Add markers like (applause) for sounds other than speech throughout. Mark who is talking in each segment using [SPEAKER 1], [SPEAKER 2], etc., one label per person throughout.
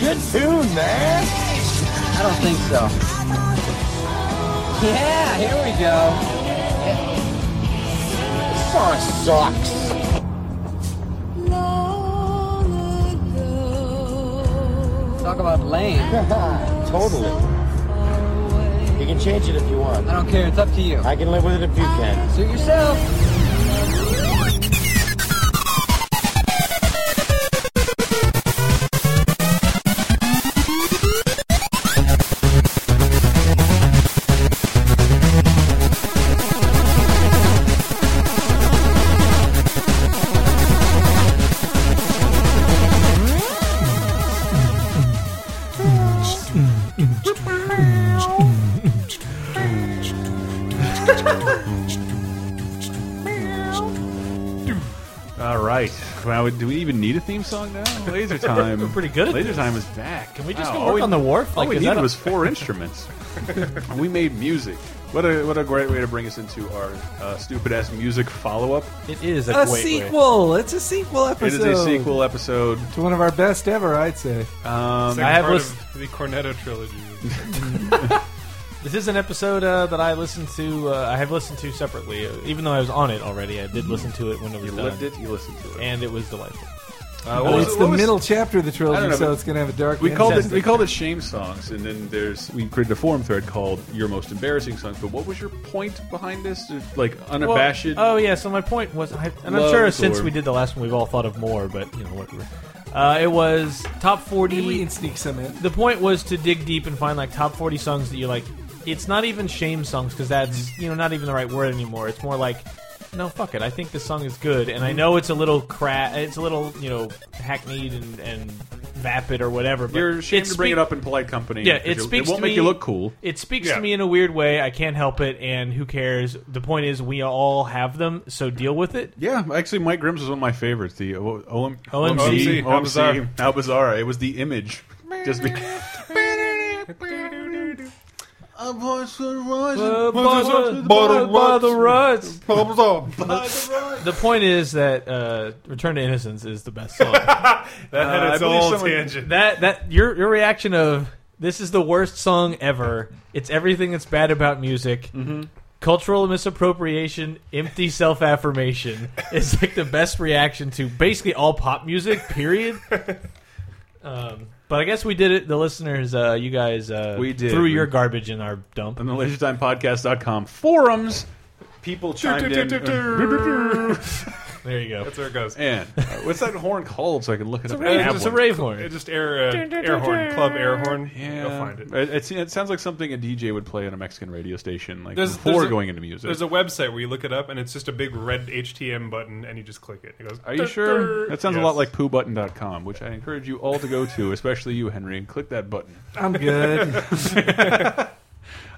[SPEAKER 1] good tune, man.
[SPEAKER 2] I don't think so. Yeah, here we go.
[SPEAKER 1] This song sucks.
[SPEAKER 2] Talk about lame.
[SPEAKER 1] (laughs) totally. You can change it if you want.
[SPEAKER 2] I don't care. It's up to you.
[SPEAKER 1] I can live with it if you can.
[SPEAKER 2] Suit yourself.
[SPEAKER 3] All right. Wow, do we even need a theme song
[SPEAKER 4] (laughs)
[SPEAKER 3] now? Laser time.
[SPEAKER 4] We're pretty good at
[SPEAKER 3] Laser
[SPEAKER 4] this.
[SPEAKER 3] time is back. Can
[SPEAKER 4] we just
[SPEAKER 3] wow,
[SPEAKER 4] go
[SPEAKER 3] all
[SPEAKER 4] work
[SPEAKER 3] we-
[SPEAKER 4] on the wharf?
[SPEAKER 3] All
[SPEAKER 4] Like,
[SPEAKER 3] we
[SPEAKER 4] is that
[SPEAKER 3] needed
[SPEAKER 4] a-
[SPEAKER 3] was four
[SPEAKER 4] (laughs)
[SPEAKER 3] instruments. we made music. What a what a great way to bring us into our uh, stupid ass music follow up.
[SPEAKER 4] It is a,
[SPEAKER 5] A
[SPEAKER 4] great way.
[SPEAKER 5] sequel. It's a sequel
[SPEAKER 3] It
[SPEAKER 5] episode.
[SPEAKER 3] is a sequel episode.
[SPEAKER 5] to one of our best ever, I'd say.
[SPEAKER 3] Um,
[SPEAKER 4] I have
[SPEAKER 6] part
[SPEAKER 4] list-
[SPEAKER 6] of the Cornetto trilogy.
[SPEAKER 4] (laughs) This is an episode uh, that I listened to. Uh, I have listened to separately, uh, even though I was on it already. I did listen to it when it was
[SPEAKER 3] you
[SPEAKER 4] done,
[SPEAKER 3] lived it. You listened to it.
[SPEAKER 4] and it was delightful.
[SPEAKER 3] Uh, what
[SPEAKER 5] Well,
[SPEAKER 3] was-
[SPEAKER 5] it's
[SPEAKER 3] what
[SPEAKER 5] the
[SPEAKER 3] was-
[SPEAKER 5] middle chapter of the
[SPEAKER 3] I don't
[SPEAKER 5] trilogy,
[SPEAKER 3] know,
[SPEAKER 5] so
[SPEAKER 3] but
[SPEAKER 5] it's going to have a dark.
[SPEAKER 3] We
[SPEAKER 5] end.
[SPEAKER 3] called it
[SPEAKER 4] Fantastic.
[SPEAKER 3] we called it shame songs, and then there's we created a forum thread called "Your Most Embarrassing Songs." But what was your point behind this? Like
[SPEAKER 4] Well,
[SPEAKER 3] unabashed.
[SPEAKER 4] oh yeah. So my point was, I, and I'm
[SPEAKER 3] Love
[SPEAKER 4] sure
[SPEAKER 3] for-
[SPEAKER 4] since we did the last one, we've all thought of more, but you know whatever. Uh, it was top forty.
[SPEAKER 5] Maybe we can sneak some in.
[SPEAKER 4] the point was to dig deep and find like top 40 songs that you like it's not even shame songs because that's you know not even the right word anymore it's more like no fuck it i think this song is good and i
[SPEAKER 3] Mm-hmm.
[SPEAKER 4] know it's a little cra it's a little you know hackneyed and, and vapid or whatever but
[SPEAKER 3] You're ashamed to bring
[SPEAKER 4] speak-
[SPEAKER 3] it up in polite company.
[SPEAKER 4] yeah
[SPEAKER 3] 'cause
[SPEAKER 4] it
[SPEAKER 3] you-
[SPEAKER 4] speaks
[SPEAKER 3] It won't
[SPEAKER 4] to
[SPEAKER 3] make
[SPEAKER 4] me-
[SPEAKER 3] you look cool.
[SPEAKER 4] it speaks
[SPEAKER 3] Yeah.
[SPEAKER 4] to me in a weird way i can't help it and who cares the point is we all have them so deal with it
[SPEAKER 3] Yeah, actually, Mike Grimm's was one of my favorites. The O- OM OMC,
[SPEAKER 4] OMC.
[SPEAKER 6] How bizarre.
[SPEAKER 3] How bizarre! It was the image. Just be. A voice for rising.
[SPEAKER 4] ruts
[SPEAKER 6] Problems (laughs) all.
[SPEAKER 4] the point is that uh, return to innocence is the best song
[SPEAKER 6] That
[SPEAKER 3] Uh,
[SPEAKER 6] had
[SPEAKER 3] I
[SPEAKER 6] its
[SPEAKER 3] believe
[SPEAKER 6] all
[SPEAKER 3] someone-
[SPEAKER 6] tangent.
[SPEAKER 4] That that your your reaction of this is the worst song ever. It's everything that's bad about music.
[SPEAKER 3] Mm-hmm.
[SPEAKER 4] Cultural misappropriation, empty self affirmation (laughs) is like the best reaction to basically all pop music.
[SPEAKER 3] (laughs)
[SPEAKER 4] Period. um, but I guess we did it. The listeners, uh, you guys, uh,
[SPEAKER 3] We did.
[SPEAKER 4] threw
[SPEAKER 3] We-
[SPEAKER 4] your garbage in our dump.
[SPEAKER 3] On the LaserTimePodcast.com forums, people chimed in.
[SPEAKER 4] There you go.
[SPEAKER 6] That's where it goes.
[SPEAKER 3] and uh, what's that horn called? So I can look it up. and have
[SPEAKER 4] It's a
[SPEAKER 3] one.
[SPEAKER 4] rave horn.
[SPEAKER 6] It just air uh, air horn club air horn.
[SPEAKER 3] Yeah,
[SPEAKER 6] Go find it.
[SPEAKER 3] It, it's- it sounds like something a DJ would play on a Mexican radio station, like
[SPEAKER 6] There's-
[SPEAKER 3] before
[SPEAKER 6] there's a-
[SPEAKER 3] going into music.
[SPEAKER 6] There's a website where you look it up, and it's just a big red HTM button, and you just click it. It goes.
[SPEAKER 3] Are you sure? That sounds a lot like poobutton.com, which I encourage you all to go to, especially you, Henry, and click that button.
[SPEAKER 5] I'm (laughs) good.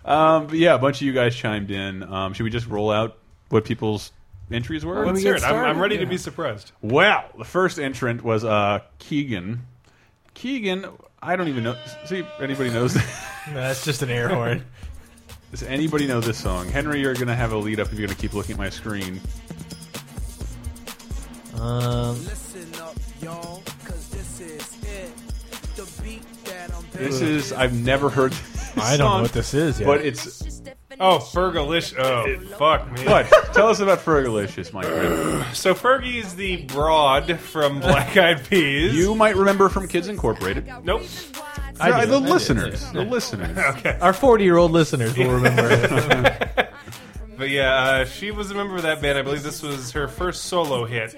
[SPEAKER 3] Um, but yeah, a bunch of you guys chimed in. Um, should we just roll out what people's entries were?
[SPEAKER 5] Let
[SPEAKER 6] Let's
[SPEAKER 5] me
[SPEAKER 6] hear
[SPEAKER 5] get
[SPEAKER 6] it. I'm, I'm
[SPEAKER 5] started.
[SPEAKER 6] ready to
[SPEAKER 5] Yeah.
[SPEAKER 6] be surprised.
[SPEAKER 3] Wow, the first entrant was uh, Keegan. Keegan, I don't even know. See, if anybody knows? (laughs)
[SPEAKER 4] No, that's just an air horn.
[SPEAKER 3] does anybody know this song? Henry, you're gonna have a lead up if you're gonna keep looking at my screen.
[SPEAKER 4] Um,
[SPEAKER 3] This is I've never heard. This
[SPEAKER 4] I don't
[SPEAKER 3] song,
[SPEAKER 4] know what this is. Yet.
[SPEAKER 3] But it's
[SPEAKER 6] Oh, Fergalicious. Oh, fuck me.
[SPEAKER 3] but tell us about Fergalicious, my friend.
[SPEAKER 6] So Fergie is the broad from Black Eyed Peas.
[SPEAKER 3] You might remember from Kids Incorporated.
[SPEAKER 6] Nope.
[SPEAKER 4] I
[SPEAKER 3] Uh,
[SPEAKER 4] do.
[SPEAKER 3] the
[SPEAKER 4] I do.
[SPEAKER 3] listeners, the listeners.
[SPEAKER 6] (laughs)
[SPEAKER 4] our
[SPEAKER 3] (laughs)
[SPEAKER 4] forty-year-old listeners will remember it.
[SPEAKER 6] But yeah, uh, she was a member of that band. I believe this was her first solo hit,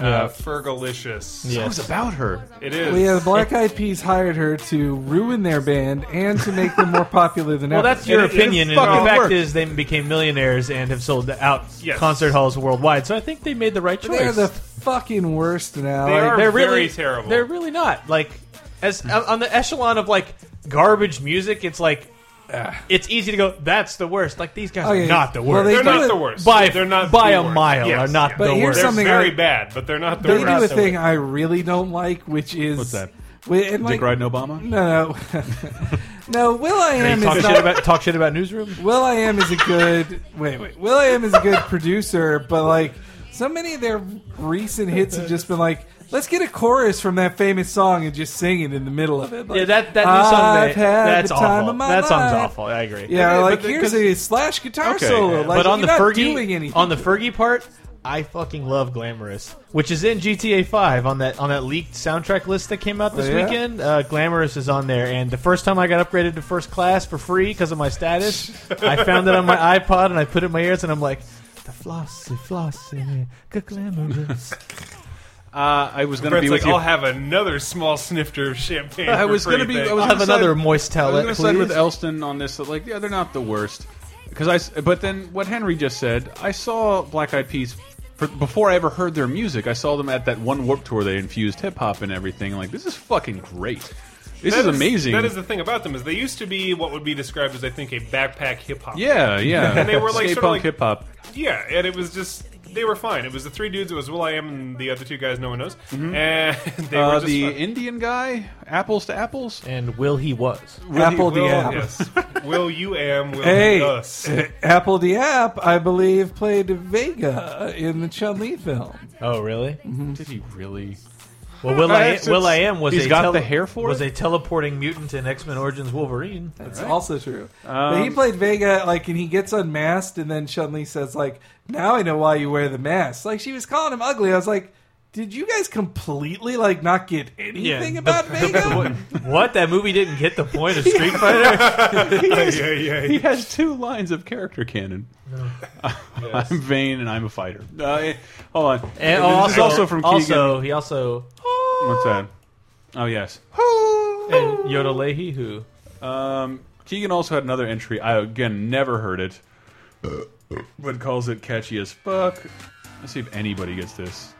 [SPEAKER 6] uh,
[SPEAKER 4] Yeah.
[SPEAKER 6] Fergalicious.
[SPEAKER 3] It was
[SPEAKER 4] yes.
[SPEAKER 3] about her.
[SPEAKER 6] It is.
[SPEAKER 5] well, yeah, the Black Eyed Peas hired her to ruin their band and to make them more popular than
[SPEAKER 4] Well,
[SPEAKER 5] ever.
[SPEAKER 4] that's your
[SPEAKER 3] it- it
[SPEAKER 4] opinion. And
[SPEAKER 3] fucking
[SPEAKER 4] the fact
[SPEAKER 3] worked.
[SPEAKER 4] is, they became millionaires and have sold out
[SPEAKER 6] Yes.
[SPEAKER 4] concert halls worldwide. So I think they made the right
[SPEAKER 5] They're
[SPEAKER 4] choice.
[SPEAKER 5] the fucking worst now.
[SPEAKER 6] They
[SPEAKER 5] Like,
[SPEAKER 6] are
[SPEAKER 4] They're
[SPEAKER 6] very
[SPEAKER 4] really
[SPEAKER 6] terrible.
[SPEAKER 4] They're really not like as on on the echelon of like garbage music. It's like it's easy to go. That's the worst. Like these guys
[SPEAKER 5] Oh, yeah,
[SPEAKER 4] are
[SPEAKER 5] yeah.
[SPEAKER 4] not the
[SPEAKER 5] Well,
[SPEAKER 4] worst.
[SPEAKER 5] they
[SPEAKER 6] They're
[SPEAKER 5] do
[SPEAKER 6] not
[SPEAKER 5] it-
[SPEAKER 6] the worst.
[SPEAKER 4] by
[SPEAKER 6] they're not
[SPEAKER 4] by
[SPEAKER 6] the
[SPEAKER 4] a
[SPEAKER 6] worst.
[SPEAKER 4] mile
[SPEAKER 6] Yes,
[SPEAKER 4] are not
[SPEAKER 6] yeah.
[SPEAKER 5] But
[SPEAKER 4] the
[SPEAKER 5] here's
[SPEAKER 4] worst.
[SPEAKER 6] They're
[SPEAKER 5] something
[SPEAKER 6] very
[SPEAKER 5] I-
[SPEAKER 6] bad, but they're not the
[SPEAKER 5] they
[SPEAKER 6] worst.
[SPEAKER 5] do a thing I really don't like, which is
[SPEAKER 3] What's that?
[SPEAKER 5] Wi- and, like,
[SPEAKER 3] Dick Ryden Obama?
[SPEAKER 5] No,
[SPEAKER 4] (laughs)
[SPEAKER 5] no, no. Will I
[SPEAKER 4] They
[SPEAKER 5] am
[SPEAKER 4] talk
[SPEAKER 5] is
[SPEAKER 4] shit
[SPEAKER 5] not.
[SPEAKER 4] about talk shit about newsroom.
[SPEAKER 5] Will I am is a good. Wait, wait. Will I am is a good producer, but like so many of their recent hits have just been like, Let's get a chorus from that famous song and just sing it in the middle of it. Like,
[SPEAKER 4] Yeah, that that new song.
[SPEAKER 5] I've
[SPEAKER 4] that-
[SPEAKER 5] had
[SPEAKER 4] that's
[SPEAKER 5] the
[SPEAKER 4] awful.
[SPEAKER 5] time of my
[SPEAKER 4] that song's
[SPEAKER 5] life.
[SPEAKER 4] awful. I agree.
[SPEAKER 3] Yeah,
[SPEAKER 5] Yeah, like
[SPEAKER 3] but the-
[SPEAKER 5] here's a slash guitar
[SPEAKER 3] Okay,
[SPEAKER 5] solo.
[SPEAKER 3] yeah.
[SPEAKER 5] Like,
[SPEAKER 4] but on
[SPEAKER 5] you're
[SPEAKER 4] the
[SPEAKER 5] not
[SPEAKER 4] Fergie
[SPEAKER 5] doing anything.
[SPEAKER 4] on the Fergie part, I fucking love Glamorous, which is in GTA 5 on that on that leaked soundtrack list that came out this
[SPEAKER 5] Oh, yeah?
[SPEAKER 4] weekend. Uh, Glamorous is on there, and the first time I got upgraded to first class for free because of my status, I found it on
[SPEAKER 5] (laughs)
[SPEAKER 4] my iPod and I put it in my ears, and I'm like. The flossy, flossy, g- glamorous.
[SPEAKER 3] Uh, I was going to
[SPEAKER 6] Brett's
[SPEAKER 3] be
[SPEAKER 6] like,
[SPEAKER 3] with you.
[SPEAKER 6] I'll have another small snifter of champagne.
[SPEAKER 3] I
[SPEAKER 6] for
[SPEAKER 3] was gonna
[SPEAKER 6] free,
[SPEAKER 3] be-
[SPEAKER 6] thanks."
[SPEAKER 3] I was
[SPEAKER 4] I'll have
[SPEAKER 3] gonna
[SPEAKER 4] another
[SPEAKER 3] side-
[SPEAKER 4] moist
[SPEAKER 3] I was
[SPEAKER 4] towelette,
[SPEAKER 3] going to
[SPEAKER 4] please.
[SPEAKER 3] side with Elston on this. That, like, yeah, they're not the worst. Because I, s- but then what Henry just said, I saw Black Eyed Peas for, before I ever heard their music. I saw them at that one Warp Tour. They infused hip hop and everything. Like, this is fucking great. This
[SPEAKER 6] That
[SPEAKER 3] is amazing.
[SPEAKER 6] That is the thing about them is they used to be what would be described as I think a backpack hip hop.
[SPEAKER 3] yeah, yeah.
[SPEAKER 6] And they were, like,
[SPEAKER 3] skate
[SPEAKER 6] sorta
[SPEAKER 3] punk
[SPEAKER 6] like-
[SPEAKER 3] hip hop.
[SPEAKER 6] yeah, and it was just they were fine. It was the three dudes. It was Will I Am and the other two guys no one knows, and (laughs) they were
[SPEAKER 3] Uh,
[SPEAKER 6] just
[SPEAKER 3] the
[SPEAKER 6] fun.
[SPEAKER 3] Indian guy, apples to apples.
[SPEAKER 4] and Will he was.
[SPEAKER 6] Will,
[SPEAKER 5] Apple the app.
[SPEAKER 6] Yes. Will you am will
[SPEAKER 5] Hey,
[SPEAKER 6] us.
[SPEAKER 5] (laughs)
[SPEAKER 6] (laughs)
[SPEAKER 5] Apple the app, I believe, played Vega in the Chun Li film.
[SPEAKER 4] Oh, really?
[SPEAKER 5] Mm-hmm.
[SPEAKER 3] Did he really?
[SPEAKER 4] Well,
[SPEAKER 5] (laughs)
[SPEAKER 4] Will
[SPEAKER 3] Uh,
[SPEAKER 4] I,
[SPEAKER 3] it's-
[SPEAKER 4] Will I
[SPEAKER 3] it's-
[SPEAKER 4] Am was
[SPEAKER 3] he's
[SPEAKER 4] a
[SPEAKER 3] got the hair for
[SPEAKER 4] was
[SPEAKER 3] it?
[SPEAKER 4] a teleporting mutant in X Men Origins Wolverine.
[SPEAKER 5] That's also true. but
[SPEAKER 3] Um,
[SPEAKER 5] he played Vega, like, and he gets unmasked, and then Chun Li says, like, now I know why you wear the mask. Like, she was calling him ugly. I was like, did you guys completely, like, not get anything
[SPEAKER 4] the-
[SPEAKER 3] (laughs)
[SPEAKER 5] about
[SPEAKER 4] What,
[SPEAKER 5] Vega?
[SPEAKER 4] what? That movie didn't hit the point of (laughs) Street Fighter.
[SPEAKER 6] yeah, yeah,
[SPEAKER 3] He has two lines of character canon. (laughs) I'm vain and I'm a fighter. Uh, eh, hold on.
[SPEAKER 4] And
[SPEAKER 3] this
[SPEAKER 4] also,
[SPEAKER 3] is also from Keegan.
[SPEAKER 4] Also, he also
[SPEAKER 3] What's that? Oh yes.
[SPEAKER 4] and Yoda Leahy, who
[SPEAKER 3] Um, Keegan also had another entry. I again never heard it, but calls it catchy as fuck. Let's see if anybody gets this.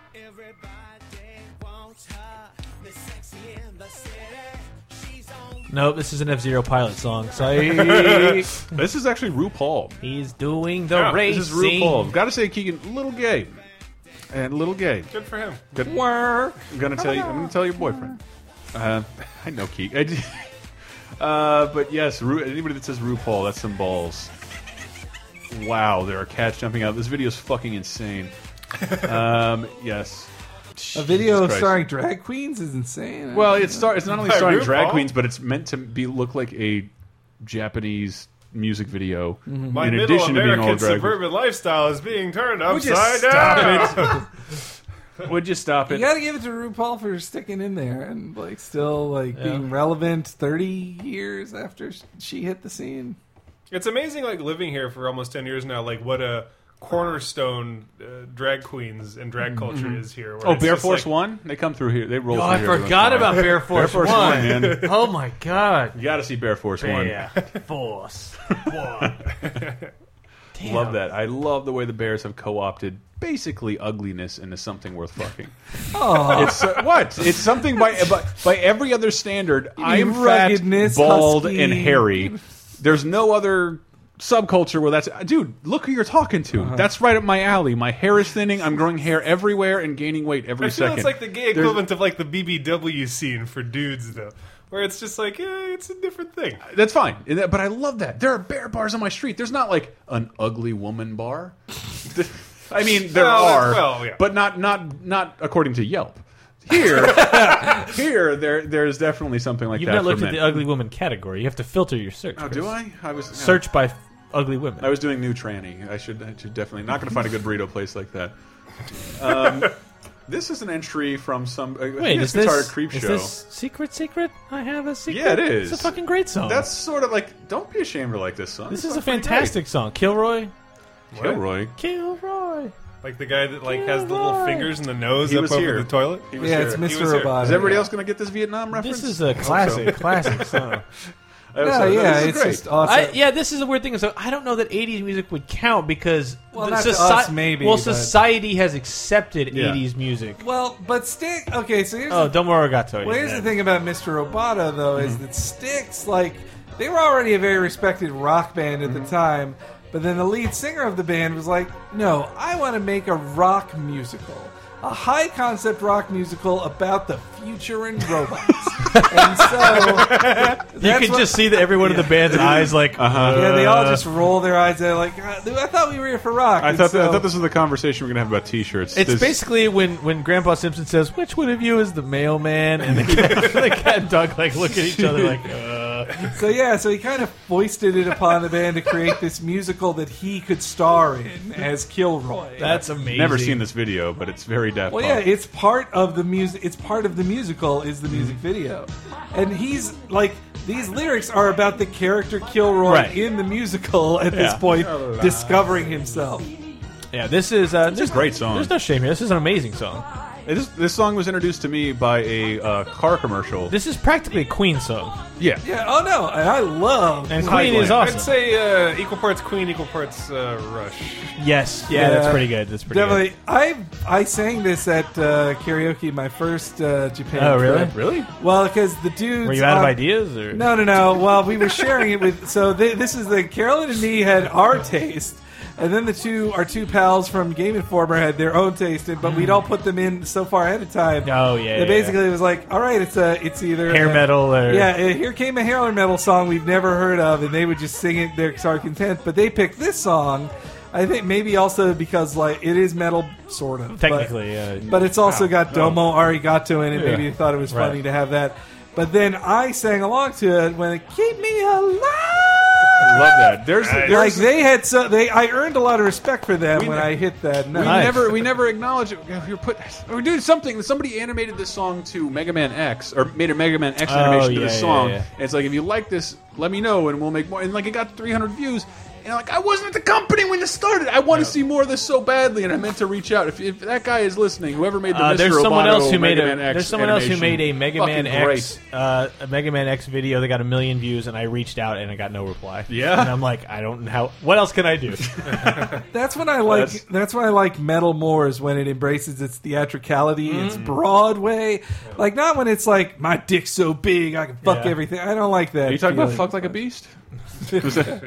[SPEAKER 4] no, this is an F Zero pilot song. (laughs) So
[SPEAKER 3] This is actually RuPaul.
[SPEAKER 4] he's doing the
[SPEAKER 6] Yeah,
[SPEAKER 4] racing.
[SPEAKER 3] This is RuPaul. Got to say, Keegan, a little gay, and a little gay.
[SPEAKER 6] Good for him.
[SPEAKER 3] Good work. I'm gonna tell you. I'm gonna tell your boyfriend. Uh, I know Keek. I d- (laughs) uh, but yes, Ru, anybody that says RuPaul, that's some balls. Wow, there are cats jumping out. This video is fucking insane. Um, (laughs) yes.
[SPEAKER 5] A video
[SPEAKER 3] Jesus Christ.
[SPEAKER 5] starring drag queens is insane.
[SPEAKER 3] Well, it's star. It's not only
[SPEAKER 6] By
[SPEAKER 3] starring drag
[SPEAKER 6] RuPaul?
[SPEAKER 3] queens, but it's meant to be look like a Japanese music video.
[SPEAKER 6] My
[SPEAKER 3] in
[SPEAKER 6] middle
[SPEAKER 3] addition to being
[SPEAKER 6] American
[SPEAKER 3] all drag. queens.
[SPEAKER 6] suburban lifestyle is being turned
[SPEAKER 5] Would you
[SPEAKER 6] upside
[SPEAKER 5] stop
[SPEAKER 6] down.
[SPEAKER 3] Would you stop it?
[SPEAKER 5] You gotta give it to RuPaul for sticking in there and like still like being relevant thirty years after sh- she hit the scene.
[SPEAKER 6] It's amazing, like living here for almost ten years now. Like what a cornerstone uh, drag queens and drag culture is here. where
[SPEAKER 3] Mm-hmm. Oh,
[SPEAKER 6] it's
[SPEAKER 3] Bear
[SPEAKER 6] just
[SPEAKER 3] Force
[SPEAKER 6] like-
[SPEAKER 3] One. They come through here. They roll.
[SPEAKER 4] Oh,
[SPEAKER 3] through
[SPEAKER 4] I
[SPEAKER 3] here with
[SPEAKER 4] forgot
[SPEAKER 3] us.
[SPEAKER 4] about Bear Force,
[SPEAKER 3] Bear Force One,
[SPEAKER 4] One.
[SPEAKER 3] man.
[SPEAKER 4] oh my god,
[SPEAKER 3] You got to see Bear Force One.
[SPEAKER 4] Bear Force
[SPEAKER 3] (laughs)
[SPEAKER 4] One. Damn.
[SPEAKER 3] Love that. I love the way the Bears have co-opted basically ugliness into something worth fucking.
[SPEAKER 5] (laughs) Oh,
[SPEAKER 3] It's uh, what? It's something by by, by every other standard. I'm fat,
[SPEAKER 5] ruggedness,
[SPEAKER 3] bald,
[SPEAKER 5] husky.
[SPEAKER 3] and hairy. There's no other subculture where that's dude. Look who you're talking to.
[SPEAKER 5] Uh-huh.
[SPEAKER 3] That's right up my alley. My hair is thinning. I'm growing hair everywhere and gaining weight every
[SPEAKER 6] I feel
[SPEAKER 3] second.
[SPEAKER 6] it's like the gay equivalent of like the BBW scene for dudes, though, where it's just like yeah, it's a different thing.
[SPEAKER 3] That's fine. And that- But I love that. There are bear bars on my street. There's not like an ugly woman bar. (laughs) I mean, there
[SPEAKER 6] Well,
[SPEAKER 3] are,
[SPEAKER 6] well, yeah.
[SPEAKER 3] but not not not according to Yelp. Here, (laughs) here, there there's definitely something like
[SPEAKER 4] You've
[SPEAKER 3] that.
[SPEAKER 4] not
[SPEAKER 3] for
[SPEAKER 4] looked at
[SPEAKER 3] men.
[SPEAKER 4] the ugly woman category. You have to filter your search.
[SPEAKER 3] Oh,
[SPEAKER 4] Chris.
[SPEAKER 3] do I? I was yeah.
[SPEAKER 4] Search by f- ugly women.
[SPEAKER 3] I was doing new tranny. I should, I should definitely not going to find a good burrito place like that. Um, (laughs) this is an entry from some. Uh,
[SPEAKER 4] Wait,
[SPEAKER 3] yes,
[SPEAKER 4] is
[SPEAKER 3] guitar
[SPEAKER 4] this,
[SPEAKER 3] creep
[SPEAKER 4] is
[SPEAKER 3] show.
[SPEAKER 4] this secret? Secret? I have a secret.
[SPEAKER 3] Yeah, it is.
[SPEAKER 4] It's a fucking great song.
[SPEAKER 3] That's sort of like. Don't be ashamed to like this song.
[SPEAKER 4] this
[SPEAKER 3] It's
[SPEAKER 4] is a
[SPEAKER 3] fucking great.
[SPEAKER 4] fantastic song. Kilroy,
[SPEAKER 3] Kilroy.
[SPEAKER 4] Kilroy.
[SPEAKER 6] Like the guy that like has the little fingers and the nose
[SPEAKER 3] He
[SPEAKER 6] up
[SPEAKER 3] was
[SPEAKER 6] over
[SPEAKER 3] here.
[SPEAKER 6] the toilet.
[SPEAKER 3] He was
[SPEAKER 5] yeah,
[SPEAKER 3] here.
[SPEAKER 5] it's
[SPEAKER 6] He
[SPEAKER 5] Mr.
[SPEAKER 6] was here.
[SPEAKER 5] Roboto.
[SPEAKER 3] Is everybody else going to get this Vietnam reference?
[SPEAKER 4] This is (laughs) a classic, classic (laughs) song.
[SPEAKER 3] I hope
[SPEAKER 5] No,
[SPEAKER 3] so.
[SPEAKER 5] yeah,
[SPEAKER 3] This is
[SPEAKER 5] it's
[SPEAKER 3] great.
[SPEAKER 5] just awesome.
[SPEAKER 4] I, yeah, this is a weird thing. So I don't know that '80s music would count because
[SPEAKER 5] Well,
[SPEAKER 4] the
[SPEAKER 5] not to
[SPEAKER 4] soci-
[SPEAKER 5] us, maybe,
[SPEAKER 4] Well,
[SPEAKER 5] but-
[SPEAKER 4] society has accepted
[SPEAKER 3] Yeah.
[SPEAKER 4] '80s music.
[SPEAKER 5] Well, but stick. Okay, so here's
[SPEAKER 4] Oh,
[SPEAKER 5] the,
[SPEAKER 4] Domo Arigato.
[SPEAKER 5] well, here's
[SPEAKER 4] yeah.
[SPEAKER 5] the thing about Mr. Roboto though
[SPEAKER 3] Mm-hmm.
[SPEAKER 5] is that sticks like they were already a very respected rock band at
[SPEAKER 3] Mm-hmm.
[SPEAKER 5] the time, but then the lead singer of the band was like, "No, I want to make a rock musical." a high concept rock musical about the future and
[SPEAKER 3] (laughs)
[SPEAKER 5] robots. and so
[SPEAKER 4] You can just see that every one of the (laughs) band's eyes, like, uh-huh.
[SPEAKER 5] yeah, they all just roll their eyes. They're like, "God, I thought we were here for rock.
[SPEAKER 3] Uh, I
[SPEAKER 5] And
[SPEAKER 3] thought,
[SPEAKER 5] so-
[SPEAKER 3] I thought this was the conversation we are going to have about T-shirts.
[SPEAKER 4] It's
[SPEAKER 3] This-
[SPEAKER 4] basically when, when Grandpa Simpson says, "Which one of you is the mailman?" and the cat, (laughs) the cat and dog like look at each other like, (laughs) uh.
[SPEAKER 5] So yeah, so he kind of foisted it upon the band to create this musical that he could star in as Kilroy.
[SPEAKER 4] "That's amazing."
[SPEAKER 3] never seen this video, but it's very Daft
[SPEAKER 5] well, yeah,
[SPEAKER 3] Punk.
[SPEAKER 5] it's part of the music. It's part of the musical is the music video, and he's like these lyrics are about the character Kilroy
[SPEAKER 4] Right.
[SPEAKER 5] in the musical at this
[SPEAKER 4] Yeah.
[SPEAKER 5] point discovering himself.
[SPEAKER 4] Yeah, this is uh, this
[SPEAKER 3] a great song.
[SPEAKER 4] There's no shame here. This is an amazing song.
[SPEAKER 3] This, this song was introduced to me by a uh, car commercial.
[SPEAKER 4] This is practically a Queen song,
[SPEAKER 3] yeah,
[SPEAKER 5] Yeah. Oh no, and I love.
[SPEAKER 4] and Queen is
[SPEAKER 3] Highland.
[SPEAKER 4] awesome.
[SPEAKER 6] I'd say uh, equal parts Queen, equal parts uh, Rush.
[SPEAKER 4] yes, yeah, that's
[SPEAKER 5] Yeah.
[SPEAKER 4] pretty good. That's pretty
[SPEAKER 5] Definitely, I I sang this at uh, karaoke my first uh, Japan.
[SPEAKER 4] Good. Oh, really?
[SPEAKER 5] trip.
[SPEAKER 4] Really?
[SPEAKER 5] Well, because the dudes
[SPEAKER 4] Were you out of
[SPEAKER 5] on-
[SPEAKER 4] ideas or
[SPEAKER 5] No, no, no. Well, we were sharing it with. So th- this is the Carolyn and me had our taste, and then the two our two pals from Game Informer had their own taste, and, but we'd all put them in so far ahead of time.
[SPEAKER 4] Oh, yeah,
[SPEAKER 5] That
[SPEAKER 4] yeah,
[SPEAKER 5] basically, it was like, all right, it's a, it's either
[SPEAKER 4] hair
[SPEAKER 5] a-
[SPEAKER 4] metal or
[SPEAKER 5] Yeah, uh, here came a hair metal song we've never heard of, and they would just sing it their sorry content. But they picked this song. I think maybe also because like it is metal, sort of but-
[SPEAKER 4] technically? uh,
[SPEAKER 5] but it's also got Domo Arigato in it. Maybe
[SPEAKER 3] Yeah.
[SPEAKER 5] you thought it was
[SPEAKER 4] Right.
[SPEAKER 5] funny to have that. But then I sang along to it when it, "Keep Me Alive."
[SPEAKER 3] I love that. There's,
[SPEAKER 5] Like
[SPEAKER 3] there's
[SPEAKER 5] they had so they I earned a lot of respect for them when I hit that note.
[SPEAKER 3] we
[SPEAKER 4] Nice.
[SPEAKER 3] never we never acknowledge it. We We're put we're doing something. Somebody animated this song to Mega Man X or made a Mega Man X
[SPEAKER 4] Oh,
[SPEAKER 3] animation to
[SPEAKER 4] yeah,
[SPEAKER 3] this
[SPEAKER 4] yeah,
[SPEAKER 3] song.
[SPEAKER 4] yeah.
[SPEAKER 3] And it's like if you like this, let me know and we'll make more. And like it got 300 views. And I'm like I wasn't at the company when this started. I want to see more of this so badly, and I meant to reach out. If, if that guy is listening, whoever made the
[SPEAKER 4] Uh,
[SPEAKER 3] Mr.
[SPEAKER 4] there's someone
[SPEAKER 3] Roboto
[SPEAKER 4] else who
[SPEAKER 3] Mega
[SPEAKER 4] made a
[SPEAKER 3] Man X
[SPEAKER 4] there's someone else who
[SPEAKER 3] animation.
[SPEAKER 4] made a Mega
[SPEAKER 3] Fucking
[SPEAKER 4] Man X
[SPEAKER 3] great.
[SPEAKER 4] uh, a Mega Man X video that got a million views and I reached out and I got no reply.
[SPEAKER 3] Yeah?
[SPEAKER 4] and I'm like, I don't know how. What else can I do?
[SPEAKER 5] That's when I like.
[SPEAKER 3] That's-
[SPEAKER 5] That's, when I like metal more is when it embraces its theatricality,
[SPEAKER 3] Mm-hmm.
[SPEAKER 5] its Broadway. Like not when it's like my dick's so big I can fuck
[SPEAKER 4] Yeah.
[SPEAKER 5] everything. I don't like that.
[SPEAKER 3] Are you talking about
[SPEAKER 5] feeling.
[SPEAKER 3] fuck like a beast? (laughs) Was that-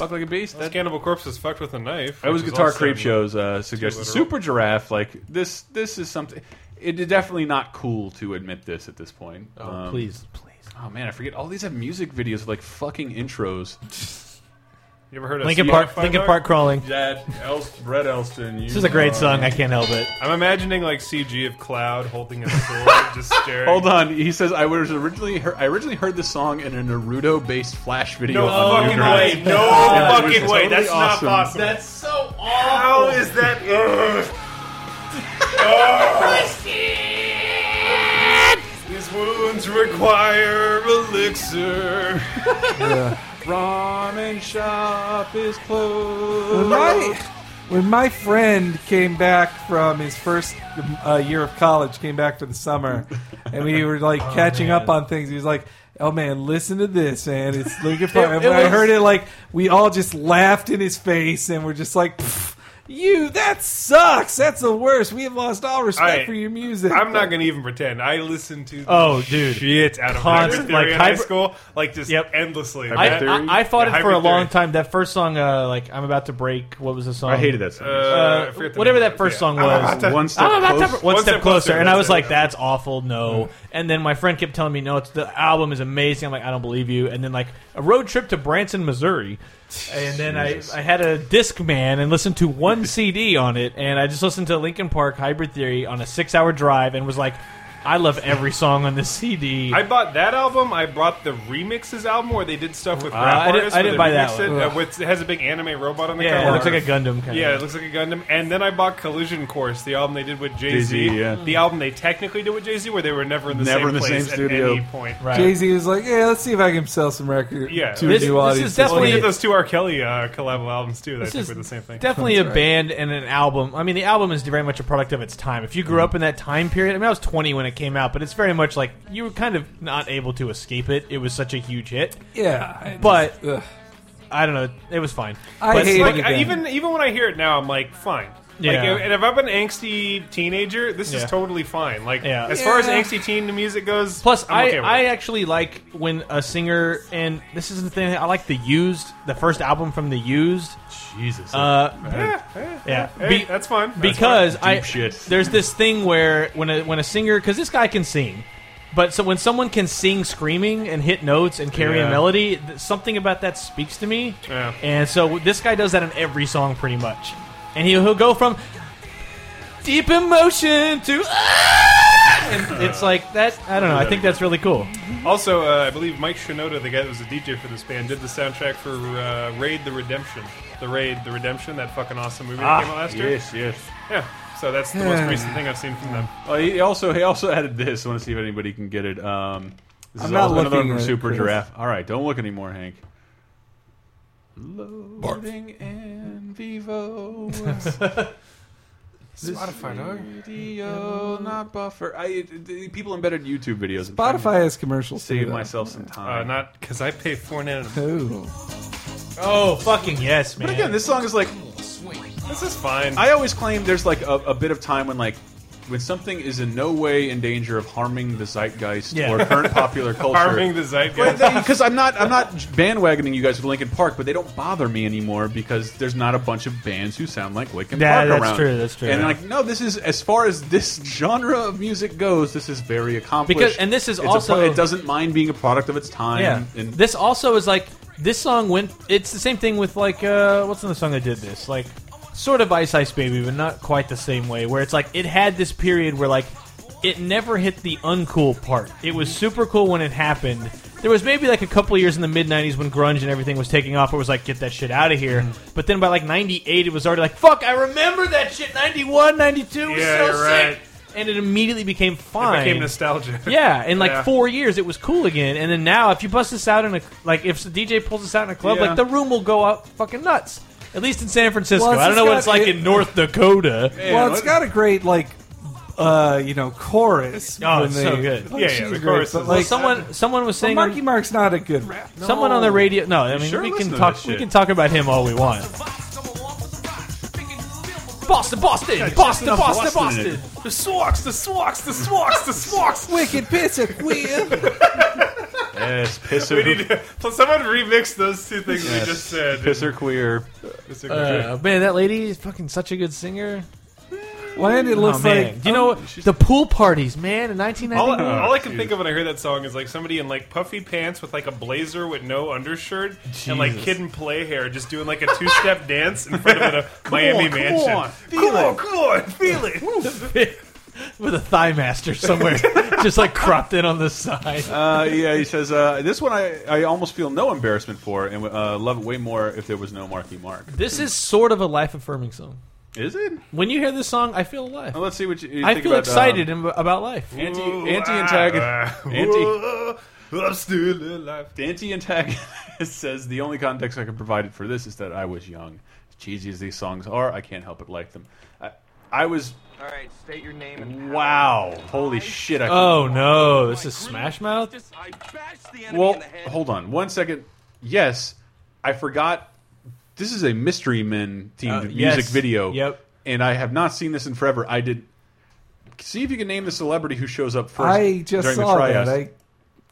[SPEAKER 3] fuck like a beast.
[SPEAKER 6] That's Cannibal Corpse is fucked with a knife.
[SPEAKER 3] That was
[SPEAKER 6] which is
[SPEAKER 3] Guitar
[SPEAKER 6] also-
[SPEAKER 3] Creep Show's uh, suggestion.
[SPEAKER 6] literal.
[SPEAKER 3] Super Giraffe, like this. This is something. It is definitely not cool to admit this at this point. Um,
[SPEAKER 4] please, please.
[SPEAKER 3] Oh man, I forget. All these have music videos with like fucking intros.
[SPEAKER 6] You ever heard of
[SPEAKER 4] Lincoln
[SPEAKER 6] Sea
[SPEAKER 4] Park,
[SPEAKER 6] Fi
[SPEAKER 4] Lincoln
[SPEAKER 6] Dog?
[SPEAKER 4] Park crawling.
[SPEAKER 3] That Elst, Red Elston.
[SPEAKER 4] This is a great song. I can't help it.
[SPEAKER 6] I'm imagining like CG of Cloud holding his
[SPEAKER 3] (laughs)
[SPEAKER 6] sword, just staring.
[SPEAKER 3] Hold on, he says I was originally heard, I originally heard this song in a Naruto-based Flash video.
[SPEAKER 6] No
[SPEAKER 3] on
[SPEAKER 6] fucking
[SPEAKER 3] Newgrounds.
[SPEAKER 6] way! No
[SPEAKER 3] (laughs) Yeah, it was
[SPEAKER 6] fucking way!
[SPEAKER 3] totally
[SPEAKER 6] That's
[SPEAKER 3] awesome.
[SPEAKER 6] not possible.
[SPEAKER 4] That's so
[SPEAKER 6] How is that?
[SPEAKER 4] (laughs)
[SPEAKER 6] Ugh. Ugh. These wounds require
[SPEAKER 3] (laughs)
[SPEAKER 6] elixir.
[SPEAKER 3] Ramen shop is closed.
[SPEAKER 5] when my when my friend came back from his first uh, year of college, came back for the summer, and we were like catching up on things. He was like. Oh man, listen to this, man! It's Linkin Park.
[SPEAKER 4] It-
[SPEAKER 5] and
[SPEAKER 4] it
[SPEAKER 5] when I
[SPEAKER 4] was-
[SPEAKER 5] heard it, like we all just laughed in his face, and we're just like, "Pff, "You, that sucks. That's the worst. We have lost all respect
[SPEAKER 6] I-
[SPEAKER 5] for your music."
[SPEAKER 6] I'm not gonna even pretend. I listened to
[SPEAKER 4] Oh, dude.
[SPEAKER 6] shit out of
[SPEAKER 4] Constant,
[SPEAKER 6] Hyper Theory
[SPEAKER 4] like,
[SPEAKER 6] in
[SPEAKER 4] Hyper-
[SPEAKER 6] high school, like just
[SPEAKER 4] Yep.
[SPEAKER 6] endlessly.
[SPEAKER 4] I,
[SPEAKER 3] Hyper Theory?
[SPEAKER 4] I, I fought
[SPEAKER 6] Yeah,
[SPEAKER 4] it for a
[SPEAKER 6] Hyper Theory.
[SPEAKER 4] long time. That first song, uh, like I'm about to break. What was the song?
[SPEAKER 3] I hated that song.
[SPEAKER 6] Uh, I
[SPEAKER 4] Uh,
[SPEAKER 6] forget the
[SPEAKER 4] whatever
[SPEAKER 6] name
[SPEAKER 4] that
[SPEAKER 6] of it,
[SPEAKER 4] first
[SPEAKER 6] yeah.
[SPEAKER 4] song
[SPEAKER 6] I'm
[SPEAKER 4] was.
[SPEAKER 6] about to-
[SPEAKER 3] One step
[SPEAKER 4] Oh, that's
[SPEAKER 3] closer.
[SPEAKER 4] not- one, step, closer, and I
[SPEAKER 6] that's
[SPEAKER 4] was
[SPEAKER 6] it,
[SPEAKER 4] like,
[SPEAKER 6] yeah.
[SPEAKER 4] "That's awful, no." And then my friend kept telling me, "No, it's the album is amazing." I'm like, "I don't believe you." And then like a road trip to Branson, Missouri, and then I, I had a disc man and listened to one (laughs) CD on it, and I just listened to Linkin Park Hybrid Theory on a six hour drive, and was like, "I love every song on this CD."
[SPEAKER 6] I bought that album. I bought the remixes album where they did stuff with rap
[SPEAKER 4] Uh, I didn't-
[SPEAKER 6] artists.
[SPEAKER 4] I
[SPEAKER 6] where
[SPEAKER 4] didn't
[SPEAKER 6] they
[SPEAKER 4] buy that
[SPEAKER 6] remixed
[SPEAKER 4] one.
[SPEAKER 6] It, uh, with, it has a big anime robot on the
[SPEAKER 4] yeah,
[SPEAKER 6] cover.
[SPEAKER 4] it looks like a Gundam kind
[SPEAKER 6] Yeah,
[SPEAKER 4] of.
[SPEAKER 6] it looks like a Gundam. And then I bought Collision Course, the album they did with Jay Z.
[SPEAKER 3] Jay-Z, yeah.
[SPEAKER 6] The album they technically did with Jay Z, where they were never in the
[SPEAKER 3] Never
[SPEAKER 6] same
[SPEAKER 3] in the
[SPEAKER 6] place
[SPEAKER 3] same studio.
[SPEAKER 6] at any point.
[SPEAKER 4] Right.
[SPEAKER 5] Jay Z was like, "Yeah, let's see if I can sell some record
[SPEAKER 6] Yeah.
[SPEAKER 5] to
[SPEAKER 4] This-
[SPEAKER 5] a new
[SPEAKER 4] this
[SPEAKER 5] audience."
[SPEAKER 4] is definitely-
[SPEAKER 6] Well, they did those two R. Kelly uh, collab albums too. That I
[SPEAKER 4] This
[SPEAKER 6] think
[SPEAKER 4] is
[SPEAKER 6] were the same thing. (laughs)
[SPEAKER 4] Definitely a
[SPEAKER 5] That's right.
[SPEAKER 4] band and an album. I mean, the album is very much a product of its time. If you grew
[SPEAKER 6] Mm-hmm.
[SPEAKER 4] up in that time period, I mean, I was 20 when it came out, but it's very much like you were kind of not able to escape it. It was such a huge hit.
[SPEAKER 5] yeah, I just-
[SPEAKER 4] But
[SPEAKER 5] ugh.
[SPEAKER 4] I don't know, it was fine.
[SPEAKER 5] I
[SPEAKER 4] but
[SPEAKER 5] hate
[SPEAKER 6] like
[SPEAKER 5] it.
[SPEAKER 6] I,
[SPEAKER 5] again.
[SPEAKER 6] even even when I hear it now, I'm like, fine.
[SPEAKER 4] Yeah.
[SPEAKER 6] Like, if- and if I'm an angsty teenager, this
[SPEAKER 4] Yeah.
[SPEAKER 6] is totally fine. Like,
[SPEAKER 4] Yeah.
[SPEAKER 6] as far as
[SPEAKER 5] Yeah.
[SPEAKER 6] angsty teen music goes,
[SPEAKER 4] Plus,
[SPEAKER 6] I'm okay
[SPEAKER 4] I,
[SPEAKER 6] with
[SPEAKER 4] I
[SPEAKER 6] it.
[SPEAKER 4] actually like when a singer, and this is the thing, I like the used, the first album from the used.
[SPEAKER 3] Jesus.
[SPEAKER 4] Uh,
[SPEAKER 6] yeah, yeah,
[SPEAKER 4] yeah.
[SPEAKER 6] Hey,
[SPEAKER 4] Be-
[SPEAKER 6] that's fine. That's
[SPEAKER 4] because I
[SPEAKER 3] shit.
[SPEAKER 4] there's this thing where when a when a singer because this guy can sing, but so when someone can sing screaming and hit notes and carry a
[SPEAKER 3] Yeah.
[SPEAKER 4] melody, th- something about that speaks to me.
[SPEAKER 6] Yeah.
[SPEAKER 4] And so this guy does that in every song pretty much, and he'll, he'll go from deep emotion to. "Ah!" And it's like that. I don't know. I think that's really cool.
[SPEAKER 6] fine. Also, uh, I believe Mike Shinoda, the guy that was a DJ for this band, did the soundtrack for uh, Raid: The Redemption. The Raid: The Redemption, that fucking awesome movie that came out last year.
[SPEAKER 3] Ah, yes, yes.
[SPEAKER 6] Yeah. So that's the most recent thing I've seen from them. Uh,
[SPEAKER 3] Oh, he also he also added this. I want to see if anybody can get it. Um, this is
[SPEAKER 5] I'm not
[SPEAKER 3] also another one
[SPEAKER 5] looking
[SPEAKER 3] from
[SPEAKER 5] at it,
[SPEAKER 3] Super
[SPEAKER 5] Chris.
[SPEAKER 3] Giraffe. All right, don't look anymore, Hank. Loading and vivo.
[SPEAKER 6] Spotify, dog.
[SPEAKER 5] (laughs)
[SPEAKER 3] Video, not buffer. I the people embedded YouTube videos. I'm trying to
[SPEAKER 5] Spotify has commercials.
[SPEAKER 3] Save
[SPEAKER 5] too, though.
[SPEAKER 3] myself some
[SPEAKER 6] Uh,
[SPEAKER 3] time.
[SPEAKER 6] not because I pay four nine.
[SPEAKER 5] Ooh.
[SPEAKER 4] Oh fucking yes, man!
[SPEAKER 3] but again, this song is like
[SPEAKER 6] This is fine. (laughs)
[SPEAKER 3] I always claim there's like a, a bit of time when like when something is in no way in danger of harming the zeitgeist
[SPEAKER 4] Yeah.
[SPEAKER 3] or
[SPEAKER 5] (laughs)
[SPEAKER 3] current popular culture.
[SPEAKER 6] harming the zeitgeist.
[SPEAKER 3] (laughs) because I'm not I'm not bandwagoning you guys with Linkin Park, but they don't bother me anymore because there's not a bunch of bands who sound like Linkin
[SPEAKER 4] Yeah,
[SPEAKER 3] Park
[SPEAKER 4] that's
[SPEAKER 3] around.
[SPEAKER 4] true, that's true.
[SPEAKER 3] And like, no, this is as far as this genre of music goes, this is very accomplished.
[SPEAKER 4] Because- and this is
[SPEAKER 3] It's a
[SPEAKER 4] also-
[SPEAKER 3] pro- it doesn't mind being a product of its time.
[SPEAKER 4] Yeah.
[SPEAKER 3] and
[SPEAKER 4] this also is like this song went. It's the same thing with like uh, what's another song that did this? Like sort of Ice Ice Baby, but not quite the same way. Where it's like it had this period where like it never hit the uncool part. It was super cool when it happened. There was maybe like a couple years in the mid '90s when grunge and everything was taking off. It was like get that shit out of here.
[SPEAKER 6] Mm-hmm.
[SPEAKER 4] But then by like '98, it was already like fuck. I remember that shit. '91, '92 was
[SPEAKER 6] Yeah,
[SPEAKER 4] so
[SPEAKER 6] you're
[SPEAKER 4] sick.
[SPEAKER 6] right.
[SPEAKER 4] And it immediately became fine.
[SPEAKER 6] (laughs) It became nostalgia. (laughs)
[SPEAKER 4] Yeah, in like
[SPEAKER 6] Yeah.
[SPEAKER 4] four years, it was cool again. And then now, if you bust this out in a like, if the DJ pulls this out in a club,
[SPEAKER 3] Yeah.
[SPEAKER 4] like the room will go up fucking nuts. At least in San Francisco,
[SPEAKER 5] Well, it's
[SPEAKER 4] I don't know what
[SPEAKER 5] just
[SPEAKER 4] it's like
[SPEAKER 5] got-
[SPEAKER 4] in North Dakota.
[SPEAKER 5] well, it's got a great like, uh, you know, chorus.
[SPEAKER 4] Oh,
[SPEAKER 5] when
[SPEAKER 4] it's
[SPEAKER 5] they-
[SPEAKER 4] so good.
[SPEAKER 5] Like,
[SPEAKER 6] Yeah, yeah,
[SPEAKER 5] she's
[SPEAKER 6] the
[SPEAKER 5] great,
[SPEAKER 6] chorus
[SPEAKER 5] but,
[SPEAKER 6] is-
[SPEAKER 5] like,
[SPEAKER 6] Well,
[SPEAKER 4] Someone, someone was
[SPEAKER 5] well,
[SPEAKER 4] saying,
[SPEAKER 5] Marky
[SPEAKER 4] on,
[SPEAKER 5] Mark's not a good rap.
[SPEAKER 4] someone on the radio. No, I mean
[SPEAKER 3] sure
[SPEAKER 4] we
[SPEAKER 3] listen
[SPEAKER 4] can
[SPEAKER 3] to
[SPEAKER 4] talk.
[SPEAKER 3] this
[SPEAKER 4] We
[SPEAKER 3] shit.
[SPEAKER 4] can talk about him all we want. Boston, Boston, Boston,
[SPEAKER 3] enough
[SPEAKER 4] Boston,
[SPEAKER 3] Boston in
[SPEAKER 4] Boston.
[SPEAKER 6] The Swaks, the Swaks, the Swaks, the Swaks.
[SPEAKER 5] Wicked piss of (laughs) queer.
[SPEAKER 3] yes,
[SPEAKER 6] We
[SPEAKER 3] pisser,
[SPEAKER 6] need to, (laughs) plus someone remix those two things
[SPEAKER 3] yes,
[SPEAKER 6] we just said.
[SPEAKER 3] pisser queer.
[SPEAKER 6] It's a-
[SPEAKER 4] Uh, man, that lady is fucking such a good singer.
[SPEAKER 5] When it
[SPEAKER 4] Oh,
[SPEAKER 5] looks
[SPEAKER 4] man.
[SPEAKER 5] like
[SPEAKER 4] Do you know what- the pool parties, man, in 1991?
[SPEAKER 6] all, all I can think of when I hear that song is like somebody in like puffy pants with like a blazer with no undershirt and like
[SPEAKER 4] Jesus.
[SPEAKER 6] kid and play hair just doing like a two step (laughs) dance in front of a Miami
[SPEAKER 3] on, (laughs) come
[SPEAKER 6] mansion.
[SPEAKER 3] on,
[SPEAKER 6] come on, come on, feel it.
[SPEAKER 4] (laughs) with a thigh master somewhere, just like cropped in on the side.
[SPEAKER 3] Uh, yeah, he says uh, this one I, I almost feel no embarrassment for, and uh, love it way more if there was no Marky Mark.
[SPEAKER 4] This is sort of a life affirming song.
[SPEAKER 3] Is it?
[SPEAKER 4] When you hear this song, I feel alive.
[SPEAKER 3] Well, let's see what you, you
[SPEAKER 4] I
[SPEAKER 3] think
[SPEAKER 4] feel
[SPEAKER 3] about,
[SPEAKER 4] excited
[SPEAKER 3] Um,
[SPEAKER 4] ab- about life.
[SPEAKER 3] anti
[SPEAKER 6] Ooh,
[SPEAKER 3] anti
[SPEAKER 6] ah, ah,
[SPEAKER 3] antagonist (laughs) anti
[SPEAKER 6] ooh, I'm still alive.
[SPEAKER 3] The anti-antagonist (laughs) says the only context I can provide for this is that I was young. As cheesy as these songs are, I can't help but like them. I, I was.
[SPEAKER 7] All right, state your name and
[SPEAKER 3] Wow! Holy shit! I
[SPEAKER 4] Oh no, this is Smash Mouth?
[SPEAKER 7] I bashed the enemy in
[SPEAKER 3] well,
[SPEAKER 7] the head.
[SPEAKER 3] hold on one second. Yes, I forgot. This is a Mystery Men themed
[SPEAKER 4] Uh,
[SPEAKER 3] music
[SPEAKER 4] yes.
[SPEAKER 3] video.
[SPEAKER 4] Yep.
[SPEAKER 3] And I have not seen this in forever. I did. See if you can name the celebrity who shows up first
[SPEAKER 5] Oh, I just
[SPEAKER 3] during
[SPEAKER 5] saw
[SPEAKER 3] the
[SPEAKER 5] that.
[SPEAKER 3] tryouts.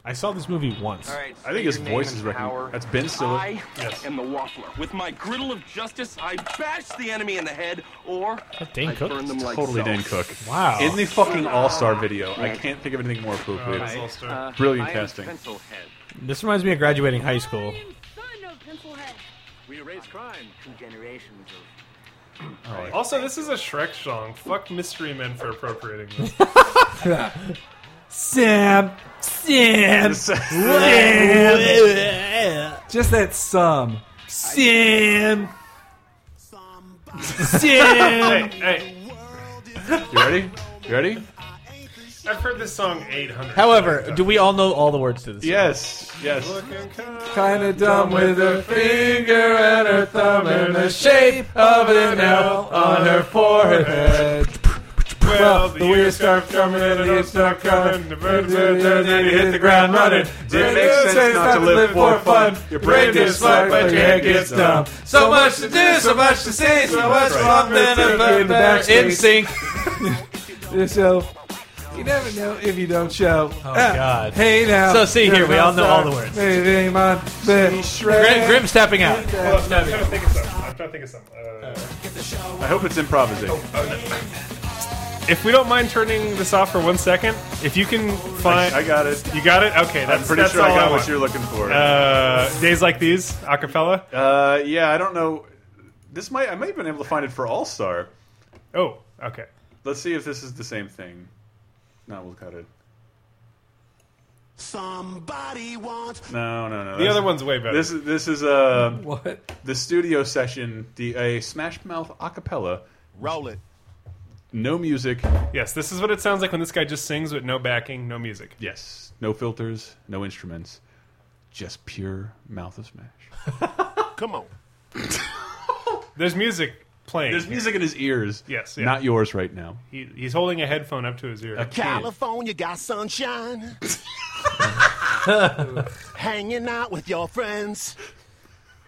[SPEAKER 5] I,
[SPEAKER 4] I saw this movie once.
[SPEAKER 7] All right,
[SPEAKER 3] I
[SPEAKER 7] state
[SPEAKER 3] think his
[SPEAKER 7] your name
[SPEAKER 3] voice
[SPEAKER 7] and
[SPEAKER 3] is recognized.
[SPEAKER 7] power.
[SPEAKER 3] That's Ben Stiller.
[SPEAKER 7] I am the Waffler. With my griddle of justice, I bashed the enemy in the head, or
[SPEAKER 4] That Dane
[SPEAKER 7] I
[SPEAKER 4] Cook?
[SPEAKER 7] burned them like Ah.
[SPEAKER 3] Totally
[SPEAKER 7] so.
[SPEAKER 3] Dan Cook.
[SPEAKER 4] Wow.
[SPEAKER 3] In the fucking All Star video. I can't think of anything more appropriate.
[SPEAKER 6] That's all star.
[SPEAKER 3] Brilliant
[SPEAKER 7] Uh, I am
[SPEAKER 3] casting.
[SPEAKER 7] Pencil Head.
[SPEAKER 4] This reminds me of graduating
[SPEAKER 3] (laughs)
[SPEAKER 4] high school.
[SPEAKER 8] Son of Pencilhead.
[SPEAKER 7] We erase crime. Two generations of.
[SPEAKER 6] Also, this is a Shrek song. Fuck Mystery Men for appropriating
[SPEAKER 3] (laughs)
[SPEAKER 6] this.
[SPEAKER 5] Sam, Sam, just that sum. Sam, Sam.
[SPEAKER 6] hey, hey,
[SPEAKER 3] You ready? You ready?
[SPEAKER 6] I've heard this song 800
[SPEAKER 4] However, do we all know all the words to this? song?
[SPEAKER 3] Yes. Yes.
[SPEAKER 5] kind of dumb with her finger and her thumb in the shape of an L on her forehead.
[SPEAKER 6] Well,
[SPEAKER 5] well. The wheels start coming and the years start coming. Then you hit the ground running. It makes sense not to live for fun. Your brain gets smart, but your head gets dumb. So much to do, so much to see, so much fun. Then I'm back in sync. So you never know if you don't show. Oh
[SPEAKER 4] God.
[SPEAKER 5] Hey now.
[SPEAKER 4] So, see here, we all know all the words.
[SPEAKER 5] Hey, hey, man.
[SPEAKER 4] Grim, Grim's tapping out.
[SPEAKER 6] I'm trying to think of something. I'm trying to think of something. Uh,
[SPEAKER 3] I hope it's improvisation.
[SPEAKER 6] Oh, if we don't mind turning this off for one second, if you can find,
[SPEAKER 3] I got it.
[SPEAKER 6] you got it. Okay, that's,
[SPEAKER 3] I'm pretty
[SPEAKER 6] that's
[SPEAKER 3] sure
[SPEAKER 6] all
[SPEAKER 3] I got
[SPEAKER 6] want.
[SPEAKER 3] what you're looking for.
[SPEAKER 6] Uh, days like these, acapella.
[SPEAKER 3] Uh, yeah, I don't know. This might I might have been able to find it for All Star.
[SPEAKER 6] Oh, okay.
[SPEAKER 3] Let's see if this is the same thing. No, we'll cut it.
[SPEAKER 1] Somebody wants
[SPEAKER 3] No, no, no.
[SPEAKER 6] The
[SPEAKER 3] that's-
[SPEAKER 6] other one's way better.
[SPEAKER 3] This is this is uh,
[SPEAKER 5] What?
[SPEAKER 3] the studio session, the a Smash Mouth acapella,
[SPEAKER 1] roll it.
[SPEAKER 3] no music,
[SPEAKER 6] yes, this is what it sounds like when this guy just sings with no backing, no music.
[SPEAKER 3] yes, no filters, no instruments, just pure mouth of Smash.
[SPEAKER 1] Come on.
[SPEAKER 6] There's music playing.
[SPEAKER 3] There's music in his ears.
[SPEAKER 6] Yes, yeah.
[SPEAKER 3] not yours right now.
[SPEAKER 6] He, he's holding a headphone up to his ear.
[SPEAKER 1] California got (laughs) sunshine. Hanging out with your friends.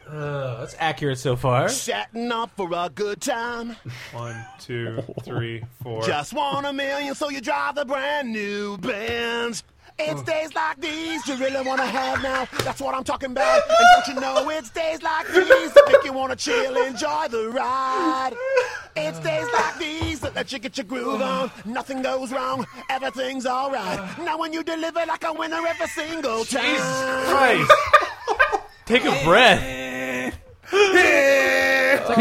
[SPEAKER 4] Uh, That's accurate so far.
[SPEAKER 1] Chatting up for a good time.
[SPEAKER 6] One, two, three, four. (laughs)
[SPEAKER 1] Just want a million, so you drive the brand new Benz. It's days like these you really want to have now. That's what I'm talking about. And don't you know it's days like these that make you want to chill, enjoy the ride. It's days like these that let you get your groove on. Nothing goes wrong, everything's alright. Now when you deliver like a winner every single time.
[SPEAKER 4] Christ. Take a breath.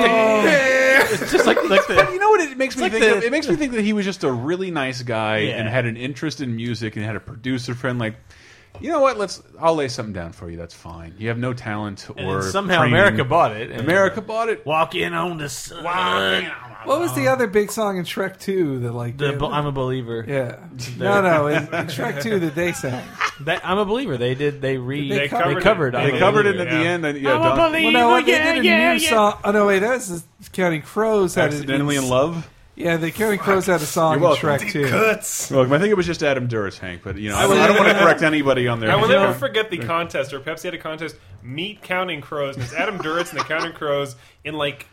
[SPEAKER 4] it's just like, like the.
[SPEAKER 3] You know what it makes me
[SPEAKER 4] like
[SPEAKER 3] think?
[SPEAKER 4] the-
[SPEAKER 3] of? It makes me think that he was just a really nice guy
[SPEAKER 4] Yeah.
[SPEAKER 3] and had an interest in music and had a producer friend. Like, you know what? Let's. I'll lay something down for you. That's fine. You have no talent
[SPEAKER 4] And
[SPEAKER 3] or
[SPEAKER 4] then somehow
[SPEAKER 3] training.
[SPEAKER 4] America bought it. and-
[SPEAKER 3] America bought it.
[SPEAKER 4] Walk in on the sun.
[SPEAKER 5] What was the other big song in Shrek 2 that like
[SPEAKER 4] The,
[SPEAKER 5] they-
[SPEAKER 4] Be- I'm a believer.
[SPEAKER 5] (laughs) Yeah. No, no, in, in Shrek 2 that they sang.
[SPEAKER 4] That, I'm a believer. They did. They re.
[SPEAKER 5] They
[SPEAKER 4] They
[SPEAKER 5] covered
[SPEAKER 4] covered.
[SPEAKER 6] it.
[SPEAKER 4] They
[SPEAKER 3] They
[SPEAKER 6] Yeah.
[SPEAKER 3] covered it at
[SPEAKER 6] Yeah.
[SPEAKER 3] the end. And, yeah, Don-
[SPEAKER 5] Well, no, what they did a new song. Oh no, wait, that was the Counting Crows had
[SPEAKER 3] accidentally
[SPEAKER 5] it
[SPEAKER 3] in love.
[SPEAKER 5] Yeah, the Counting Crows had a song in
[SPEAKER 3] You're welcome.
[SPEAKER 5] Shrek 2.
[SPEAKER 3] Look, I think it was just Adam Duras, Hank. But you know, I, I don't want to correct anybody on there.
[SPEAKER 6] I will never forget the contest, or Pepsi had a contest, Meat Counting Crows, and it's Adam Duritz and the Counting Crows in like.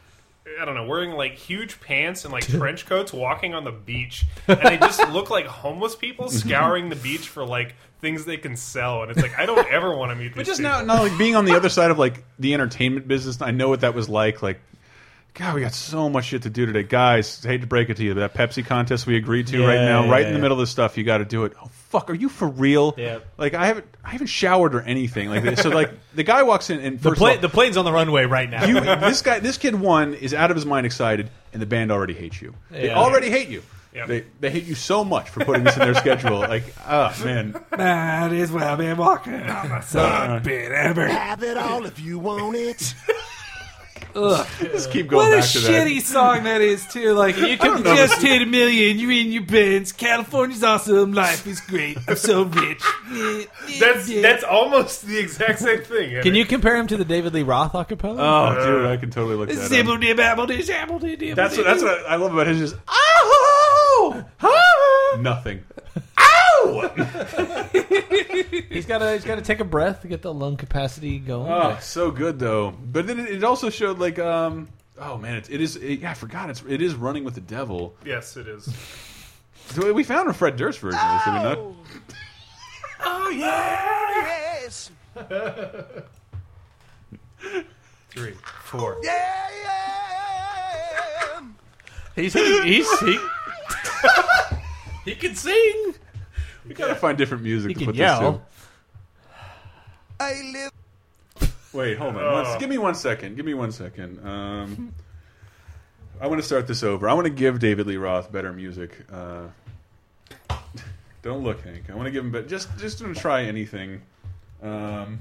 [SPEAKER 6] I don't know, wearing like huge pants and like trench coats, walking on the beach, and they just look like homeless people scouring the beach for like things they can sell. And it's like I don't ever want to meet these.
[SPEAKER 3] But just
[SPEAKER 6] people.
[SPEAKER 3] now, now like being on the other side of like the entertainment business, I know what that was like. Like, God, we got so much shit to do today, guys. Hate to break it to you, but that Pepsi contest we agreed to right
[SPEAKER 4] Yeah,
[SPEAKER 3] now,
[SPEAKER 4] yeah,
[SPEAKER 3] right in the
[SPEAKER 4] yeah.
[SPEAKER 3] middle of this stuff, you got to do it. Oh fuck, are you for real?
[SPEAKER 4] Yeah.
[SPEAKER 3] Like I haven't, I haven't showered or anything. Like so, like the guy walks in and
[SPEAKER 4] The,
[SPEAKER 3] first
[SPEAKER 4] pla-
[SPEAKER 3] of all,
[SPEAKER 4] the plane's on the runway right now.
[SPEAKER 3] you, this guy, this kid, one is out of his mind excited, and the band already hates you. They
[SPEAKER 4] Yeah.
[SPEAKER 3] already hate you.
[SPEAKER 6] Yeah.
[SPEAKER 3] They, they hate you so much for putting this in their schedule. Like, oh man,
[SPEAKER 5] That is where I've been walking on my son, been ever.
[SPEAKER 1] Have it all (laughs) if you want it.
[SPEAKER 3] just keep going
[SPEAKER 5] What a
[SPEAKER 3] back to that.
[SPEAKER 5] shitty song that is too. Like you
[SPEAKER 3] don't know
[SPEAKER 5] just hit a million, you're in your bins. California's awesome, life is great. I'm so rich.
[SPEAKER 6] that's that's almost the exact same thing.
[SPEAKER 4] Can you compare him to the David Lee Roth acapella?
[SPEAKER 3] Oh, dude,
[SPEAKER 4] Uh,
[SPEAKER 3] I can totally look that
[SPEAKER 5] Oh,
[SPEAKER 3] up. That's what, that's what I love about his just oh, nothing.
[SPEAKER 4] he's got to. He's got to take a breath to get the lung capacity going.
[SPEAKER 3] Oh, so good though. But then it, it also showed like um oh man it, it is it, yeah I forgot it's it is running with the devil.
[SPEAKER 6] Yes, it is.
[SPEAKER 3] So we found a Fred Durst version of this, did we not?
[SPEAKER 1] Yes.
[SPEAKER 6] Three, four.
[SPEAKER 1] Yeah, yeah.
[SPEAKER 4] He's he's he, he can sing.
[SPEAKER 3] We gotta find different music
[SPEAKER 4] He
[SPEAKER 3] to
[SPEAKER 4] can
[SPEAKER 3] put
[SPEAKER 4] yell.
[SPEAKER 1] I live.
[SPEAKER 3] this to. Wait, hold on.
[SPEAKER 4] Uh.
[SPEAKER 3] One- give me one second. Give me one second. Um, I want to start this over. I want to give David Lee Roth better music. Uh, (laughs) don't look, Hank. I want to give him, but just just to try anything. Um,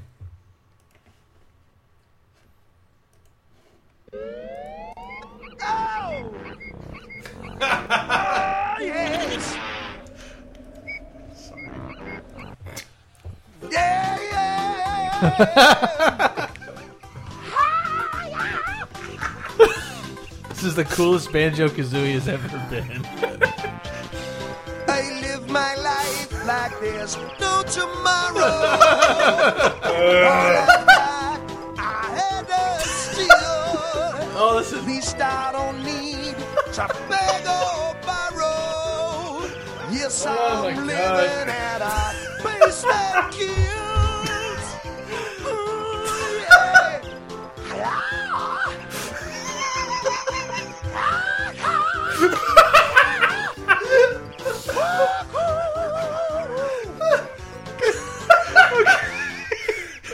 [SPEAKER 1] Yes. Yeah, yeah.
[SPEAKER 4] This is the coolest banjo kazooie has ever been.
[SPEAKER 1] like there's no tomorrow. I had a steal. Oh, this is. At least I don't need to beg or borrow. Yes, I'm living at a pace that kills. Ooh, yeah.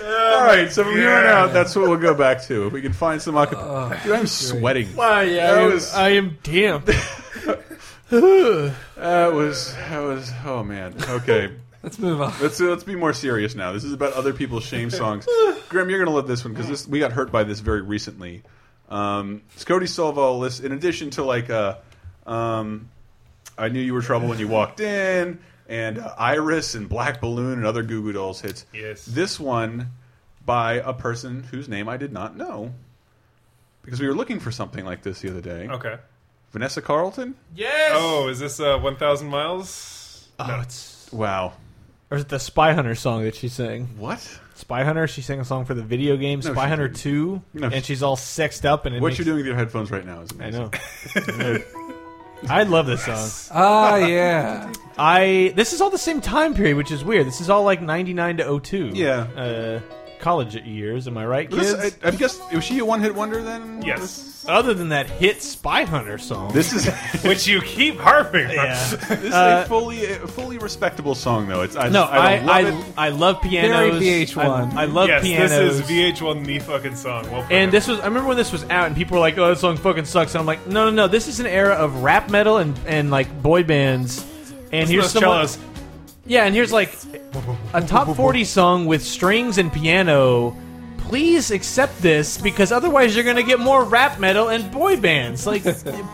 [SPEAKER 3] All right, so from here on out, that's what we'll go back to. If we can find some acapella. Dude, I'm sweating.
[SPEAKER 4] Wow, Oh, yeah,
[SPEAKER 3] That
[SPEAKER 4] I,
[SPEAKER 3] was-
[SPEAKER 4] was... I am damp.
[SPEAKER 3] That was that was oh man. Okay.
[SPEAKER 5] (laughs) Let's move on.
[SPEAKER 3] Let's let's be more serious now. This is about other people's shame
[SPEAKER 5] (laughs)
[SPEAKER 3] songs. Grim, you're gonna love this one because this we got hurt by this very recently. Um, Scotty Solvall lists in addition to like uh, um, I knew you were trouble when you walked in, and uh, Iris and Black Balloon and other Goo Goo Dolls hits.
[SPEAKER 6] Yes.
[SPEAKER 3] this one by a person whose name I did not know because we were looking for something like this the other day.
[SPEAKER 6] Okay.
[SPEAKER 3] Vanessa Carlton.
[SPEAKER 4] yes.
[SPEAKER 6] Oh, is this uh, 1,000 miles?
[SPEAKER 4] Oh, it's
[SPEAKER 3] Wow,
[SPEAKER 4] or is it the Spy Hunter song that she sang?
[SPEAKER 3] what?
[SPEAKER 4] Spy Hunter. She sang a song for the video game
[SPEAKER 3] No,
[SPEAKER 4] Spy
[SPEAKER 3] she
[SPEAKER 4] Hunter
[SPEAKER 3] didn't.
[SPEAKER 4] Two,
[SPEAKER 3] No, she-
[SPEAKER 4] and she's all sexed up and it
[SPEAKER 3] What
[SPEAKER 4] makes...
[SPEAKER 3] you're doing with your headphones right now is
[SPEAKER 4] I
[SPEAKER 3] amazing.
[SPEAKER 4] know.
[SPEAKER 3] (laughs)
[SPEAKER 4] I love this song.
[SPEAKER 5] Ah, yeah.
[SPEAKER 4] I this is all the same time period, which is weird. This is all like ninety nine to 02.
[SPEAKER 3] Yeah.
[SPEAKER 4] uh, college years. Am I right, kids?
[SPEAKER 3] This, I, I guess was she a one hit wonder then?
[SPEAKER 6] Yes.
[SPEAKER 4] Other than that hit Spy Hunter song,
[SPEAKER 3] This is (laughs)
[SPEAKER 6] Which you keep harping on.
[SPEAKER 4] yeah.
[SPEAKER 3] this is a fully a fully respectable song though. It's I,
[SPEAKER 4] Uh, No, I
[SPEAKER 3] I, don't
[SPEAKER 4] I,
[SPEAKER 3] love
[SPEAKER 4] I, love pianos.
[SPEAKER 5] Very VH1.
[SPEAKER 4] I, I love
[SPEAKER 6] yes,
[SPEAKER 4] pianos.
[SPEAKER 6] this is VH1 the fucking song. Well played.
[SPEAKER 4] and this was I remember when this was out and people were like, "Oh, that song fucking sucks." And I'm like, "No, no, no. This is an era of rap metal and and like boy bands." And here's
[SPEAKER 6] Those
[SPEAKER 4] someone,
[SPEAKER 6] cellos.
[SPEAKER 4] yeah, and here's like a top forty song with strings and piano. Please accept this because otherwise you're gonna get more rap metal and boy bands.
[SPEAKER 5] (laughs)
[SPEAKER 4] Like,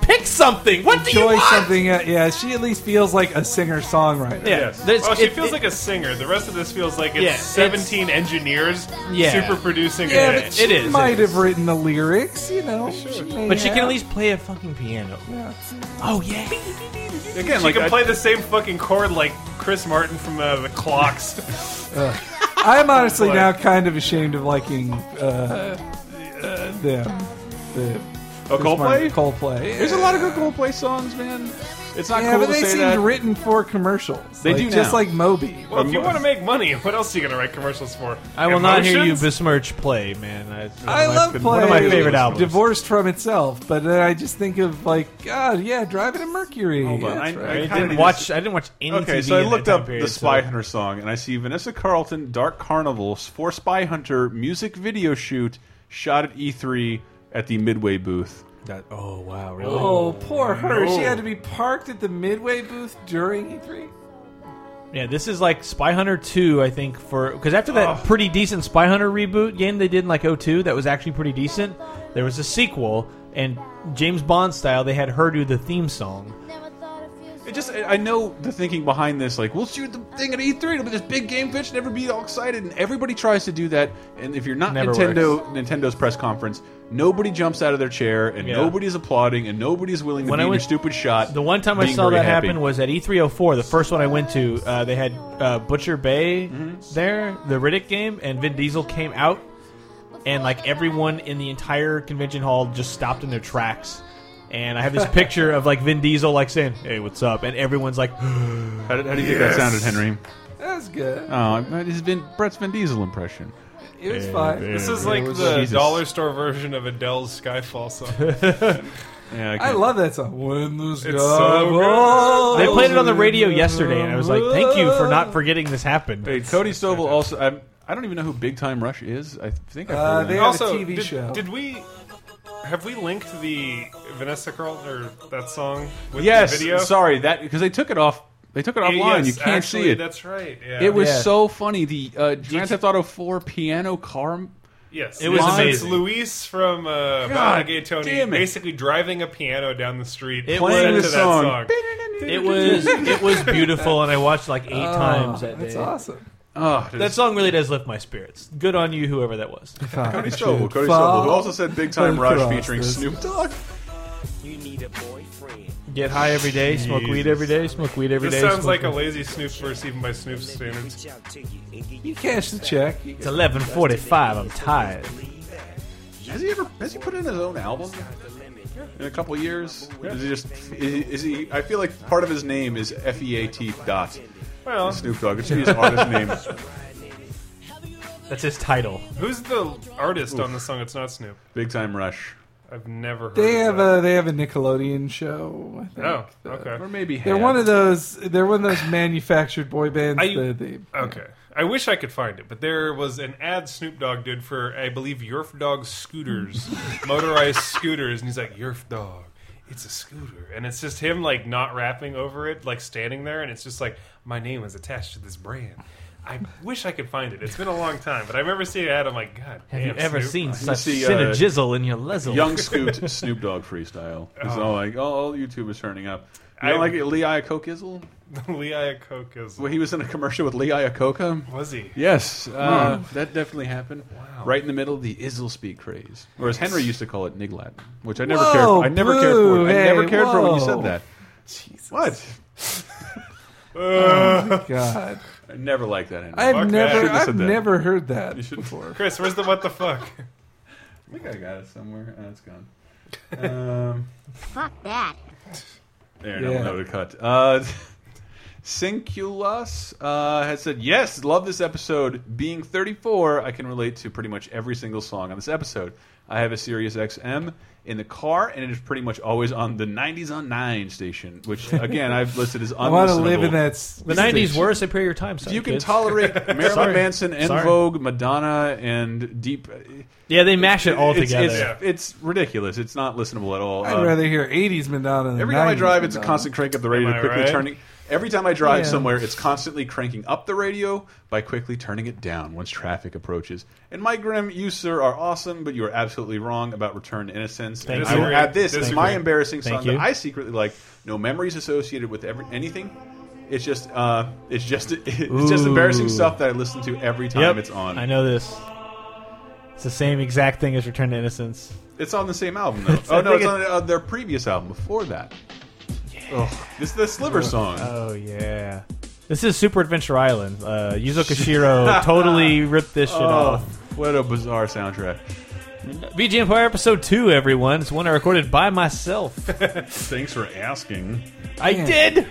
[SPEAKER 4] pick something. What do you
[SPEAKER 5] Enjoy
[SPEAKER 4] want?
[SPEAKER 5] something. Uh, yeah, she at least feels like a singer songwriter.
[SPEAKER 4] Yeah,
[SPEAKER 6] Yes.
[SPEAKER 4] there's-
[SPEAKER 6] Oh, she
[SPEAKER 4] it-
[SPEAKER 6] feels
[SPEAKER 4] it-
[SPEAKER 6] like a singer. The rest of this feels like it's
[SPEAKER 4] Yeah, it's-
[SPEAKER 6] 17 engineers
[SPEAKER 4] Yeah.
[SPEAKER 6] super producing
[SPEAKER 5] Yeah,
[SPEAKER 6] a
[SPEAKER 5] but
[SPEAKER 6] hit.
[SPEAKER 5] she
[SPEAKER 4] It is, it
[SPEAKER 5] might
[SPEAKER 4] is.
[SPEAKER 5] have written the lyrics, you know.
[SPEAKER 4] But she can at least play a fucking piano. Oh yeah.
[SPEAKER 3] it. again
[SPEAKER 6] She
[SPEAKER 3] like
[SPEAKER 6] can
[SPEAKER 3] I,
[SPEAKER 6] play the same fucking chord like Chris Martin from uh,
[SPEAKER 4] (laughs)
[SPEAKER 6] The Clocks.
[SPEAKER 5] I'm honestly
[SPEAKER 6] Like-
[SPEAKER 5] now kind of ashamed of liking uh, uh, them. The
[SPEAKER 3] oh, Coldplay.
[SPEAKER 5] Coldplay.
[SPEAKER 3] There's a lot of good Coldplay songs, man. It's not
[SPEAKER 5] Yeah,
[SPEAKER 3] cool
[SPEAKER 5] but
[SPEAKER 3] to
[SPEAKER 5] they
[SPEAKER 3] say
[SPEAKER 5] seemed
[SPEAKER 3] that.
[SPEAKER 5] written for commercials.
[SPEAKER 3] They
[SPEAKER 5] Like,
[SPEAKER 3] do
[SPEAKER 5] just
[SPEAKER 3] now.
[SPEAKER 5] like Moby.
[SPEAKER 6] Well, if you want to make money, what else are you going to write commercials for?
[SPEAKER 4] I will not hear you
[SPEAKER 6] Emotions?
[SPEAKER 4] besmirch play, man. I, it's one
[SPEAKER 5] I
[SPEAKER 4] of my-
[SPEAKER 5] love Play.
[SPEAKER 4] One of my favorite albums.
[SPEAKER 5] Divorced from itself, but then I just think of like God, yeah, Driving in Mercury.
[SPEAKER 3] Hold on,
[SPEAKER 5] That's
[SPEAKER 3] Oh, I-
[SPEAKER 5] right.
[SPEAKER 3] I
[SPEAKER 4] I
[SPEAKER 3] kinda
[SPEAKER 4] didn't
[SPEAKER 3] need
[SPEAKER 4] watch.
[SPEAKER 3] to-
[SPEAKER 4] I didn't watch any.
[SPEAKER 3] Okay,
[SPEAKER 4] TV
[SPEAKER 3] so I
[SPEAKER 4] in that
[SPEAKER 3] looked
[SPEAKER 4] time
[SPEAKER 3] up
[SPEAKER 4] period,
[SPEAKER 3] the Spy
[SPEAKER 4] so-
[SPEAKER 3] Hunter song, and I see Vanessa Carlton, Dark Carnivals for Spy Hunter music video shoot shot at E3 at the Midway booth.
[SPEAKER 4] oh wow, really?
[SPEAKER 5] oh, poor her. She had to be parked at the midway booth during E E3.
[SPEAKER 4] Yeah, this is like Spy Hunter Two, I think, for because after that pretty decent Spy Hunter reboot game they did in like 02 that was actually pretty decent. There was a sequel, and James Bond style, they had her do the theme song.
[SPEAKER 3] It just, I I know the thinking behind this, like, we'll shoot the thing at E3, it'll be this big game pitch, and everybody all excited, and everybody tries to do that, and if you're not
[SPEAKER 4] Never
[SPEAKER 3] Nintendo, Nintendo's press conference, nobody jumps out of their chair, and
[SPEAKER 4] Yeah.
[SPEAKER 3] nobody's applauding, and nobody's willing to
[SPEAKER 4] When
[SPEAKER 3] be
[SPEAKER 4] I
[SPEAKER 3] in your
[SPEAKER 4] went-
[SPEAKER 3] stupid shot.
[SPEAKER 4] The one time I
[SPEAKER 3] being
[SPEAKER 4] saw
[SPEAKER 3] very
[SPEAKER 4] that
[SPEAKER 3] happy.
[SPEAKER 4] happen was at E E304, the first one I went to. Uh, they had uh, Butcher Bay
[SPEAKER 3] Mm-hmm.
[SPEAKER 4] there, the Riddick game, and Vin Diesel came out, and like everyone in the entire convention hall just stopped in their tracks. And I have this picture of like Vin Diesel like saying, "Hey, what's up?" and everyone's like,
[SPEAKER 3] How, did, how do you think that sounded, Henry?
[SPEAKER 5] That's good.
[SPEAKER 3] Oh, that has been Brett's Vin Diesel impression.
[SPEAKER 5] It was fine.
[SPEAKER 6] This is like the
[SPEAKER 3] Jesus.
[SPEAKER 6] dollar store version of Adele's
[SPEAKER 4] (laughs)
[SPEAKER 6] Skyfall song.
[SPEAKER 3] Yeah,
[SPEAKER 5] I love that song. When the sky
[SPEAKER 6] so good.
[SPEAKER 5] falls
[SPEAKER 4] "They played it on the radio yesterday," and I was like, "Thank you for not forgetting this happened."
[SPEAKER 3] Hey, Cody Sobel also. I'm, I don't even know who Big Time Rush is. I think I've heard
[SPEAKER 5] Uh,
[SPEAKER 3] of
[SPEAKER 5] they
[SPEAKER 3] them.
[SPEAKER 5] have
[SPEAKER 6] also,
[SPEAKER 5] a TV
[SPEAKER 6] did,
[SPEAKER 5] show.
[SPEAKER 6] did we have we linked the Vanessa Carlton or that song with
[SPEAKER 3] Yes,
[SPEAKER 6] the video?
[SPEAKER 3] sorry that because they took it off. They took it
[SPEAKER 6] Yeah,
[SPEAKER 3] offline.
[SPEAKER 6] yes,
[SPEAKER 3] you can't
[SPEAKER 6] actually,
[SPEAKER 3] see it.
[SPEAKER 6] That's right. Yeah.
[SPEAKER 3] It was
[SPEAKER 5] Yeah.
[SPEAKER 3] so funny. The uh, Grand Theft Auto 4 piano car.
[SPEAKER 6] Yes,
[SPEAKER 4] It was
[SPEAKER 6] it's,
[SPEAKER 4] amazing.
[SPEAKER 6] It's Luis from uh,
[SPEAKER 3] God
[SPEAKER 6] Ballet Gay Tony
[SPEAKER 3] damn it.
[SPEAKER 6] basically driving a piano down the street,
[SPEAKER 4] It
[SPEAKER 6] playing
[SPEAKER 4] was-
[SPEAKER 6] to that song.
[SPEAKER 4] It was it was beautiful, and I watched like eight times that day.
[SPEAKER 5] That's awesome.
[SPEAKER 3] Oh,
[SPEAKER 4] That song really does lift my spirits. Good on you, whoever that was.
[SPEAKER 3] Cody Sobel. Cody
[SPEAKER 5] Fall
[SPEAKER 3] Sobel, who also said Big Time Rush
[SPEAKER 5] across
[SPEAKER 3] featuring
[SPEAKER 5] this.
[SPEAKER 3] Snoop Dogg.
[SPEAKER 8] You need a boyfriend.
[SPEAKER 4] Get high every day, smoke weed every day, smoke weed every day.
[SPEAKER 6] This sounds
[SPEAKER 4] smoke
[SPEAKER 6] like a
[SPEAKER 4] weed-
[SPEAKER 6] lazy Snoop verse, even by Snoop's
[SPEAKER 8] Let me
[SPEAKER 6] standards.
[SPEAKER 8] reach out to you and get
[SPEAKER 5] You
[SPEAKER 8] you
[SPEAKER 5] cash the check.
[SPEAKER 4] It's 11:45. I'm tired.
[SPEAKER 3] Has he ever? Has he put in his own album in a couple of years? Is he just? Is, is he? I feel like part of his name is F E A T dot
[SPEAKER 6] Well,
[SPEAKER 3] Snoop Dogg. It should be his artist name. (laughs)
[SPEAKER 4] That's his title.
[SPEAKER 6] who's the artist on the song? It's not Snoop.
[SPEAKER 3] Big Time Rush,
[SPEAKER 6] I've never heard.
[SPEAKER 5] They
[SPEAKER 6] of
[SPEAKER 5] have
[SPEAKER 6] that.
[SPEAKER 5] a they have a Nickelodeon show. I think.
[SPEAKER 6] Oh, okay.
[SPEAKER 3] or maybe
[SPEAKER 5] They're
[SPEAKER 3] had.
[SPEAKER 5] one of those. They're one of those manufactured boy bands.
[SPEAKER 6] I- uh,
[SPEAKER 5] that they,
[SPEAKER 6] Okay. I wish I could find it, but there was an ad Snoop Dogg did for, I believe, Yerf Dog
[SPEAKER 4] (laughs)
[SPEAKER 6] scooters, motorized scooters, and he's like, Yerf Dog, it's a scooter. And it's just him, like, not rapping over it, like, standing there, and it's just like, my name is attached to this brand. I wish I could find it. It's been a long time, but I remember seeing it, I'm like, God
[SPEAKER 4] Have
[SPEAKER 6] damn,
[SPEAKER 4] you ever
[SPEAKER 6] Snoop.
[SPEAKER 4] seen
[SPEAKER 6] (laughs)
[SPEAKER 4] such
[SPEAKER 3] see, uh,
[SPEAKER 4] synergizzle in your lezzle?
[SPEAKER 3] Young Scoot Snoop Dogg (laughs) freestyle. It's all like, oh, all YouTube is turning up. You know,
[SPEAKER 6] I-
[SPEAKER 3] like Lee Iacocca?
[SPEAKER 6] Lee Iacocca is-
[SPEAKER 3] Well, he was in a commercial with Lee Iacocca.
[SPEAKER 6] Was he?
[SPEAKER 3] Yes, uh, that definitely happened. Right in the middle of the Izzle speak craze, or as Henry used to call it, Niglat, which I never
[SPEAKER 5] Whoa,
[SPEAKER 3] cared. I never
[SPEAKER 5] boo,
[SPEAKER 3] cared for. I
[SPEAKER 5] hey,
[SPEAKER 3] never cared for when you
[SPEAKER 5] whoa.
[SPEAKER 3] said that. What?
[SPEAKER 5] God,
[SPEAKER 3] I never liked that. Henry.
[SPEAKER 5] I've
[SPEAKER 6] Fuck that.
[SPEAKER 5] never
[SPEAKER 6] Shouldn't
[SPEAKER 3] have
[SPEAKER 5] I've
[SPEAKER 3] said that.
[SPEAKER 5] never heard that
[SPEAKER 3] You should-
[SPEAKER 5] before.
[SPEAKER 6] Chris, where's the what the fuck?
[SPEAKER 3] I think I got it somewhere. Oh, it's
[SPEAKER 5] (laughs)
[SPEAKER 3] gone. Um,
[SPEAKER 9] Fuck that.
[SPEAKER 3] there, no,
[SPEAKER 5] Yeah.
[SPEAKER 3] no, to cut. Uh, Sinculus uh, has said, "Yes, love this episode. Being 34, I can relate to pretty much every single song on this episode. I have a Sirius XM in the car, and it is pretty much always on the 90s on nine station, which again I've listed as
[SPEAKER 5] (laughs) I want to live in that. s-
[SPEAKER 4] the '90s
[SPEAKER 5] station.
[SPEAKER 4] were superior time. Sorry,
[SPEAKER 3] You can
[SPEAKER 4] kids.
[SPEAKER 5] (laughs)
[SPEAKER 3] tolerate Marilyn
[SPEAKER 4] Sorry.
[SPEAKER 3] Manson, En
[SPEAKER 4] Sorry.
[SPEAKER 3] Vogue, Madonna, and Deep.
[SPEAKER 4] Yeah, they mash it (laughs) all
[SPEAKER 3] It's-
[SPEAKER 4] together.
[SPEAKER 3] It's, it's ridiculous. It's not listenable at all.
[SPEAKER 5] I'd
[SPEAKER 3] Uh,
[SPEAKER 5] rather hear '80s Madonna. Than
[SPEAKER 3] Every time I
[SPEAKER 5] 90s
[SPEAKER 3] drive, it's a
[SPEAKER 5] Madonna.
[SPEAKER 3] constant crank up the radio
[SPEAKER 6] Am
[SPEAKER 3] to
[SPEAKER 6] I
[SPEAKER 3] quickly
[SPEAKER 6] right?
[SPEAKER 3] turning. Every time I drive
[SPEAKER 5] Yeah.
[SPEAKER 3] somewhere, it's constantly cranking up the radio by quickly turning it down once traffic approaches. And Mike Grimm, you sir are awesome, but you are absolutely wrong about Return to Innocence.
[SPEAKER 4] Thank
[SPEAKER 3] and
[SPEAKER 4] you.
[SPEAKER 3] I will add this:
[SPEAKER 6] Disagree.
[SPEAKER 3] my embarrassing
[SPEAKER 4] Thank
[SPEAKER 3] song
[SPEAKER 4] you.
[SPEAKER 3] that I secretly like. No memories associated with every anything. It's just, uh, it's just, (laughs) it's just
[SPEAKER 4] Ooh.
[SPEAKER 3] embarrassing stuff that I listen to every time
[SPEAKER 4] Yep,
[SPEAKER 3] it's on.
[SPEAKER 4] I know this. It's the same exact thing as Return to Innocence.
[SPEAKER 3] It's on the same album
[SPEAKER 4] (laughs)
[SPEAKER 3] though.
[SPEAKER 4] I
[SPEAKER 3] oh no,
[SPEAKER 4] think
[SPEAKER 3] it's
[SPEAKER 4] it-
[SPEAKER 3] on uh, their previous album before that. Oh, this is the Sliver song.
[SPEAKER 4] Oh yeah. This is Super Adventure Island. Uh, Yuzo
[SPEAKER 3] (laughs)
[SPEAKER 4] Koshiro totally ripped this shit
[SPEAKER 3] Oh,
[SPEAKER 4] off.
[SPEAKER 3] what a bizarre soundtrack.
[SPEAKER 4] VG Empire episode two, everyone. It's one I recorded
[SPEAKER 3] (laughs)
[SPEAKER 4] by myself.
[SPEAKER 3] Thanks for asking.
[SPEAKER 4] I did.